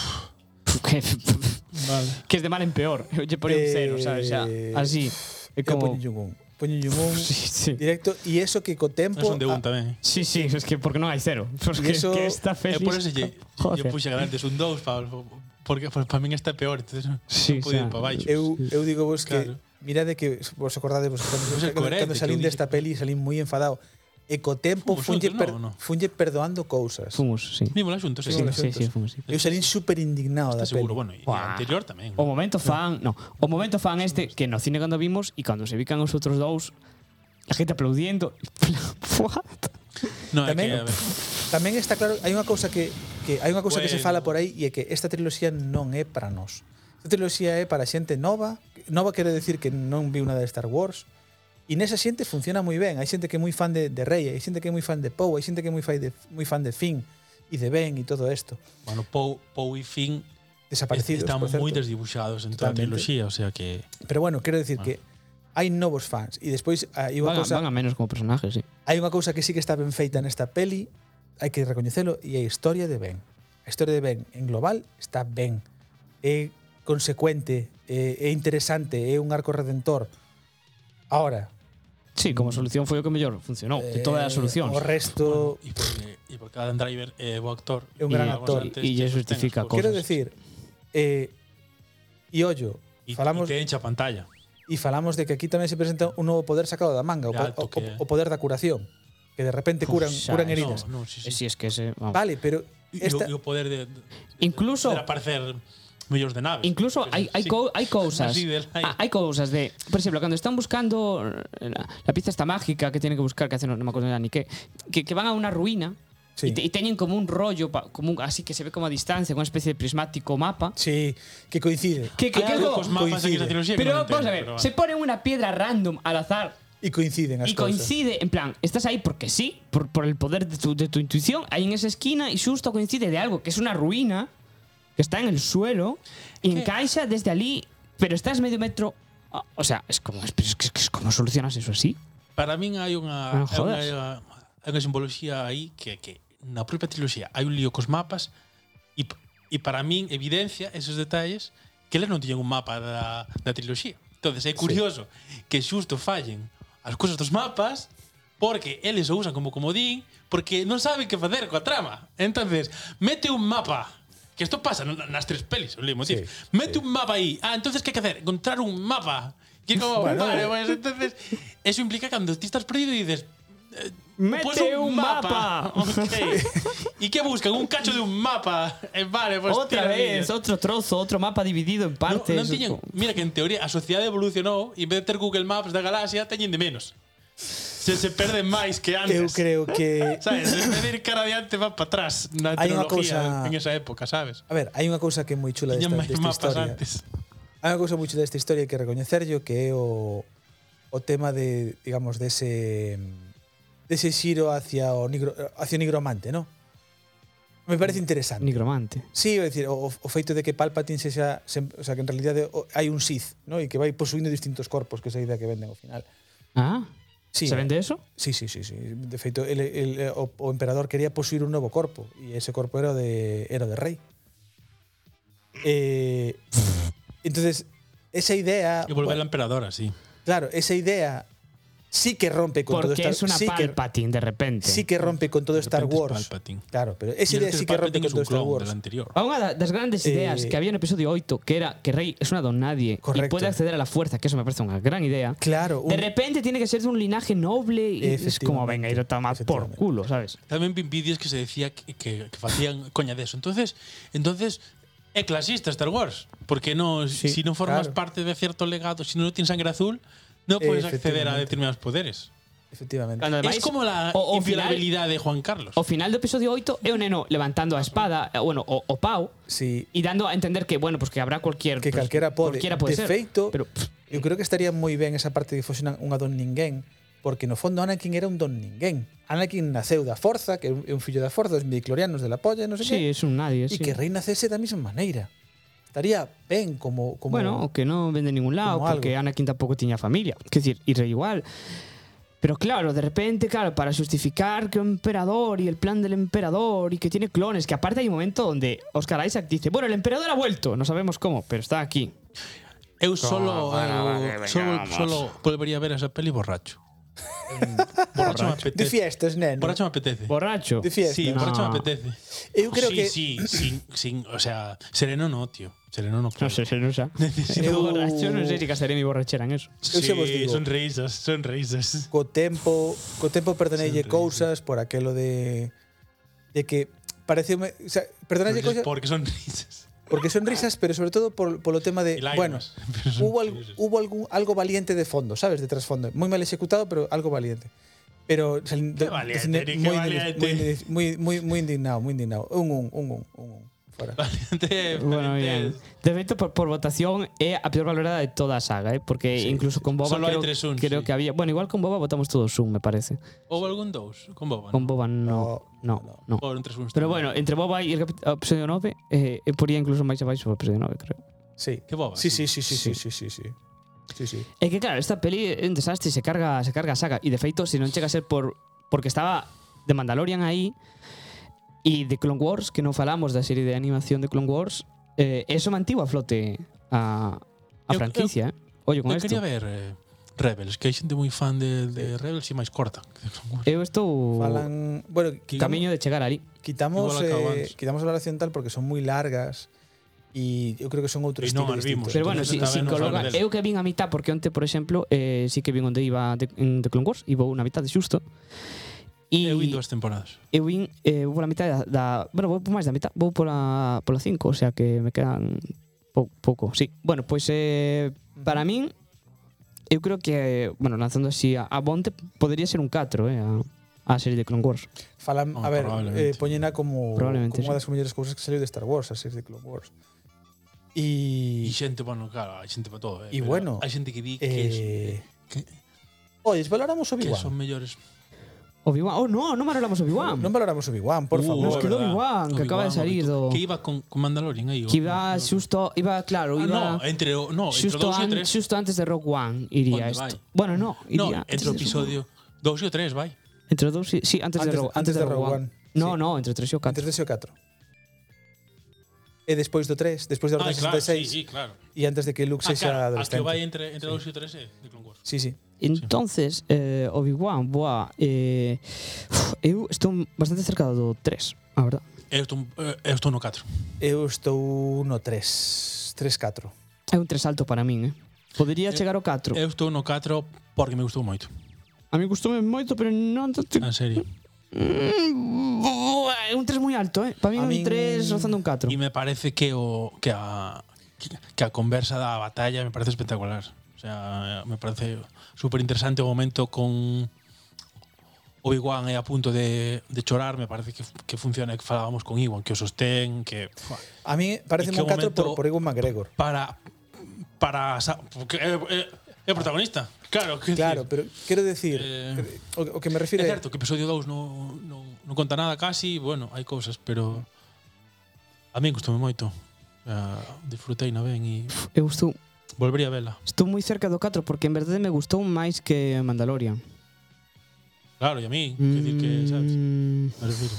[SPEAKER 4] Que,
[SPEAKER 3] Vale.
[SPEAKER 4] que es de mal en peor. Eu lle ponía un 0, sabes? Xa.
[SPEAKER 1] Eh,
[SPEAKER 4] Así.
[SPEAKER 1] Eu
[SPEAKER 4] É como...
[SPEAKER 1] poñenlle un un. Poñenlle un un
[SPEAKER 4] <laughs>
[SPEAKER 3] <laughs>
[SPEAKER 4] Sí, sí.
[SPEAKER 1] directo e eso que co tempo ah,
[SPEAKER 3] É un de un
[SPEAKER 1] a-
[SPEAKER 3] tamén.
[SPEAKER 4] Sí, sí, es que porque non hai cero. Es que,
[SPEAKER 1] eso-
[SPEAKER 4] que está
[SPEAKER 3] E
[SPEAKER 4] feliz.
[SPEAKER 3] eh, por eso lle, <laughs> lle
[SPEAKER 4] Joder.
[SPEAKER 3] puxe garantes un dous, pa, porque para min está peor, entonces non
[SPEAKER 4] Sí,
[SPEAKER 3] pude ir
[SPEAKER 4] xa.
[SPEAKER 3] para baixo.
[SPEAKER 1] eu eu digo vos que
[SPEAKER 3] Claro.
[SPEAKER 1] mirade que vos acordades vos cando,
[SPEAKER 3] Pois é
[SPEAKER 1] cando-
[SPEAKER 3] coherente
[SPEAKER 1] cando
[SPEAKER 3] que
[SPEAKER 1] salín
[SPEAKER 3] eu dixe.
[SPEAKER 1] desta peli salín moi enfadado e co tempo
[SPEAKER 3] Fomos
[SPEAKER 1] funlle,
[SPEAKER 3] xuntos,
[SPEAKER 1] per,
[SPEAKER 3] non, non?
[SPEAKER 1] funlle perdoando cousas.
[SPEAKER 4] Fomos, sí.
[SPEAKER 3] Vímola xuntos,
[SPEAKER 4] Sí,
[SPEAKER 3] sí,
[SPEAKER 1] Fomos
[SPEAKER 4] sí,
[SPEAKER 1] xuntos.
[SPEAKER 4] sí, fomos, sí.
[SPEAKER 1] Eu salín super indignado da
[SPEAKER 3] está
[SPEAKER 1] peli.
[SPEAKER 3] seguro. Bueno, e
[SPEAKER 4] Buah. Oh,
[SPEAKER 3] a anterior tamén.
[SPEAKER 4] O momento fan, no, o momento fan este que no cine cando vimos e cando se bican os outros dous, a gente aplaudindo. <laughs> What?
[SPEAKER 3] No, é
[SPEAKER 1] Tamén-
[SPEAKER 3] que, a ver,
[SPEAKER 1] Tamén está claro, hai unha cousa que que hai unha cousa que se
[SPEAKER 3] Bueno.
[SPEAKER 1] fala por aí e é que esta triloxía non é para nós. Esta triloxía é para xente nova. Nova quero decir que non viu nada de Star Wars. E nesa xente funciona moi ben. Hai xente que é moi fan de, de Rey, hai xente que é moi fan de Poe, hai xente que é moi fan de, moi fan de Finn e de Ben e todo isto.
[SPEAKER 3] bueno, Pou, Pou e Finn
[SPEAKER 1] Desaparecidos,
[SPEAKER 3] están
[SPEAKER 1] por certo.
[SPEAKER 3] moi desdibuxados en toda a
[SPEAKER 1] Totalmente.
[SPEAKER 3] triloxía, o sea que...
[SPEAKER 1] Pero bueno, quero decir
[SPEAKER 3] Bueno.
[SPEAKER 1] que hai novos fans. E despois ah, hai unha
[SPEAKER 4] Van, a-
[SPEAKER 1] cousa...
[SPEAKER 4] van a menos como personajes, sí.
[SPEAKER 1] Hai unha cousa que sí que está ben feita nesta peli, hai que recoñecelo, e é a historia de Ben. A historia de Ben en global está ben. É consecuente, é, é interesante, é un arco redentor. Ahora,
[SPEAKER 4] Sí,
[SPEAKER 3] Mm.
[SPEAKER 4] como solución foi o que mellor funcionou Oh, de todas as
[SPEAKER 1] eh,
[SPEAKER 4] solucións.
[SPEAKER 1] O resto,
[SPEAKER 3] E porque, e porque Adam Driver é bo actor.
[SPEAKER 1] É un gran
[SPEAKER 3] E-
[SPEAKER 1] actor.
[SPEAKER 3] antes
[SPEAKER 4] E- e
[SPEAKER 3] tiene sus
[SPEAKER 4] justifica
[SPEAKER 3] temas,
[SPEAKER 4] cosas.
[SPEAKER 1] quero decir, eh, e ollo,
[SPEAKER 3] E,
[SPEAKER 1] falamos
[SPEAKER 3] e te encha a pantalla.
[SPEAKER 1] e falamos de que aquí tamén se presenta un novo poder sacado da manga, o,
[SPEAKER 3] De
[SPEAKER 1] po- o,
[SPEAKER 3] alto que é.
[SPEAKER 1] o poder da curación. que de repente curan,
[SPEAKER 4] Pois xa,
[SPEAKER 1] curan
[SPEAKER 4] eso.
[SPEAKER 1] heridas.
[SPEAKER 3] No, no, sí, sí.
[SPEAKER 4] Eh, Si es que ese. vamos.
[SPEAKER 1] Vale, pero
[SPEAKER 3] E-
[SPEAKER 1] esta,
[SPEAKER 3] e o, e o poder de, de
[SPEAKER 4] Incluso.
[SPEAKER 3] aparecer millóns de naves.
[SPEAKER 4] Incluso
[SPEAKER 3] Pero
[SPEAKER 4] hai, hai,
[SPEAKER 3] sí. <laughs>
[SPEAKER 4] cou, hai cousas
[SPEAKER 3] Así del aire.
[SPEAKER 4] ah, hai cousas de, por exemplo, cando están buscando eh, la, la pizza esta mágica que tienen que buscar, que hacen, non me acordo ya ni que, que, que van a unha ruína
[SPEAKER 1] Sí.
[SPEAKER 4] e, te, e teñen como un rollo, pa, como un, así que se ve como a distancia, unha especie de prismático mapa.
[SPEAKER 1] sí, que coincide.
[SPEAKER 4] Que, que,
[SPEAKER 3] Algo
[SPEAKER 4] que,
[SPEAKER 3] cos mapas de
[SPEAKER 1] coincide.
[SPEAKER 3] esa trilogía que
[SPEAKER 4] pero
[SPEAKER 3] non
[SPEAKER 4] vamos a
[SPEAKER 3] entendo,
[SPEAKER 4] ver,
[SPEAKER 3] pero
[SPEAKER 4] se
[SPEAKER 3] vale.
[SPEAKER 4] ponen unha piedra random al azar
[SPEAKER 1] Y coinciden as
[SPEAKER 4] y
[SPEAKER 1] cousas.
[SPEAKER 4] coincide, en plan, estás ahí porque sí, por, por el poder de tu, de tu intuición, ahí en esa esquina y justo coincide de algo que es una ruina, que está en el suelo, y encaixa desde allí, pero estás medio metro... ah, O sea, es como, es, es, que- es, como solucionas eso así.
[SPEAKER 3] Para min hai unha
[SPEAKER 4] Non
[SPEAKER 3] hai unha,
[SPEAKER 4] jodas.
[SPEAKER 3] hai unha simboloxía aí que que na propia triloxía hai un lío cos mapas e p- e para min evidencia esos detalles que eles non tiñen un mapa da, da triloxía. Entonces é curioso sí. que xusto fallen as cousas dos mapas porque eles o usan como comodín porque non saben que facer coa trama. Entonces, mete un mapa que isto pasa na- nas tres pelis, o mismo sí, Mete sí. un mapa aí. Ah, entonces que hai que hacer? Encontrar un mapa. Que é como,
[SPEAKER 1] Bueno,
[SPEAKER 3] vale, pues entonces eso implica cando ti estás perdido e dices
[SPEAKER 6] Mete
[SPEAKER 3] pues
[SPEAKER 6] un mapa.
[SPEAKER 3] <laughs> Ok. ¿Y qué buscan? Un cacho de un mapa. <laughs> Eh, vale, pues
[SPEAKER 4] Otra
[SPEAKER 3] tira,
[SPEAKER 4] vez,
[SPEAKER 3] niña.
[SPEAKER 4] otro trozo, otro mapa dividido en
[SPEAKER 3] No,
[SPEAKER 4] partes.
[SPEAKER 3] non tiñen, mira que en teoría a sociedade evolucionou e en vez de ter Google Maps da galaxia teñen de menos. Se se perden máis que antes.
[SPEAKER 1] Eu creo que
[SPEAKER 3] Sabes, en vez de ir cara adiante van para atrás na
[SPEAKER 1] Hai unha cousa-
[SPEAKER 3] tecnología en esa época, sabes?
[SPEAKER 1] A ver, hai unha cousa que é moi chula desta,
[SPEAKER 3] Tiñan máis
[SPEAKER 1] desta
[SPEAKER 3] mapas
[SPEAKER 1] historia.
[SPEAKER 3] antes.
[SPEAKER 1] Hai unha cousa moi chula desta historia que recoñecerllo que é o, o tema de, digamos, dese dese xiro hacia o nigro, hacia o nigromante, ¿no? Me parece interesante.
[SPEAKER 4] Nigromante.
[SPEAKER 1] Sí, é dicir, o, o feito de que Palpatine sexa, sem, o sea, que en realidade o- hai un Sith, ¿no? E que vai posuindo distintos corpos, que é esa idea que venden ao final.
[SPEAKER 4] Ah,
[SPEAKER 1] Sí,
[SPEAKER 4] ¿se vende eso?
[SPEAKER 1] Sí, sí, sí, sí. De feito, el, el, eh, o, o emperador quería posuir un novo corpo e ese corpo era o de era o de rei. Eh, entonces, esa idea,
[SPEAKER 3] E volver a emperadora, sí.
[SPEAKER 1] claro, esa idea sí que rompe con todo
[SPEAKER 4] Porque
[SPEAKER 1] Star
[SPEAKER 4] es una
[SPEAKER 1] sí que,
[SPEAKER 4] Palpatine de repente.
[SPEAKER 1] sí que rompe con todo
[SPEAKER 3] De
[SPEAKER 1] Star
[SPEAKER 3] repente es
[SPEAKER 1] Wars.
[SPEAKER 3] Palpatine.
[SPEAKER 1] Claro, pero
[SPEAKER 3] E
[SPEAKER 1] esa idea
[SPEAKER 3] antes
[SPEAKER 1] sí que rompe
[SPEAKER 3] Palpatine
[SPEAKER 1] con
[SPEAKER 3] es un
[SPEAKER 1] todo Star
[SPEAKER 3] clon
[SPEAKER 1] Wars.
[SPEAKER 3] del anterior.
[SPEAKER 4] A unha da- das grandes
[SPEAKER 1] Eh,
[SPEAKER 4] ideas que había no episodio 8 que era que Rey es una don nadie y
[SPEAKER 1] Correcto.
[SPEAKER 4] puede acceder a la fuerza, que eso me parece una gran idea.
[SPEAKER 1] Claro,
[SPEAKER 4] de
[SPEAKER 1] un-
[SPEAKER 4] repente tiene que ser de un linaje noble y es como
[SPEAKER 1] Efectivamente,
[SPEAKER 4] venga ir a tomar por
[SPEAKER 1] efectivamente.
[SPEAKER 4] culo, ¿sabes?
[SPEAKER 3] Tamén vi vídeos que se decía que, que, que facían coña de eso. Entonces, entonces é clasista Star Wars, porque no sí,
[SPEAKER 1] Sí,
[SPEAKER 3] si non formas
[SPEAKER 1] claro. Eh,
[SPEAKER 3] parte de cierto legado, si non tens sangre azul, non podes acceder a
[SPEAKER 1] Efectivamente.
[SPEAKER 3] determinados poderes.
[SPEAKER 1] efectivamente.
[SPEAKER 4] Cando ademais,
[SPEAKER 3] es como
[SPEAKER 4] o-
[SPEAKER 3] la
[SPEAKER 4] o final-
[SPEAKER 3] inviolabilidade de Juan Carlos.
[SPEAKER 4] O final do episodio 8 é o neno levantando a espada, eh, bueno, o, o pau,
[SPEAKER 1] Sí,
[SPEAKER 4] y dando a entender que, bueno, pues que habrá cualquier...
[SPEAKER 1] que
[SPEAKER 4] pues,
[SPEAKER 1] calquera pode.
[SPEAKER 4] Cualquiera puede
[SPEAKER 1] de
[SPEAKER 4] ser.
[SPEAKER 1] feito,
[SPEAKER 4] pero pff,
[SPEAKER 1] eu creo que estaría moi ben esa parte de que fose unha- unha don ninguén, porque no fondo Anakin era un don ninguén. Anakin naceu da forza, que é un é un fillo da forza, dos midiclorianos de la polla, non sei
[SPEAKER 4] sí,
[SPEAKER 1] que,
[SPEAKER 4] es un
[SPEAKER 1] e
[SPEAKER 4] nadie, sí.
[SPEAKER 1] que Rey nacese da mesma maneira. Estaría ben como... como
[SPEAKER 4] Bueno, o que no vende en ningún lado,
[SPEAKER 1] como
[SPEAKER 4] porque Anakin tampoco tenía familia. Es decir, y Rey igual. Pero claro, de repente, claro, para justificar que el emperador y el plan del emperador y que tiene clones, que aparte hay un momento donde Oscar Isaac dice, bueno, el emperador ha vuelto, no sabemos cómo, pero está aquí.
[SPEAKER 3] Eu solo, eu, solo, solo volvería a ver esa
[SPEAKER 1] <laughs>
[SPEAKER 3] peli borracho. borracho me
[SPEAKER 1] de
[SPEAKER 3] apetece.
[SPEAKER 1] fiestas, neno.
[SPEAKER 3] Borracho me apetece.
[SPEAKER 1] <laughs>
[SPEAKER 4] Borracho.
[SPEAKER 1] De fiestas.
[SPEAKER 3] Sí, borracho
[SPEAKER 4] No.
[SPEAKER 3] me apetece.
[SPEAKER 1] Eu creo
[SPEAKER 3] sí,
[SPEAKER 1] que-
[SPEAKER 3] Sí, sin, sin, o sea, sereno no, tío. Sereno no.
[SPEAKER 4] No
[SPEAKER 3] puedo. <laughs>
[SPEAKER 4] sé, se usa.
[SPEAKER 3] Necesito-
[SPEAKER 4] Borracho, no sé si casaré mi borrachera en eso.
[SPEAKER 1] Eu xa vos
[SPEAKER 3] Sí,
[SPEAKER 1] digo.
[SPEAKER 3] son risas, son risas.
[SPEAKER 1] co tempo, co tempo perdoneille
[SPEAKER 3] Sempre,
[SPEAKER 1] cousas por aquelo de de que pareceume, o sea, perdoneille
[SPEAKER 3] Porque-
[SPEAKER 1] cousas
[SPEAKER 3] Porque son risas.
[SPEAKER 1] porque son risas, pero sobre todo por polo tema de,
[SPEAKER 3] Y lágrimas,
[SPEAKER 1] Eh, bueno,
[SPEAKER 3] pero <laughs> son
[SPEAKER 1] hubo, al-
[SPEAKER 3] risas.
[SPEAKER 1] hubo algún, algo valiente de fondo, ¿sabes? De trasfondo. Muy mal ejecutado, pero algo valiente. Pero salín-
[SPEAKER 3] Qué
[SPEAKER 1] do-
[SPEAKER 3] valiente,
[SPEAKER 1] muy,
[SPEAKER 3] qué
[SPEAKER 1] indi-
[SPEAKER 3] valiente.
[SPEAKER 1] muy indi- muy, muy, muy indignado, muy indignado. Un, un, un, un, un, un. Fuera.
[SPEAKER 3] Valiente,
[SPEAKER 4] Bueno,
[SPEAKER 3] valiente.
[SPEAKER 4] bien. De feito, por, por votación, é a peor valorada de toda a saga, ¿eh? porque incluso con Boba
[SPEAKER 3] Solo hai
[SPEAKER 4] creo,
[SPEAKER 3] tres uns,
[SPEAKER 4] creo
[SPEAKER 3] sí.
[SPEAKER 4] que había... Bueno, igual con Boba votamos todos un, me parece.
[SPEAKER 3] Houbo algún dous con Boba.
[SPEAKER 4] Con Boba no. No,
[SPEAKER 1] no.
[SPEAKER 4] no.
[SPEAKER 3] Houbo un tres uns
[SPEAKER 4] Pero
[SPEAKER 3] tamén.
[SPEAKER 4] bueno, entre Boba e el capi- episodio 9, eh, eu poría incluso máis abaixo o episodio 9, creo.
[SPEAKER 1] Sí.
[SPEAKER 3] Que boba.
[SPEAKER 1] Sí, sí, sí, sí, sí, sí, sí, sí. Sí, sí.
[SPEAKER 4] É que claro, esta peli é un desastre, se carga, se carga a saga e de feito, se non chega a ser por porque estaba de Mandalorian aí e de Clone Wars, que non falamos da serie de animación de Clone Wars, eh, eso mantivo a flote a, a
[SPEAKER 3] Eu-
[SPEAKER 4] franquicia, eh. Ollo con
[SPEAKER 3] Eu
[SPEAKER 4] isto.
[SPEAKER 3] quería ver eh, Rebels, que hai xente moi fan de, de Rebels e máis corta. <laughs>
[SPEAKER 4] Eu estou
[SPEAKER 1] Falan, bueno, quitamos,
[SPEAKER 4] camiño de chegar ali.
[SPEAKER 1] quitamos,
[SPEAKER 3] Igual acabo
[SPEAKER 1] eh,
[SPEAKER 3] antes.
[SPEAKER 1] quitamos la oración tal porque son muy largas y yo creo que son outro
[SPEAKER 3] Y
[SPEAKER 1] estilo
[SPEAKER 3] non as
[SPEAKER 1] distinto.
[SPEAKER 3] vimos.
[SPEAKER 4] Pero bueno, si,
[SPEAKER 3] Entonces,
[SPEAKER 4] si
[SPEAKER 3] tamén nos
[SPEAKER 4] coloca,
[SPEAKER 3] falan del-
[SPEAKER 4] eu que vin a mitad porque onte, por exemplo, eh, si que vin onde iba de, en The Clone Wars, iba unha mitad de xusto. E,
[SPEAKER 3] Eu vin dúas temporadas.
[SPEAKER 4] eu vin eh, vou pola mitad da, da bueno, vou por máis da mitad, vou pola pola 5, o sea que me quedan pou, pouco. Sí. Bueno, pois eh para min eu creo que, bueno, lanzando así a, a Bonte podría ser un 4, eh, a, a serie de Clone Wars.
[SPEAKER 1] Falan,
[SPEAKER 3] Ah,
[SPEAKER 1] a ver, eh,
[SPEAKER 3] probablemente.
[SPEAKER 1] poñena como, como unha
[SPEAKER 4] Probablemente, sí.
[SPEAKER 1] das mellores cousas que saiu de Star Wars, a serie de Clone Wars.
[SPEAKER 3] E
[SPEAKER 1] E
[SPEAKER 3] xente, bueno, claro, hai xente para todo.
[SPEAKER 1] E
[SPEAKER 3] Eh, pero
[SPEAKER 1] bueno,
[SPEAKER 3] Hai xente que di
[SPEAKER 1] eh,
[SPEAKER 3] que, que-
[SPEAKER 1] Oye, valoramos
[SPEAKER 3] que
[SPEAKER 1] Obi-Wan.
[SPEAKER 3] son mellores.
[SPEAKER 4] Obi-Wan. Oh, no, non valoramos Obi-Wan.
[SPEAKER 1] Non valoramos Obi-Wan, por
[SPEAKER 3] Uh,
[SPEAKER 1] favor.
[SPEAKER 4] Nos quedou
[SPEAKER 3] verdad.
[SPEAKER 4] Obi-Wan, que acaba de
[SPEAKER 3] Obi-Wan,
[SPEAKER 4] salir do-
[SPEAKER 3] Que iba con, con Mandalorian aí. o-
[SPEAKER 4] Que iba xusto, iba claro,
[SPEAKER 3] Ah,
[SPEAKER 4] iba
[SPEAKER 3] no, entre o, no, entre o
[SPEAKER 4] xusto,
[SPEAKER 3] 2 e o
[SPEAKER 4] an,
[SPEAKER 3] 3.
[SPEAKER 4] xusto antes de Rock One iría
[SPEAKER 3] Onde
[SPEAKER 4] isto.
[SPEAKER 3] vai?
[SPEAKER 4] Bueno, no,
[SPEAKER 3] No,
[SPEAKER 4] iría antes
[SPEAKER 3] entre o
[SPEAKER 4] de Rogue One.
[SPEAKER 3] episodio 2 e o 3, vai.
[SPEAKER 4] Entre o dous, sí, sí, antes,
[SPEAKER 1] Antes-
[SPEAKER 4] de Rogue,
[SPEAKER 1] antes de Rogue One.
[SPEAKER 4] No,
[SPEAKER 1] Sí.
[SPEAKER 4] no, entre o 3 e o 4.
[SPEAKER 1] Antes dese o 4. E despois do 3, despois da
[SPEAKER 3] Ah,
[SPEAKER 1] Orden
[SPEAKER 3] claro, sí,
[SPEAKER 1] 66
[SPEAKER 3] sí, claro.
[SPEAKER 1] e antes de que Luke
[SPEAKER 3] Ah,
[SPEAKER 1] sexa
[SPEAKER 3] claro, a que
[SPEAKER 1] adolescente.
[SPEAKER 3] vai entre, entre 2 e o 3 é de Clone Wars.
[SPEAKER 1] Sí, sí.
[SPEAKER 4] Entonces, eh, Obi-Wan, boa, eh, uf, eu estou bastante cerca do 3, a verdad.
[SPEAKER 3] Eu estou, eh, eu estou no 4.
[SPEAKER 1] Eu estou no 3, 3 4.
[SPEAKER 4] É un 3 alto para min, eh. Podería
[SPEAKER 3] Eu-
[SPEAKER 4] chegar ao 4.
[SPEAKER 3] Eu estou no 4 porque me gustou moito.
[SPEAKER 4] A mí gustoume moito, pero non tanto.
[SPEAKER 3] En serio.
[SPEAKER 4] Mm, boa, É un 3 moi alto, eh. Para min
[SPEAKER 1] A
[SPEAKER 4] é un
[SPEAKER 1] min-
[SPEAKER 4] 3 rozando un 4.
[SPEAKER 3] E me parece que o que a que, que a conversa da batalla me parece espectacular. O sea, me parece súper interesante o momento con Obi-Wan é a punto de, de chorar, me parece que, que funciona que falábamos con Iwan, que o sostén, que fua,
[SPEAKER 1] A mí parece
[SPEAKER 3] que
[SPEAKER 1] un 4
[SPEAKER 3] momento-
[SPEAKER 1] por, por Ewan
[SPEAKER 3] <laughs>
[SPEAKER 1] McGregor.
[SPEAKER 3] para para sa- porque é, é, é protagonista. Claro, que
[SPEAKER 1] Claro, pero quero decir,
[SPEAKER 3] Eh,
[SPEAKER 1] o, o que me
[SPEAKER 3] é
[SPEAKER 1] refiro é,
[SPEAKER 3] certo que o episodio 2 non non non conta nada casi, bueno, hai cousas, pero a min gustoume moito. Uh, disfrutei na ben e
[SPEAKER 4] Eu estou
[SPEAKER 3] volvería a vela.
[SPEAKER 4] Estou moi cerca do 4 porque en verdade me gustou máis que Mandalorian.
[SPEAKER 3] Claro, e a mí, mm. decir que, sabes?
[SPEAKER 4] Mm,
[SPEAKER 3] Me refiro.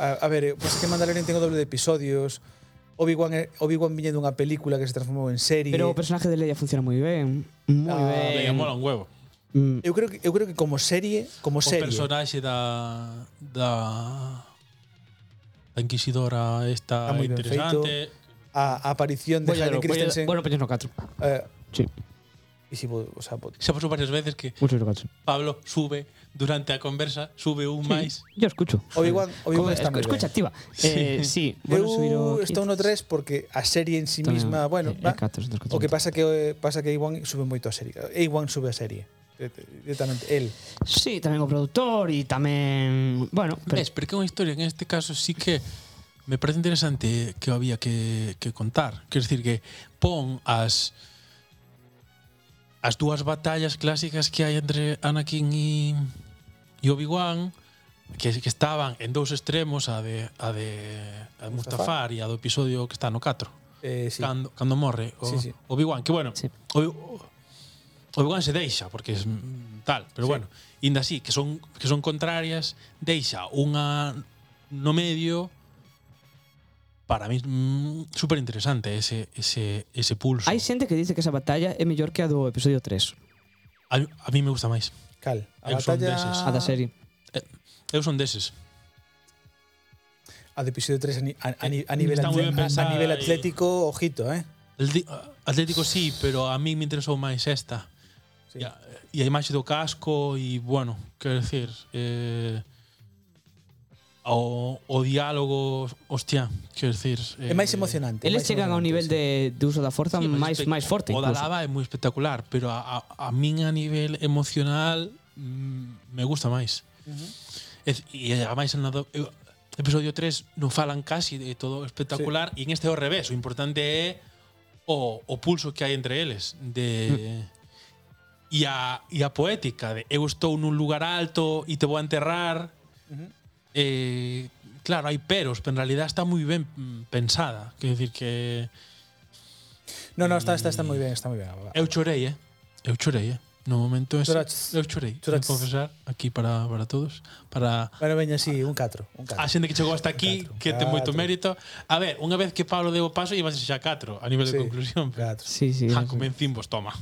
[SPEAKER 1] a, a ver, pois pues que Mandalorian ten o doble de episodios. Obi-Wan é- Obi-Wan viña dunha película que se transformou en serie.
[SPEAKER 4] Pero o personaje de Leia funciona moi ben. Moi
[SPEAKER 1] Ah,
[SPEAKER 4] ben.
[SPEAKER 3] Eh, mola un huevo.
[SPEAKER 4] Mm,
[SPEAKER 1] eu creo que eu creo que como serie, como
[SPEAKER 3] O
[SPEAKER 1] serie.
[SPEAKER 3] personaxe da da da inquisidora esta
[SPEAKER 1] Está moi ben
[SPEAKER 3] interesante.
[SPEAKER 1] A, a aparición de
[SPEAKER 4] voy a
[SPEAKER 1] Hayden
[SPEAKER 4] lo- voy a-
[SPEAKER 1] Christensen.
[SPEAKER 4] Bueno, poñes no 4.
[SPEAKER 1] eh,
[SPEAKER 4] Sí,
[SPEAKER 1] e si, vou- o sea, vou-
[SPEAKER 3] Xa pasou varias veces que
[SPEAKER 4] mucho no 4.
[SPEAKER 3] Pablo sube durante a conversa, sube un sí. máis.
[SPEAKER 4] Yo escucho.
[SPEAKER 1] Obi-Wan, Obi-Wan está moi ben.
[SPEAKER 4] escucha activa. Eh, sí, bueno, subir
[SPEAKER 1] Eu estou no 3 porque a serie en sí misma,
[SPEAKER 4] Eh,
[SPEAKER 1] bueno, va. O que pasa que eh, pasa que Iwan sube moito a serie. Iwan sube a serie. Eh, Directamente el.
[SPEAKER 4] Sí, tamén o produtor e tamén, bueno, pero
[SPEAKER 3] Ves, porque é unha historia que en este caso sí que me parece interesante que había que, que contar. Quer decir que pon as as dúas batallas clásicas que hai entre Anakin e, e Obi-Wan que, que estaban en dous extremos a de a de a de Mustafar e a do episodio que está no 4
[SPEAKER 1] Eh, sí.
[SPEAKER 3] cando, cando morre o,
[SPEAKER 1] Sí, sí.
[SPEAKER 3] Obi-Wan, que bueno,
[SPEAKER 4] Sí.
[SPEAKER 3] Obi- Obi-Wan se deixa porque es mm, tal,
[SPEAKER 1] Sí.
[SPEAKER 3] pero bueno, inda así, que son que son contrarias, deixa unha no medio para mí mm, super interesante ese ese ese pulso.
[SPEAKER 4] hai xente que dice que esa batalla é mellor que a do episodio 3,
[SPEAKER 3] A, a mí me gusta máis.
[SPEAKER 1] Cal. A
[SPEAKER 3] Eu son
[SPEAKER 1] batalla
[SPEAKER 3] deses.
[SPEAKER 4] a da serie.
[SPEAKER 3] Eu son deses.
[SPEAKER 1] A do episodio 3 a, ni- a, a, ni- a nivel
[SPEAKER 3] Eh, Está moi ben
[SPEAKER 1] atle- a, a
[SPEAKER 3] pensada
[SPEAKER 1] nivel
[SPEAKER 3] e-
[SPEAKER 1] atlético, ojito, eh.
[SPEAKER 3] Atlético, uh, Atlético sí, pero a mí me interesou máis esta.
[SPEAKER 1] Sí.
[SPEAKER 3] E a, e a imaxe do casco e, bueno, quero decir, eh, o, o diálogo, hostia, quero decir...
[SPEAKER 1] É
[SPEAKER 3] eh,
[SPEAKER 1] máis emocionante.
[SPEAKER 4] Eles
[SPEAKER 1] máis
[SPEAKER 4] chegan ao
[SPEAKER 1] emocionante, sí.
[SPEAKER 4] nivel de, de uso da forza
[SPEAKER 3] Sí,
[SPEAKER 4] máis
[SPEAKER 3] espe-
[SPEAKER 4] máis forte.
[SPEAKER 3] O da
[SPEAKER 4] incluso.
[SPEAKER 3] lava é moi espectacular, pero a, a, a min a nivel emocional mm, me gusta máis. Uh -huh. E ademais en nada, eu, eh, episodio 3 non falan casi de todo espectacular e en este é o revés, o importante é o, o pulso que hai entre eles de e a, e a poética de eu estou nun lugar alto e te vou a enterrar eh, claro, hai peros pero en realidad está moi ben mm, pensada quer decir que
[SPEAKER 1] No, no, está está está moi ben, está moi ben. Va.
[SPEAKER 3] Eu chorei, eh? Eu chorei, eh? No momento ese,
[SPEAKER 1] Choraches.
[SPEAKER 3] eu chorei.
[SPEAKER 1] Choraches.
[SPEAKER 3] Choraches. confesar aquí para, para todos, para
[SPEAKER 1] Bueno, veña así, un 4, un 4.
[SPEAKER 3] a xente que chegou hasta aquí,
[SPEAKER 1] Catro,
[SPEAKER 3] que ten moito
[SPEAKER 1] catro.
[SPEAKER 3] mérito. A ver, unha vez que Pablo deu o paso, ibas xa 4 a nivel
[SPEAKER 1] Sí.
[SPEAKER 3] de conclusión. Pero,
[SPEAKER 1] 4.
[SPEAKER 4] Sí, sí.
[SPEAKER 3] ja,
[SPEAKER 4] sí.
[SPEAKER 3] comencín vos, toma.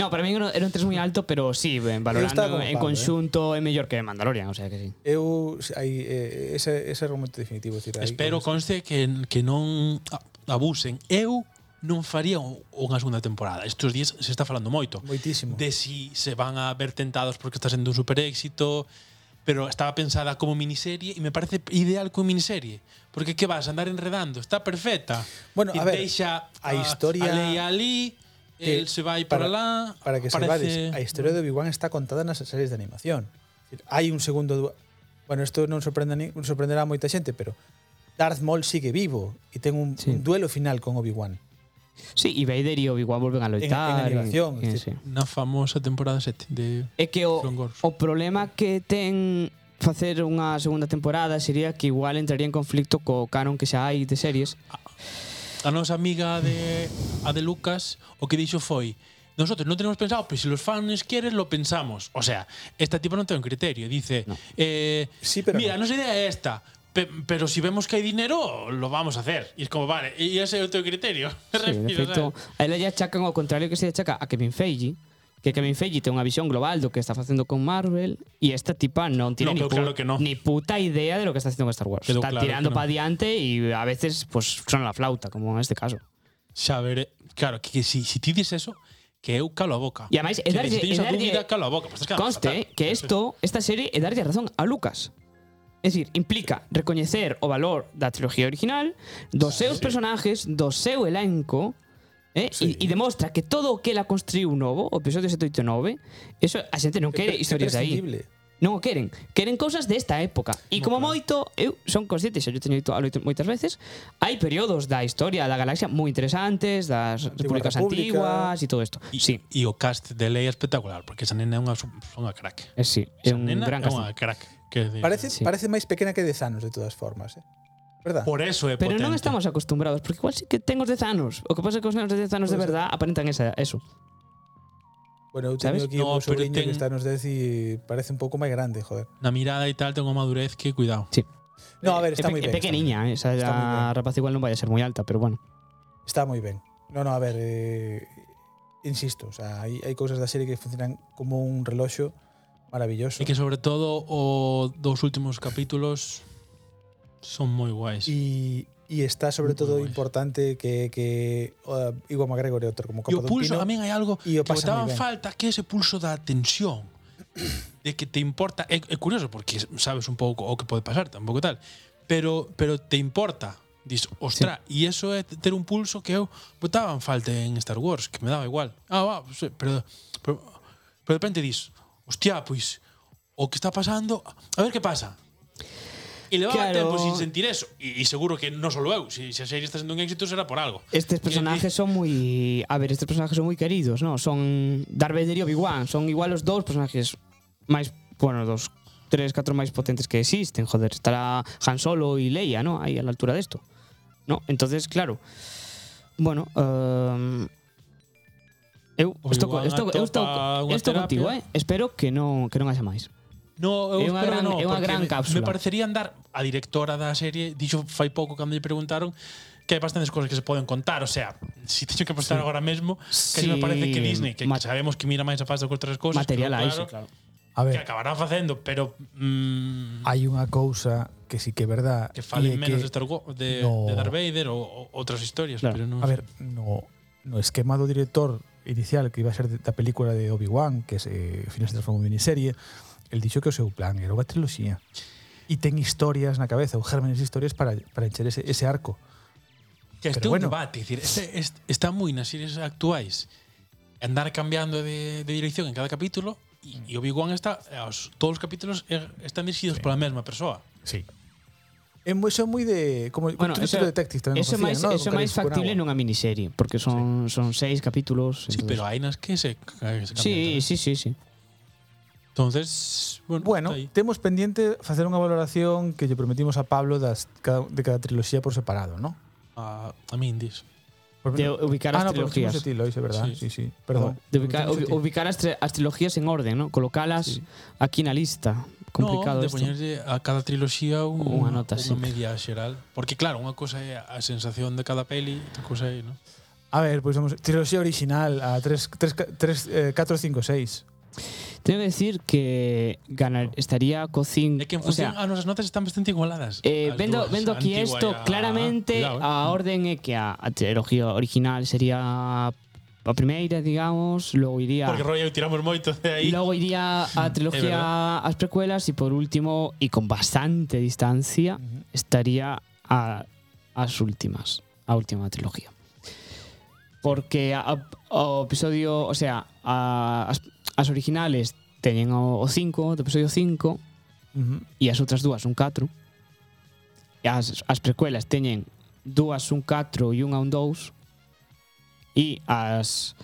[SPEAKER 4] No, para mí era un 3 moi alto, pero sí,
[SPEAKER 1] estaba eh.
[SPEAKER 4] ben, valorando
[SPEAKER 1] con
[SPEAKER 4] en
[SPEAKER 1] Pablo,
[SPEAKER 4] conxunto é mellor que Mandalorian, o sea que sí.
[SPEAKER 1] Eu hai eh, ese ese argumento definitivo, tira.
[SPEAKER 3] Espero conste que, que non a- abusen. Eu non faría un- unha segunda temporada. Estos días se está falando moito.
[SPEAKER 1] moitísimo.
[SPEAKER 3] de si se van a ver tentados porque está sendo un super éxito, pero estaba pensada como miniserie y me parece ideal como miniserie. Porque ¿qué vas a andar enredando? Está perfecta.
[SPEAKER 7] Bueno,
[SPEAKER 3] Y
[SPEAKER 7] a ver,
[SPEAKER 3] deixa
[SPEAKER 7] a historia-
[SPEAKER 3] A Leia Ali,
[SPEAKER 7] que
[SPEAKER 3] él se va y para, lá.
[SPEAKER 7] Para que sepades,
[SPEAKER 3] aparece-
[SPEAKER 7] a historia de Obi-Wan está contada nas series de animación. Es decir, Hai un segundo... du- Bueno, isto non sorprende a ni- non sorprenderá a moita xente, pero Darth Maul sigue vivo e ten un, sí. un duelo final con Obi-Wan
[SPEAKER 4] Sí, e Vader e Obi-Wan volven a
[SPEAKER 7] en, en
[SPEAKER 4] loitar. e-
[SPEAKER 7] animación.
[SPEAKER 4] e
[SPEAKER 7] es
[SPEAKER 4] sí.
[SPEAKER 7] decir,
[SPEAKER 3] Na famosa temporada 7 de
[SPEAKER 4] É que o,
[SPEAKER 3] Clone Wars.
[SPEAKER 4] o problema que ten facer unha segunda temporada sería que igual entraría en conflicto co canon que xa hai de series.
[SPEAKER 3] Ah, a nosa amiga de a de Lucas o que dixo foi Nosotros non tenemos pensado, pero se los fans queren, lo pensamos. O sea, esta tipo non ten criterio. Dice, eh,
[SPEAKER 7] Sí, pero
[SPEAKER 3] mira,
[SPEAKER 7] no.
[SPEAKER 3] nosa idea é esta, pe- pero si vemos que hai dinero, lo vamos a hacer. E es como, vale, e ese é o teu criterio.
[SPEAKER 4] Sí,
[SPEAKER 3] <laughs> Me
[SPEAKER 4] de
[SPEAKER 3] refiro,
[SPEAKER 4] feito,
[SPEAKER 3] ¿sabes?
[SPEAKER 4] a ela lle achacan ao contrario que se lle achaca a Kevin Feige, que Kevin Feige ten unha visión global do que está facendo con Marvel e esta tipa non tiene
[SPEAKER 3] No,
[SPEAKER 4] ni,
[SPEAKER 3] pero claro que no.
[SPEAKER 4] ni puta idea de lo que está haciendo con Star Wars.
[SPEAKER 3] Quedó
[SPEAKER 4] está
[SPEAKER 3] claro
[SPEAKER 4] tirando
[SPEAKER 3] que no.
[SPEAKER 4] para diante y a veces pues suena la flauta, como en este caso.
[SPEAKER 3] Xa veré. Claro, que, que si, si ti dices eso, que eu calo a boca.
[SPEAKER 4] E ademais, é
[SPEAKER 3] Que
[SPEAKER 4] darlle-
[SPEAKER 3] se
[SPEAKER 4] é
[SPEAKER 3] tens a
[SPEAKER 4] darlle-
[SPEAKER 3] dúbida, calo a boca. Pues estás quedando
[SPEAKER 4] Conste
[SPEAKER 3] fatal.
[SPEAKER 4] que esto, esta serie é darlle a razón a Lucas. Es decir, implica recoñecer o valor da trilogía original, dos seus personajes, do seu elenco, eh? e, e demostra que todo o que ela construiu novo, o episodio 7, 8 e 9, eso a xente non quere
[SPEAKER 7] pre-
[SPEAKER 4] historias aí.
[SPEAKER 7] imprescindible.
[SPEAKER 4] Non o queren. Queren cousas desta época. E como moito, eu son consciente, xa yo teño dito a loito moitas veces, hai períodos da historia da galaxia moi interesantes, das
[SPEAKER 7] Antigua
[SPEAKER 4] repúblicas
[SPEAKER 7] República.
[SPEAKER 4] antiguas e todo isto.
[SPEAKER 3] E,
[SPEAKER 4] Sí,
[SPEAKER 3] e o cast de Leia é espectacular, porque esa nena é unha, su- unha crack.
[SPEAKER 4] é sí, é
[SPEAKER 3] Esa
[SPEAKER 4] un
[SPEAKER 3] nena
[SPEAKER 4] gran
[SPEAKER 3] é unha
[SPEAKER 4] casting.
[SPEAKER 3] crack. Que,
[SPEAKER 7] Parece,
[SPEAKER 4] Sí.
[SPEAKER 7] parece máis pequena que de Thanos, de todas formas. Eh? ¿Verdad?
[SPEAKER 3] Por eso
[SPEAKER 4] Ah.
[SPEAKER 3] é
[SPEAKER 4] Pero
[SPEAKER 3] potente.
[SPEAKER 4] non estamos acostumbrados, porque igual sí que ten os 10 anos. O que pasa é que os nenos de 10 anos de
[SPEAKER 7] Puede ser.
[SPEAKER 4] verdad aparentan esa, eso.
[SPEAKER 7] Bueno, eu teño
[SPEAKER 4] ¿sabes?
[SPEAKER 7] aquí no,
[SPEAKER 3] No,
[SPEAKER 7] un
[SPEAKER 3] pero
[SPEAKER 7] sobrinho ten... que
[SPEAKER 3] ten-
[SPEAKER 7] está nos 10 e parece un pouco máis grande, joder.
[SPEAKER 3] Na mirada e tal ten unha madurez que cuidado.
[SPEAKER 7] No, a ver, está
[SPEAKER 4] é,
[SPEAKER 7] moi
[SPEAKER 4] pe-
[SPEAKER 7] ben.
[SPEAKER 4] É pequeniña, eh, esa
[SPEAKER 7] Está moi ben.
[SPEAKER 4] a rapaz igual non vai a ser moi alta, pero bueno.
[SPEAKER 7] Está moi ben. No, no, a ver, eh, insisto, o sea, hai, hai cousas da serie que funcionan como un reloxo maravilloso.
[SPEAKER 3] E que sobre todo o dos últimos capítulos son moi guais.
[SPEAKER 7] Y, y está sobre
[SPEAKER 3] Muy
[SPEAKER 7] todo
[SPEAKER 3] guais.
[SPEAKER 7] importante que, que uh, Iwan McGregor é outro como
[SPEAKER 3] E o
[SPEAKER 7] Capadontino.
[SPEAKER 3] pulso, tamén hai algo
[SPEAKER 7] e o
[SPEAKER 3] que
[SPEAKER 7] pasa
[SPEAKER 3] botaba
[SPEAKER 7] moi ben.
[SPEAKER 3] falta, que é ese pulso da tensión. <clears throat> De que te importa, é, é curioso porque sabes un pouco o que pode pasar, tampouco tal, pero pero te importa. Dis, ostra, e iso é ter un pulso que eu botaba en falta en Star Wars, que me daba igual. Ah, va, pues, eh, pero, pero, pero de repente dis, hostia, pois, o que está pasando, a ver que pasa. E levaba
[SPEAKER 4] Claro.
[SPEAKER 3] tempo sin sentir eso, e, e seguro que non só eu, se si, si a serie está sendo un éxito será por algo.
[SPEAKER 4] Estes personajes son moi, a ver, estes personajes son moi queridos, no? Son Darth Vader e Obi-Wan, son igual os dous personajes máis, bueno, dos tres, catro máis potentes que existen, joder, estará Han Solo e Leia, no? Aí a la altura desto. No, entonces, claro. Bueno, ehm Eu estou co-
[SPEAKER 3] Obi-Wan
[SPEAKER 4] estou eu estou
[SPEAKER 3] atopa unha
[SPEAKER 4] eu estou
[SPEAKER 3] terapia.
[SPEAKER 4] contigo, eh. Espero que non que non haxa máis.
[SPEAKER 3] No,
[SPEAKER 4] É unha
[SPEAKER 3] eu espero
[SPEAKER 4] gran-
[SPEAKER 3] que non,
[SPEAKER 4] é unha
[SPEAKER 3] porque
[SPEAKER 4] gran
[SPEAKER 3] me-
[SPEAKER 4] cápsula.
[SPEAKER 3] Me parecería andar a directora da serie, dixo fai pouco cando lle preguntaron que hai bastantes cosas que se poden contar, o sea, si teño que apostar agora mesmo, que
[SPEAKER 4] Sí,
[SPEAKER 3] me parece que Disney, que,
[SPEAKER 4] ma-
[SPEAKER 3] que sabemos que mira máis a fase que outras cosas,
[SPEAKER 4] Material
[SPEAKER 3] pero
[SPEAKER 4] hai, sí, claro.
[SPEAKER 1] A
[SPEAKER 3] que
[SPEAKER 1] ver,
[SPEAKER 3] acabará facendo, pero mm,
[SPEAKER 1] hai unha cousa que sí que é verdad.
[SPEAKER 3] que
[SPEAKER 1] e é
[SPEAKER 3] falen menos de, Star Wars, de,
[SPEAKER 1] No.
[SPEAKER 3] de Darth Vader ou, ou outras historias,
[SPEAKER 4] Claro.
[SPEAKER 3] pero non.
[SPEAKER 1] A ver, no, no esquema do director inicial que iba a ser da película de Obi-Wan, que eh, se, ao final se transformou en miniserie, el dixo que o seu plan era unha triloxía. E ten historias na cabeza, ou gérmenes de historias para, para encher ese, ese arco.
[SPEAKER 3] que este
[SPEAKER 1] pero
[SPEAKER 3] é
[SPEAKER 1] bueno.
[SPEAKER 3] un debate, es decir, este, este, está moi nas series actuais andar cambiando de, de dirección en cada capítulo
[SPEAKER 4] Mm.
[SPEAKER 3] e, e Obi-Wan está os, todos os capítulos eh, están dirixidos sí. pola mesma persoa.
[SPEAKER 1] Sí.
[SPEAKER 7] É moi son moi de como
[SPEAKER 4] Bueno,
[SPEAKER 7] como
[SPEAKER 4] eso-
[SPEAKER 7] True Detective tamén
[SPEAKER 4] Eso
[SPEAKER 7] o facían,
[SPEAKER 4] máis
[SPEAKER 7] ¿no?
[SPEAKER 4] eso
[SPEAKER 7] Con
[SPEAKER 4] máis
[SPEAKER 7] Khalifa
[SPEAKER 4] factible
[SPEAKER 7] Fukunaga.
[SPEAKER 4] nunha miniserie, porque son son seis capítulos.
[SPEAKER 3] Sí,
[SPEAKER 4] entonces-
[SPEAKER 3] pero hai nas que se, que se cambian.
[SPEAKER 4] Sí,
[SPEAKER 3] tamén.
[SPEAKER 4] sí, sí, sí.
[SPEAKER 3] Entonces, bueno,
[SPEAKER 1] Bueno,
[SPEAKER 3] está aí.
[SPEAKER 1] temos pendiente facer unha valoración que lle prometimos a Pablo das cada, de cada triloxía por separado, ¿no?
[SPEAKER 3] a, a min dis.
[SPEAKER 1] Por-
[SPEAKER 4] De ubicar
[SPEAKER 1] ah,
[SPEAKER 4] as
[SPEAKER 1] no,
[SPEAKER 4] trilogías.
[SPEAKER 1] prometimos a ti, Lois, é verdad. Sí,
[SPEAKER 3] Sí.
[SPEAKER 1] sí, perdón.
[SPEAKER 4] De ubicar,
[SPEAKER 1] Prometimos a ti.
[SPEAKER 4] ubi- ubicar as, tre- as trilogías en orden, ¿no? Colocalas aquí na lista. Complicado
[SPEAKER 3] no, de
[SPEAKER 4] esto.
[SPEAKER 3] poñerlle a cada triloxía un,
[SPEAKER 4] Unha nota, sí.
[SPEAKER 3] unha media xeral. Porque claro, unha cousa é a sensación de cada peli, outra cousa é, ¿no?
[SPEAKER 1] A ver, pois pues vamos, triloxía original a 3 3 3 4 5 6.
[SPEAKER 4] Tengo que decir que ganar, estaría co cinco-
[SPEAKER 3] É que en
[SPEAKER 4] o sea,
[SPEAKER 3] función a nosas notas están bastante igualadas.
[SPEAKER 4] Eh,
[SPEAKER 3] As
[SPEAKER 4] vendo,
[SPEAKER 3] dúas,
[SPEAKER 4] vendo
[SPEAKER 3] a
[SPEAKER 4] aquí
[SPEAKER 3] antigua
[SPEAKER 4] esto
[SPEAKER 3] e a-
[SPEAKER 4] claramente
[SPEAKER 3] Cuidado, eh.
[SPEAKER 4] a orden é que a, a trilogía original sería a primeira, digamos, logo iría
[SPEAKER 3] Porque rollo tiramos moito de aí.
[SPEAKER 4] E logo iría a trilogía as precuelas e por último e con bastante distancia estaría a as últimas, a última trilogía. Porque a, a- o episodio, o sea, a, as, as originales teñen o 5, do episodio 5 e as outras dúas un 4. E as, as precuelas teñen dúas un 4 e unha un 2 e as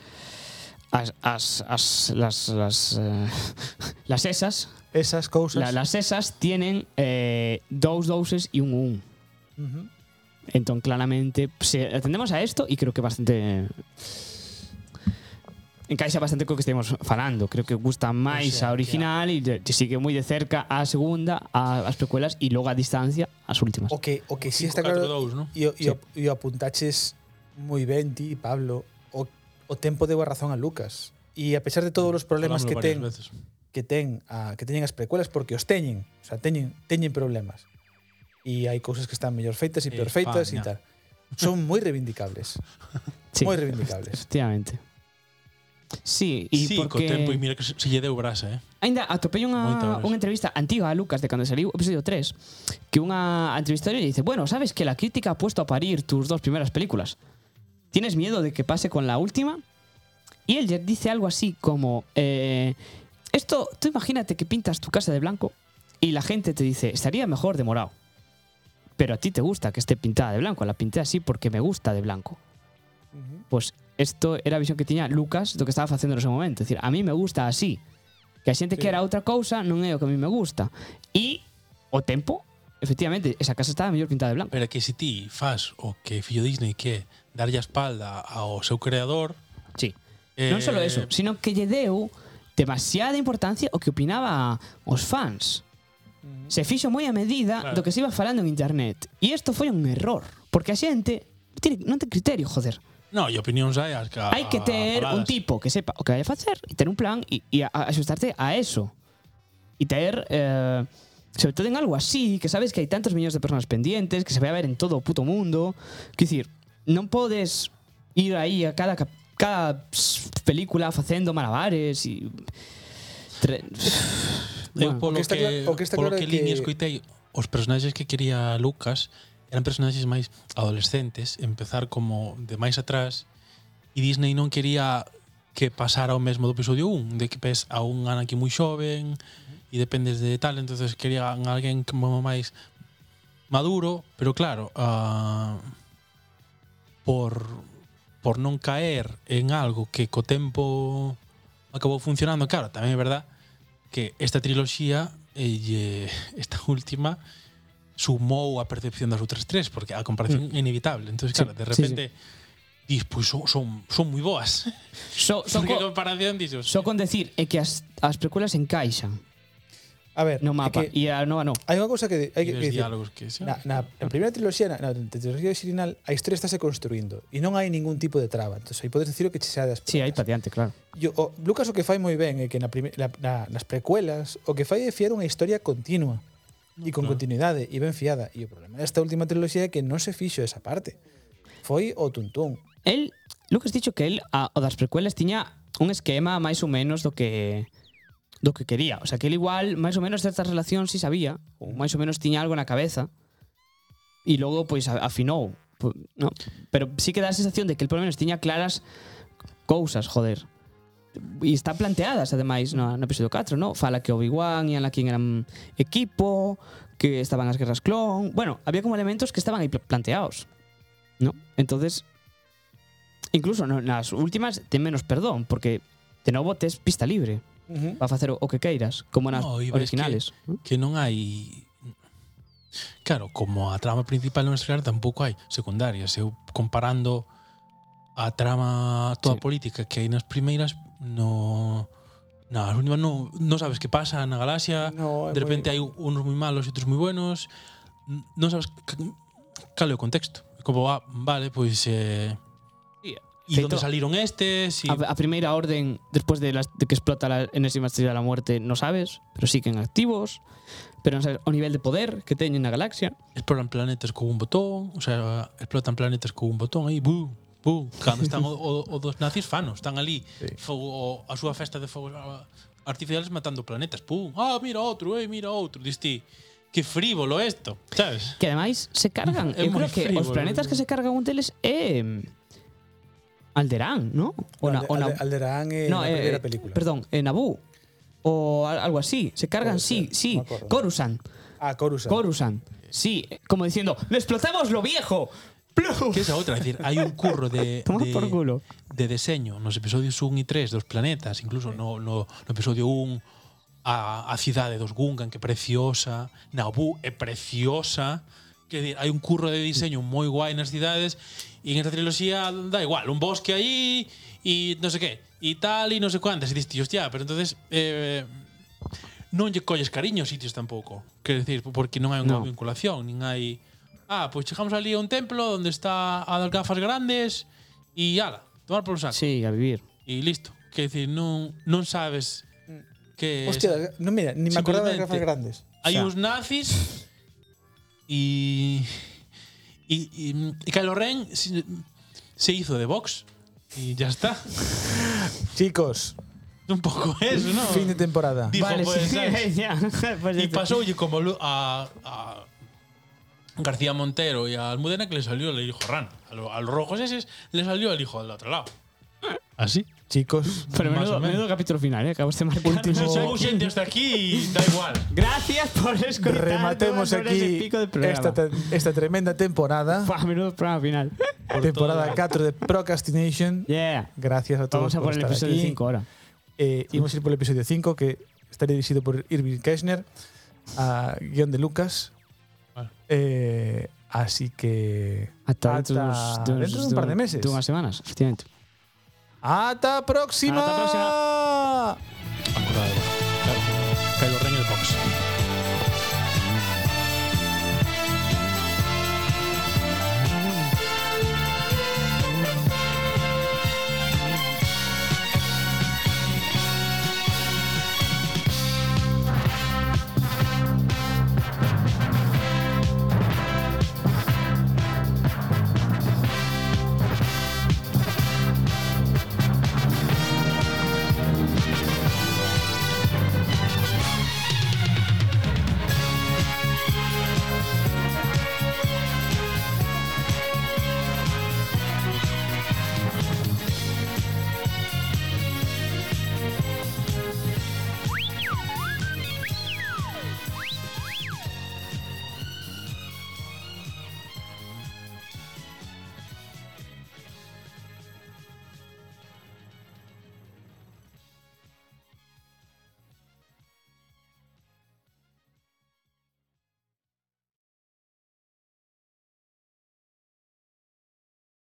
[SPEAKER 4] as as as las las eh, <laughs> las esas,
[SPEAKER 1] Esas cousas.
[SPEAKER 4] la, las esas tienen eh, dous douses e un un.
[SPEAKER 1] Ujú.
[SPEAKER 4] Entón claramente se atendemos a isto e creo que bastante encaixa bastante co que estemos falando. Creo que gusta máis a original e te te sigue moi de cerca a segunda, a, as precuelas e logo a distancia as últimas.
[SPEAKER 7] O que, o que sí está
[SPEAKER 3] Catro
[SPEAKER 7] claro,
[SPEAKER 3] dous, ¿no?
[SPEAKER 7] e o, e o, e o apuntaches moi ben ti, Pablo, o, o tempo deu a razón a Lucas. E a pesar de todos os problemas
[SPEAKER 3] Falámoslo
[SPEAKER 7] que
[SPEAKER 3] Mm, varias
[SPEAKER 7] ten,
[SPEAKER 3] veces.
[SPEAKER 7] que ten a, que teñen as precuelas porque os teñen, o sea, teñen teñen problemas. E hai cousas que están mellor feitas e
[SPEAKER 3] Eh,
[SPEAKER 7] peor feitas e tal.
[SPEAKER 3] España.
[SPEAKER 7] Son moi reivindicables,
[SPEAKER 4] Sí,
[SPEAKER 7] moi reivindicables.
[SPEAKER 4] efectivamente. Sí, e
[SPEAKER 3] Sí, co
[SPEAKER 4] porque
[SPEAKER 3] tempo e mira que se, se lle deu brasa, eh.
[SPEAKER 4] Ainda atopei
[SPEAKER 3] Moita
[SPEAKER 4] unha,
[SPEAKER 3] horas.
[SPEAKER 4] unha entrevista antiga a Lucas de cando saliu o episodio 3 que unha entrevistadora lle dice bueno, sabes que la crítica ha puesto a parir tus dos primeras películas ¿tienes miedo de que pase con la última? y él lle dice algo así como eh, esto, tú imagínate que pintas tu casa de blanco y la gente te dice estaría mejor de morado pero a ti te gusta que esté pintada de blanco la pinté así porque me gusta de blanco pues esto era a visión que tiña Lucas do que estaba facendo nese momento. Es decir, a mí me gusta así. Que a xente sí. quera outra cousa non é o que a mí me gusta. E o tempo, efectivamente, esa casa estaba mellor pintada de blanco.
[SPEAKER 3] Pero é que se ti fas o que fillo Disney que é darlle a espalda ao seu creador,
[SPEAKER 4] Sí.
[SPEAKER 3] eh,
[SPEAKER 4] non só eso, sino que lle deu demasiada importancia o que opinaba os fans. Se fixo moi a medida
[SPEAKER 3] Claro.
[SPEAKER 4] do que se iba falando en internet. E isto foi un error, porque a xente tiene, non ten criterio, joder.
[SPEAKER 3] No, e opinións hai as que
[SPEAKER 4] Hai que ter un tipo que sepa o que vai a facer e ter un plan e, e a- a- axustarte a eso. E ter, eh, sobre todo en algo así, que sabes que hai tantos millóns de personas pendientes, que se vai a ver en todo o puto mundo. Que dicir, non podes ir aí a cada, cap- cada pss, película facendo malabares e... Tre...
[SPEAKER 3] Eu
[SPEAKER 4] Bueno,
[SPEAKER 3] polo
[SPEAKER 7] o que está
[SPEAKER 3] que,
[SPEAKER 7] cla- o que está
[SPEAKER 3] polo
[SPEAKER 7] claro
[SPEAKER 3] que
[SPEAKER 7] é
[SPEAKER 3] lín
[SPEAKER 7] que-
[SPEAKER 3] e escoitei os personaxes que quería Lucas eran personaxes máis adolescentes, empezar como de máis atrás e Disney non quería que pasara o mesmo do episodio 1, de que ves a un Anakin moi xoven e dependes de tal, entonces querían alguén como máis maduro, pero claro, ah, por por non caer en algo que co tempo acabou funcionando, claro, tamén é verdad que esta triloxía e lle- esta <laughs> última sumou a percepción das outras tres, porque a comparación é inevitable. Entonces, claro, de
[SPEAKER 4] Mm. sí,
[SPEAKER 3] repente dis, pois son, son, son moi boas.
[SPEAKER 4] So,
[SPEAKER 3] <laughs>
[SPEAKER 4] so,
[SPEAKER 3] Porque a
[SPEAKER 4] co,
[SPEAKER 3] comparación dixos.
[SPEAKER 4] so con decir é que as, as precuelas encaixan
[SPEAKER 7] A ver,
[SPEAKER 4] no
[SPEAKER 7] é
[SPEAKER 4] mapa
[SPEAKER 7] que
[SPEAKER 4] e a nova non.
[SPEAKER 7] hai unha cousa que hai
[SPEAKER 3] Hai
[SPEAKER 7] que, que dicir.
[SPEAKER 3] diálogos que, sí.
[SPEAKER 7] Na, na, na primeira triloxía, na, na triloxía original, a historia estáse construindo e non hai ningún tipo de traba. Entón, aí podes dicir o que che sea das
[SPEAKER 4] Sí, aí para diante, claro.
[SPEAKER 7] Yo, o, Lucas o que fai moi ben é que na prime, na, na, nas precuelas o que fai é fiar unha historia continua e con
[SPEAKER 3] claro.
[SPEAKER 7] continuidade e ben fiada e o problema desta última triloxía é que non se fixo esa parte foi o tuntún
[SPEAKER 4] El, Lucas dicho que el a, o das precuelas tiña un esquema máis ou menos do que do que quería, o sea, que el igual máis ou menos certas relacións si sabía, ou máis ou menos tiña algo na cabeza. E logo pois a- afinou, Pu- no, pero sí que dá a sensación de que el polo menos tiña claras cousas, joder. E están planteadas, ademais, no, no episodio 4, no? Fala que Obi-Wan e Anakin eran equipo, que estaban as guerras clon... Bueno, había como elementos que estaban aí pla- planteados, no? Entonces, Incluso no- nas últimas ten menos perdón, porque de novo tes pista libre
[SPEAKER 7] uh
[SPEAKER 4] para facer o o que queiras, como nas
[SPEAKER 3] No, e ves
[SPEAKER 4] originales.
[SPEAKER 3] que non hai Claro, como a trama principal non é clara, tampouco hai secundarias. Eu comparando a trama toda
[SPEAKER 4] Sí.
[SPEAKER 3] política que hai nas primeiras, no nas últimas non, non sabes que pasa na galaxia,
[SPEAKER 7] no, é
[SPEAKER 3] Ah, de repente
[SPEAKER 7] moi-
[SPEAKER 3] hai unos moi malos e outros moi buenos, n- non sabes ca- cal é o contexto. Como, ah, vale, pois... Eh,
[SPEAKER 4] Sí,
[SPEAKER 3] e onde
[SPEAKER 4] feito-
[SPEAKER 3] saliron estes? E,
[SPEAKER 4] A, a primeira orden, despois de, las, de que explota la enésima estrella da muerte, non sabes, pero siguen activos, pero non sabes o nivel de poder que teñen na galaxia.
[SPEAKER 3] exploran planetas con un botón, o sea, explotan planetas con un botón aí, bu. Bu, cando están o, o, o dos nazis fanos, están ali
[SPEAKER 1] Sí.
[SPEAKER 3] sí. fogo, o, a súa festa de fogos ah, artificiales matando planetas. Pum, ah, mira outro, eh, mira outro. Diste, que frívolo esto, sabes?
[SPEAKER 4] Que ademais se cargan,
[SPEAKER 3] É
[SPEAKER 4] eu
[SPEAKER 3] moi
[SPEAKER 4] creo que
[SPEAKER 3] frívolo.
[SPEAKER 4] os planetas que se cargan un deles é Alderán, ¿no? O na, o na,
[SPEAKER 7] Alderaan é
[SPEAKER 4] no,
[SPEAKER 7] na
[SPEAKER 4] eh,
[SPEAKER 7] primeira película.
[SPEAKER 4] Perdón, en Naboo o al- algo así, se cargan
[SPEAKER 7] Puede
[SPEAKER 4] sí,
[SPEAKER 7] ser,
[SPEAKER 4] sí,
[SPEAKER 7] no me acuerdo.
[SPEAKER 4] Coruscant,
[SPEAKER 7] Ah, Coruscant.
[SPEAKER 4] Coruscant. Sí, como diciendo, "Desplazamos lo viejo." Plum.
[SPEAKER 3] Que esa outra, é dicir, hai un
[SPEAKER 4] <laughs>
[SPEAKER 3] curro de,
[SPEAKER 4] Toma
[SPEAKER 3] de
[SPEAKER 4] por culo.
[SPEAKER 3] de deseño nos episodios 1 e 3 dos planetas, incluso no, no, no episodio 1 a, a cidade dos Gungan que é preciosa, Naboo é preciosa, que dir, hai un curro de diseño moi guai nas cidades e en esta triloxía da igual, un bosque aí e non sei que, e tal e non sei cuantas, e diste, hostia, pero entonces eh, non lle colles cariño aos sitios tampouco. Quer decir, porque non hai
[SPEAKER 4] No.
[SPEAKER 3] unha vinculación, nin hai Ah, pois chegamos ali a un templo onde está a das gafas grandes e ala, tomar polo saco
[SPEAKER 4] Sí, a vivir.
[SPEAKER 3] e listo. Que decir, non non sabes que
[SPEAKER 7] Hostia, no, mira, ni me acordaba de
[SPEAKER 3] Simplemente-
[SPEAKER 7] gafas grandes.
[SPEAKER 3] hai
[SPEAKER 4] o sea-
[SPEAKER 3] uns nazis e e e, e Kylo Ren se, se hizo de Vox e ya está. <laughs>
[SPEAKER 1] Chicos,
[SPEAKER 3] Un pouco eso, ¿no?
[SPEAKER 1] <laughs> fin de temporada.
[SPEAKER 3] Dijo, pues,
[SPEAKER 4] <laughs>
[SPEAKER 3] ¿sabes?
[SPEAKER 4] ya. Pues
[SPEAKER 3] E
[SPEAKER 4] ya está.
[SPEAKER 3] pasoulle como lu- a, a García Montero e a Almudena que le salió el hijo Ran. A, lo- a los rojos eses le salió el hijo del otro lado. Así.
[SPEAKER 1] Chicos,
[SPEAKER 4] Pero
[SPEAKER 3] más
[SPEAKER 4] menudo,
[SPEAKER 3] o menos.
[SPEAKER 4] menudo capítulo final, eh, acabas de marcar.
[SPEAKER 3] Último. gente hasta aquí y da igual.
[SPEAKER 4] Gracias por escuchar.
[SPEAKER 1] rematemos aquí esta, te- esta tremenda temporada.
[SPEAKER 4] Fua, menudo programa final.
[SPEAKER 1] temporada 4 de Procrastination.
[SPEAKER 4] Yeah.
[SPEAKER 1] Gracias a todos
[SPEAKER 4] Vamos a por
[SPEAKER 1] por
[SPEAKER 4] el
[SPEAKER 1] estar
[SPEAKER 4] episodio
[SPEAKER 1] aquí.
[SPEAKER 4] 5 ahora.
[SPEAKER 1] Eh, íbamos a ir por el episodio 5, que está dirigido por Irving Keshner, a guión de Lucas.
[SPEAKER 3] Vale.
[SPEAKER 1] Eh, así que.
[SPEAKER 4] Hasta,
[SPEAKER 1] Hasta
[SPEAKER 4] dentro, de unos- de unos-
[SPEAKER 1] dentro de un par de meses.
[SPEAKER 4] De unas semanas, efectivamente.
[SPEAKER 1] ¡Hasta próxima!
[SPEAKER 4] Hasta próxima.
[SPEAKER 3] Acordado.